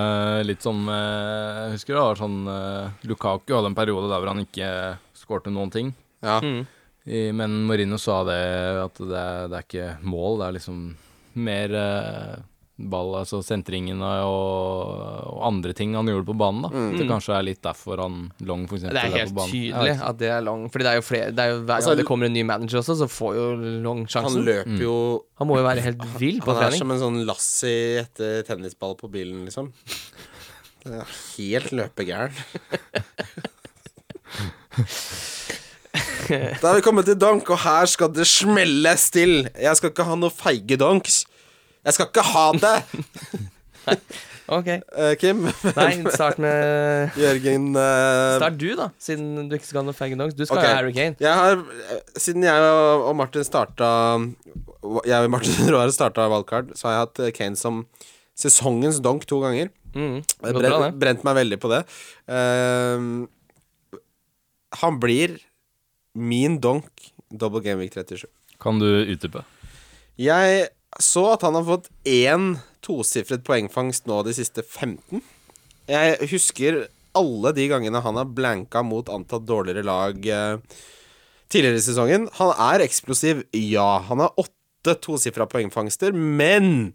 S3: litt som eh, Jeg husker det var sånn eh, Lukaku hadde en periode der hvor han ikke eh, skårte noen ting.
S1: Ja.
S2: Mm.
S3: I, men Marino sa det at det er, det er ikke mål, det er liksom mer eh, ball, altså sentringene og, og andre ting han gjorde på banen. da.
S1: Mm.
S3: Det kanskje er litt derfor han Long for eksempel,
S2: Det er helt
S3: på banen. Jeg
S2: tydelig
S3: vet ikke.
S2: at det er Long. Fordi det er jo flere det er jo Hver gang
S1: Altså,
S2: det kommer en ny manager også, så får jo Long
S1: Han
S2: sjansen. Mm. Han,
S1: løper jo
S2: må jo være helt vill på
S1: Han er
S2: trening.
S1: som en sånn Lassie etter tennisball på bilen, liksom. Det er helt løpegæren. Da er vi kommet til dank, og her skal det smelles til. Jeg skal ikke ha noe feige donks. Jeg skal ikke ha det,
S2: Ok.
S1: eh, Kim.
S2: Nei, start med
S1: Jørgen eh,
S2: Start du, da, siden du ikke skal ha noe faggy dogs. Du skal
S1: Ok.
S2: ha Harry Kane.
S1: Jeg har, eh, siden jeg og og Martin starta Jeg og Martin Roar starta wildcard, så har jeg hatt eh, Kane som sesongens donk to ganger.
S2: Mm.
S1: Jeg
S2: det går bra,
S1: Brent, brent meg veldig på det. Ehm, han blir min donk double game week 37.
S3: Kan du utdype?
S1: Jeg så at han har fått én tosifret poengfangst nå de siste 15. Jeg husker alle de gangene han har blanka mot antatt dårligere lag eh, tidligere i sesongen. Han er eksplosiv, ja. Han har åtte tosifra poengfangster, men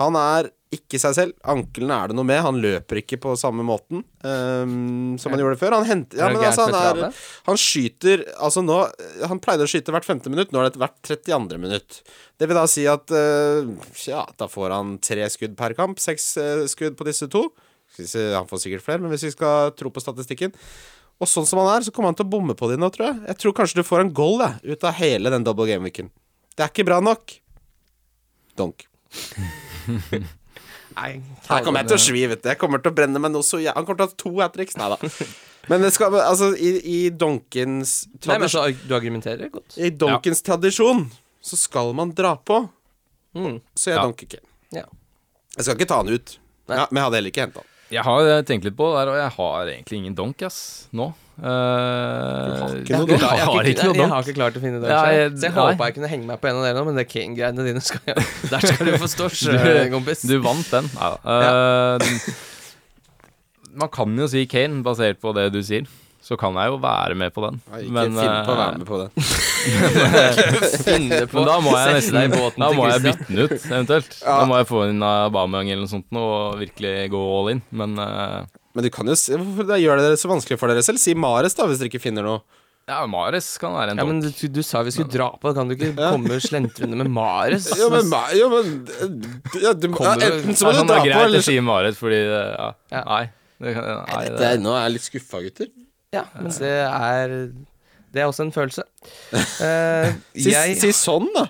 S1: han er ikke seg selv. Anklene er det noe med. Han løper ikke på samme måten ehm, som han gjorde før. Han, henter, ja,
S2: Er det
S1: men, altså,
S2: gærent med
S1: han,
S2: travet?
S1: er, han skyter Altså nå eh, Han pleide å skyte hvert femte minutt, nå er det hvert 32. minutt. Det vil da si at eh, Ja, da får han tre skudd per kamp. Seks eh, skudd på disse to. Skal vi se, Han får sikkert flere, men hvis vi skal tro på statistikken Og sånn som han er, så kommer han til å bomme på de nå, tror jeg. Jeg tror kanskje du får en goal jeg, ut av hele den double game-weeken. Det er ikke bra nok. Donk.
S2: Nei,
S1: Her kommer jeg til å svi, vet du. Jeg kommer til å brenne meg noe så jæ- Han kommer til å ha to hat tricks. Nei da. Men det skal Altså, i, i donkens
S2: Nei, men
S1: tradisjon
S2: så Du argumenterer godt.
S1: I donkens tradisjon så skal man dra på.
S2: Mm.
S1: Så jeg
S3: Ja.
S1: donker ikke.
S2: Ja.
S1: Jeg skal ikke ta han ut.
S2: Nei.
S1: Ja, men jeg hadde heller ikke henta han.
S3: Jeg har eh, tenkt litt på det, der, og jeg har egentlig ingen donk ass, nå. Eh,
S1: ikke noe donk?
S3: jeg har ikke noe
S2: Jeg
S3: donk.
S2: har ikke klart å finne det.
S3: Ja,
S2: selv.
S3: jeg-
S2: så jeg
S3: nei.
S2: håpa jeg kunne henge meg på en av dere nå, men det Kane-greiene dine skal jeg Der skal du få stå sjøl,
S3: Du-
S2: eh, kompis.
S3: Du vant den. Neida. Eh, man kan jo si Kane, basert på det du sier. Så kan jeg jo være med på den. eh,
S1: Nei, Ikke finn på å
S2: eh,
S1: være med på det.
S2: finne på
S3: Men da må jeg
S2: Sette deg i
S3: nesten
S2: båten
S3: Da
S2: til
S3: må jeg
S2: Christian.
S3: bytte den ut, eventuelt.
S1: Ja.
S3: Da må jeg få inn Aubameyang eller noe sånt nå, og virkelig gå all in. Men eh,
S1: Men du kan jo se, hvorfor da gjør det det så vanskelig for dere selv? Si Mares, da, hvis dere ikke finner noe.
S3: ja, Mares kan være en
S2: Ja,
S3: donk.
S2: men du, du sa vi skulle dra på, da kan du ikke komme slentrende med Mares?
S1: Jo, men, Ma- jo, men ja, du, ja,
S3: Kommer du-
S1: Enten så må du
S3: Nei, sånn,
S1: dra på,
S3: Det er greit
S1: eller
S3: å si Mares, fordi det, ja.
S2: Ja.
S3: Nei. Det, kan- nei,
S1: Dette
S3: det,
S1: er- Nå er jeg litt skuffa, gutter.
S2: Ja, men det er Det er også en følelse. Eh,
S1: Si,
S2: jeg
S1: si sånn, da.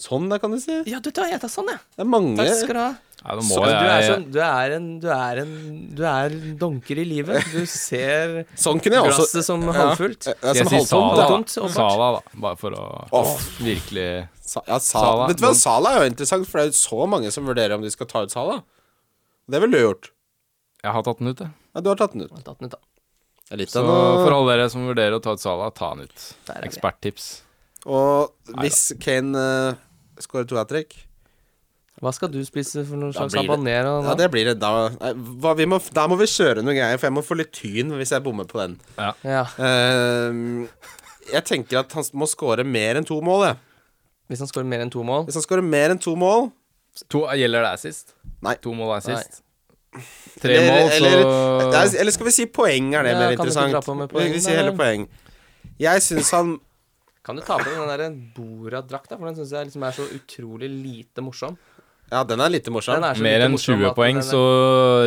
S1: Sånn, da, kan du si.
S2: Ja, du tar jeg tar sånn, jeg.
S1: Det er mange
S2: Takk skal du ha.
S3: nei, da
S2: Så,
S3: må
S2: du, er
S3: jeg
S2: sånn, du er en Du er en Du er en donker i livet. Du ser
S1: Sånn kunne jeg også
S2: glasset som halvfullt.
S1: Ja, ja,
S3: Jeg
S1: som
S3: sier
S1: halvtomt,
S3: Sala,
S1: ja.
S2: halvtomt,
S3: da.
S2: åpenbart.
S3: Sala, da. Bare for å
S1: Åh.
S3: virkelig
S1: Sa, ja, Sa-
S3: Sala.
S1: Vet du hva, Sala er jo interessant, for det er jo så mange som vurderer om de skal ta ut Sala. Det ville du gjort.
S3: Jeg har tatt den ut, jeg.
S1: Ja, du har tatt den ut.
S2: Jeg har tatt den ut, da.
S1: Det er litt
S3: Så
S1: av noe-
S3: for alle dere som vurderer å ta ut Sala, ta han ut.
S2: Der er vi.
S3: Eksperttips.
S1: Og hvis Kane eh, scorer to hat trick
S2: Há skal du spise for noen
S1: Da
S2: slags
S1: blir det-
S2: habanero?
S3: Sånn
S1: Ja, det blir det. Da, nei, hva, vi må, da må vi kjøre noe greier, for jeg må få litt tyn hvis jeg bommer på den.
S2: Ja.
S1: Ehm, jeg tenker at han må score mer enn to mål, jeg.
S2: Hvis han skårer mer enn to mål
S1: Hvis han scorer mer enn to mål
S3: To, gjelder det assist?
S1: Nei.
S3: To mål er assist? Tre
S1: Eller,
S3: mål, så
S1: eller, nei, eller skal vi si poeng er det
S2: Ja,
S1: mer
S2: kan vi ikke
S1: interessant?
S2: dra på med poeng,
S1: vi
S2: da,
S1: sier heller poeng. Jeg syns han
S2: Kan du ta på deg den der Borat-drakta? For den syns jeg liksom er så utrolig lite morsom.
S1: Ja, den er litt morsom.
S2: Den er så
S3: Mer
S2: lite
S3: enn
S2: morsom
S3: 20
S2: at
S3: poeng,
S2: den er-
S3: så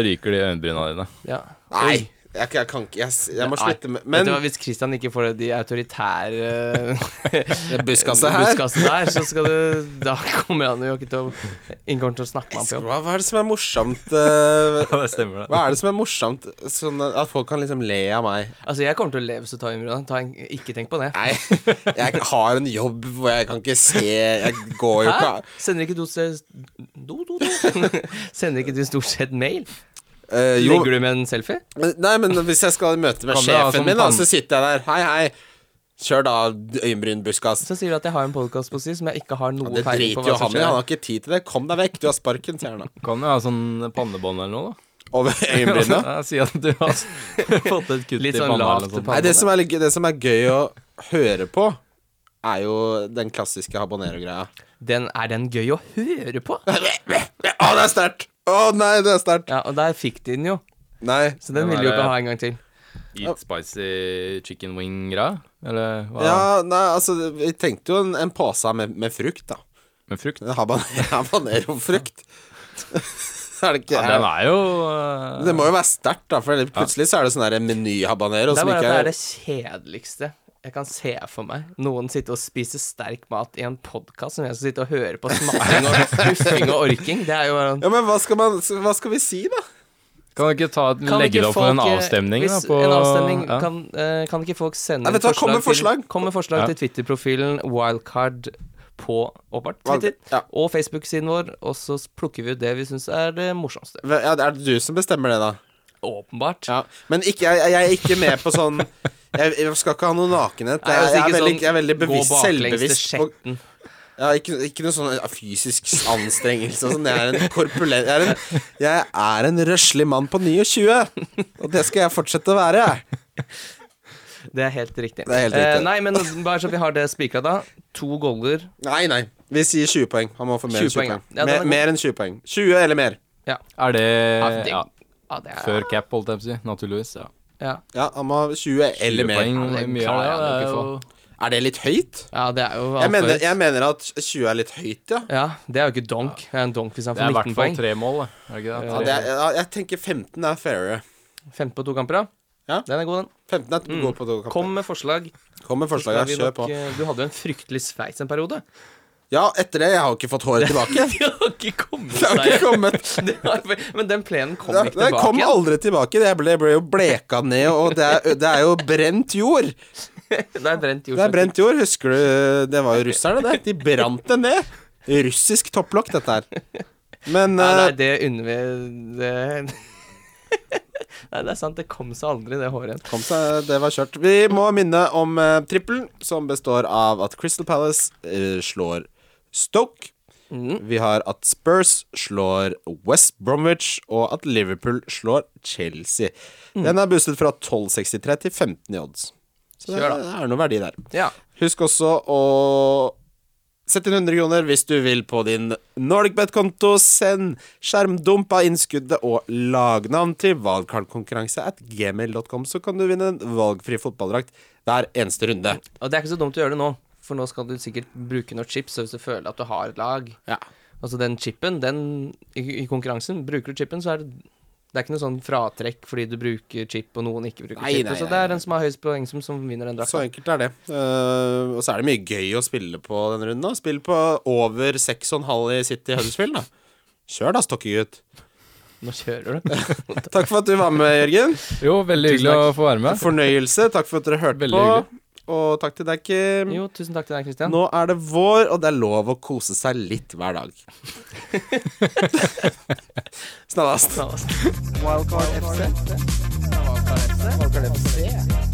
S3: ryker de øyenbryna dine.
S2: ja.
S1: Nei,
S2: Oi.
S1: jeg, jeg kan ikke Jeg, s- jeg må
S2: Nei.
S1: slutte med
S2: Vet
S1: Men
S2: du hva, Hvis Christian ikke får de autoritære
S1: buskaset her.
S2: buskaset der, så skal du Da kommer han jo ikke til å Ingen kommer til å snakke med ham på jobb.
S1: hva, hva er det som er morsomt eh,
S3: det stemmer,
S1: Hva er det som er morsomt sånn at folk kan liksom le av meg?
S2: Altså, jeg kommer til å leve så ta øyenbrynene. Ta en- Ikke tenk på det.
S1: Nei, jeg har en jobb hvor jeg kan ikke se Jeg går jo ikke
S2: Hæ? Sender ikke du se- do, do, do. Sender ikke du stort sett mail?
S1: Eh, jo,
S2: Legger du med en selfie?
S1: men- Nei, men hvis jeg skal i møte med
S3: Kan du ha
S1: sjefen
S3: sånn
S1: min, da,
S3: pan-
S1: så sitter jeg der. Hei, hei. Kjør da, øyenbrynbuskas.
S2: Så sier du at jeg har en podkast på si som jeg ikke har noe
S1: Det
S2: peiling på
S1: driter jo
S2: hva som
S1: han i. Han
S2: skjer.
S1: har ikke tid til det. Kom deg vekk, du har sparken, sier han da.
S3: Kan jo ha sånn pannebånd eller noe, da.
S1: Over øyenbrynet.
S3: Ja, Si at du har fått et kutt
S2: Litt
S3: i
S2: sånn
S3: panna
S2: lavt
S3: eller noe sånt.
S1: Nei,
S2: panne.
S1: det som, er, litt gøy- det som er gøy å høre på, er jo den klassiske habanero-greia.
S2: Den, er den gøy å høre på?
S1: Å, det er sterkt! Å nei, det er sterkt.
S2: Ja, og der fikk de den jo.
S1: Nei.
S2: Så
S3: Den
S2: den vil de jo
S3: er-
S2: ikke ha en gang til.
S3: Eat spicy chicken wing-greia? Eller hva?
S1: Ja, nei, altså, vi tenkte jo en, en pose med, med frukt, da.
S3: Med frukt?
S1: En haban- Habanero-frukt. er det ikke
S3: Ja, den er jo eh,
S1: Det må jo være sterkt, da, for plutselig så er det sånn der meny-habanero
S2: Det er
S1: som
S2: bare at det
S1: ikke
S2: er det kjedeligste jeg kan se for meg. Noen sitte og spise sterk mat i en podkast som jeg skal sitte og høre på smatting og puffing og orking. Det er jo bare
S1: Ja, men hva skal, man, hva skal vi si, da?
S3: Kan du ikke ta, et-
S2: Kan
S3: legge
S2: ikke
S3: det opp for en
S2: folk, eh,
S3: avstemning, da?
S2: hvis
S3: På,
S2: en avstemning,
S3: ja.
S2: kan, eh, kan ikke folk sende
S1: Nei, vet du hva, kom med
S2: Til,
S1: forslag.
S2: kom med forslag
S3: Ja.
S2: til Twitter-profilen Wildcard på åpenbart Twitter
S1: Ja.
S2: og Facebook-siden vår, og så plukker vi ut det vi syns er det morsomste.
S1: Ja, er det du som bestemmer det, da?
S2: Åpenbart.
S1: Ja. Men ikke, jeg, jeg er ikke med på sånn jeg, jeg skal ikke ha noe nakenhet.
S2: Nei,
S1: Jeg,
S2: altså,
S1: jeg, er,
S2: ikke
S1: veldig,
S2: sånn
S1: jeg er veldig
S2: gå
S1: bevisst,
S2: baklengs til
S1: selvbevisst på
S2: skjetten.
S1: ja, ikke, ikke noe sånn ja, fysisk anstrengelse og sånn. Jeg er en korpulent Jeg er en, jeg er en røslig mann på 29, og det skal jeg fortsette å være, jeg.
S2: Det er helt riktig.
S1: Det er helt
S2: Eh,
S1: riktig.
S2: nei, men bare så vi har det spikra, da. To goller.
S1: Nei, nei. Vi sier 20 poeng. Han må få mer enn 20
S2: 20 poeng, ja.
S1: poeng.
S2: Ja, den er
S1: mer,
S2: god.
S1: mer enn 20 poeng. 20 eller mer.
S2: Ja.
S3: Er det
S2: Ja, det,
S3: Eh, ja,
S2: ja. det er
S3: Før cap, holdt jeg på å si. Naturligvis. Ja.
S2: Ja.
S1: Ja, han må ha 20 eller
S3: 20
S1: mer.
S3: Poeng,
S2: Ja, det
S3: hvor mye
S2: klarer
S3: er det?
S2: jeg
S3: Det er jo
S2: nok å
S1: Er det litt høyt?
S2: ja, det er jo
S1: Jeg
S2: alt
S1: mener,
S2: for-
S1: jeg mener at 20 er litt høyt, ja.
S2: Ja, det er jo ikke donk. Det er en donk hvis han
S3: Det er
S2: får
S3: i hvert
S2: 19
S3: fall
S2: poeng.
S3: tre mål, da. er det ikke det?
S2: Ja,
S1: ja det er, ja, jeg tenker 15 er fairere.
S2: 15 på to kamper, ja.
S1: Ja.
S2: Den er god, den.
S1: 15 er god på to kamper.
S2: Mm. Kom med forslag.
S1: Kom med
S2: Så skal
S1: forslag, ja.
S2: vi
S1: Kjør
S2: nok,
S1: på.
S2: eh, Du hadde jo en fryktelig sveis en periode.
S1: Ja, etter det. Jeg har jo ikke fått håret tilbake.
S2: Det har ikke kommet
S1: Det har ikke kommet
S2: Det har- Men den plenen kom
S1: Det, det
S2: ikke tilbake.
S1: kom
S2: igjen.
S1: aldri tilbake. Det ble, ble jo bleka ned, og det er, det er jo brent jord.
S2: Det er brent jord.
S1: Det er brent jord. Husker du Det var jo russerne, det. De brant det ned. Russisk topplokk, dette her. Men
S2: Nei, nei,
S1: eh,
S2: det unner vi det... Nei, det er sant. Det kom seg aldri, det håret.
S1: kom seg, det var kjørt. Vi må minne om uh, trippelen, som består av at Crystal Palace eh, slår Stoke.
S2: Mm.
S1: Vi har at Spurs slår West Bromwich, og at Liverpool slår Chelsea.
S2: Mm.
S1: Den er boostet fra 12,63 til 15 i odds. Så det
S2: Kjør da.
S1: er noe verdi der.
S2: Ja.
S1: Husk også å sette inn 100 kroner hvis du vil på din NordicBet-konto. Send skjermdump av innskuddet og lagnavn til valgkartkonkurranse at gmail.com, så kan du vinne en valgfri fotballdrakt hver eneste runde.
S2: Og det er ikke så dumt å gjøre det nå, for nå skal du sikkert bruke noen chips så hvis du føler at du har et lag.
S1: Ja.
S2: Altså den chipen, den i, i konkurransen, bruker du chipen, så er det det er ikke noe sånn fratrekk fordi du bruker chip og noen ikke bruker
S1: Nei,
S2: chip.
S1: nei,
S2: så
S1: nei,
S2: det er
S1: nei.
S2: den som har høyest poeng, som, som vinner den
S1: Så
S2: drakta.
S1: enkelt er det. Eh, og så er det mye gøy å spille på denne runden. da. Spill på over 6,5 i City Huddersfield, da. Kjør da, Stokkegutt.
S2: Nå kjører du.
S1: Takk for at du var med, Jørgen.
S3: Jo, veldig hyggelig å få være med.
S1: Fornøyelse. Takk for at dere hørte
S3: Veldig
S1: på. Og takk til deg, Kim.
S2: Jo, tusen takk til deg, Christian.
S1: Nå er det vår, og det er lov å kose seg litt hver dag. Snarest.
S2: Nå.
S1: Wildcard FC. Wildcard FC.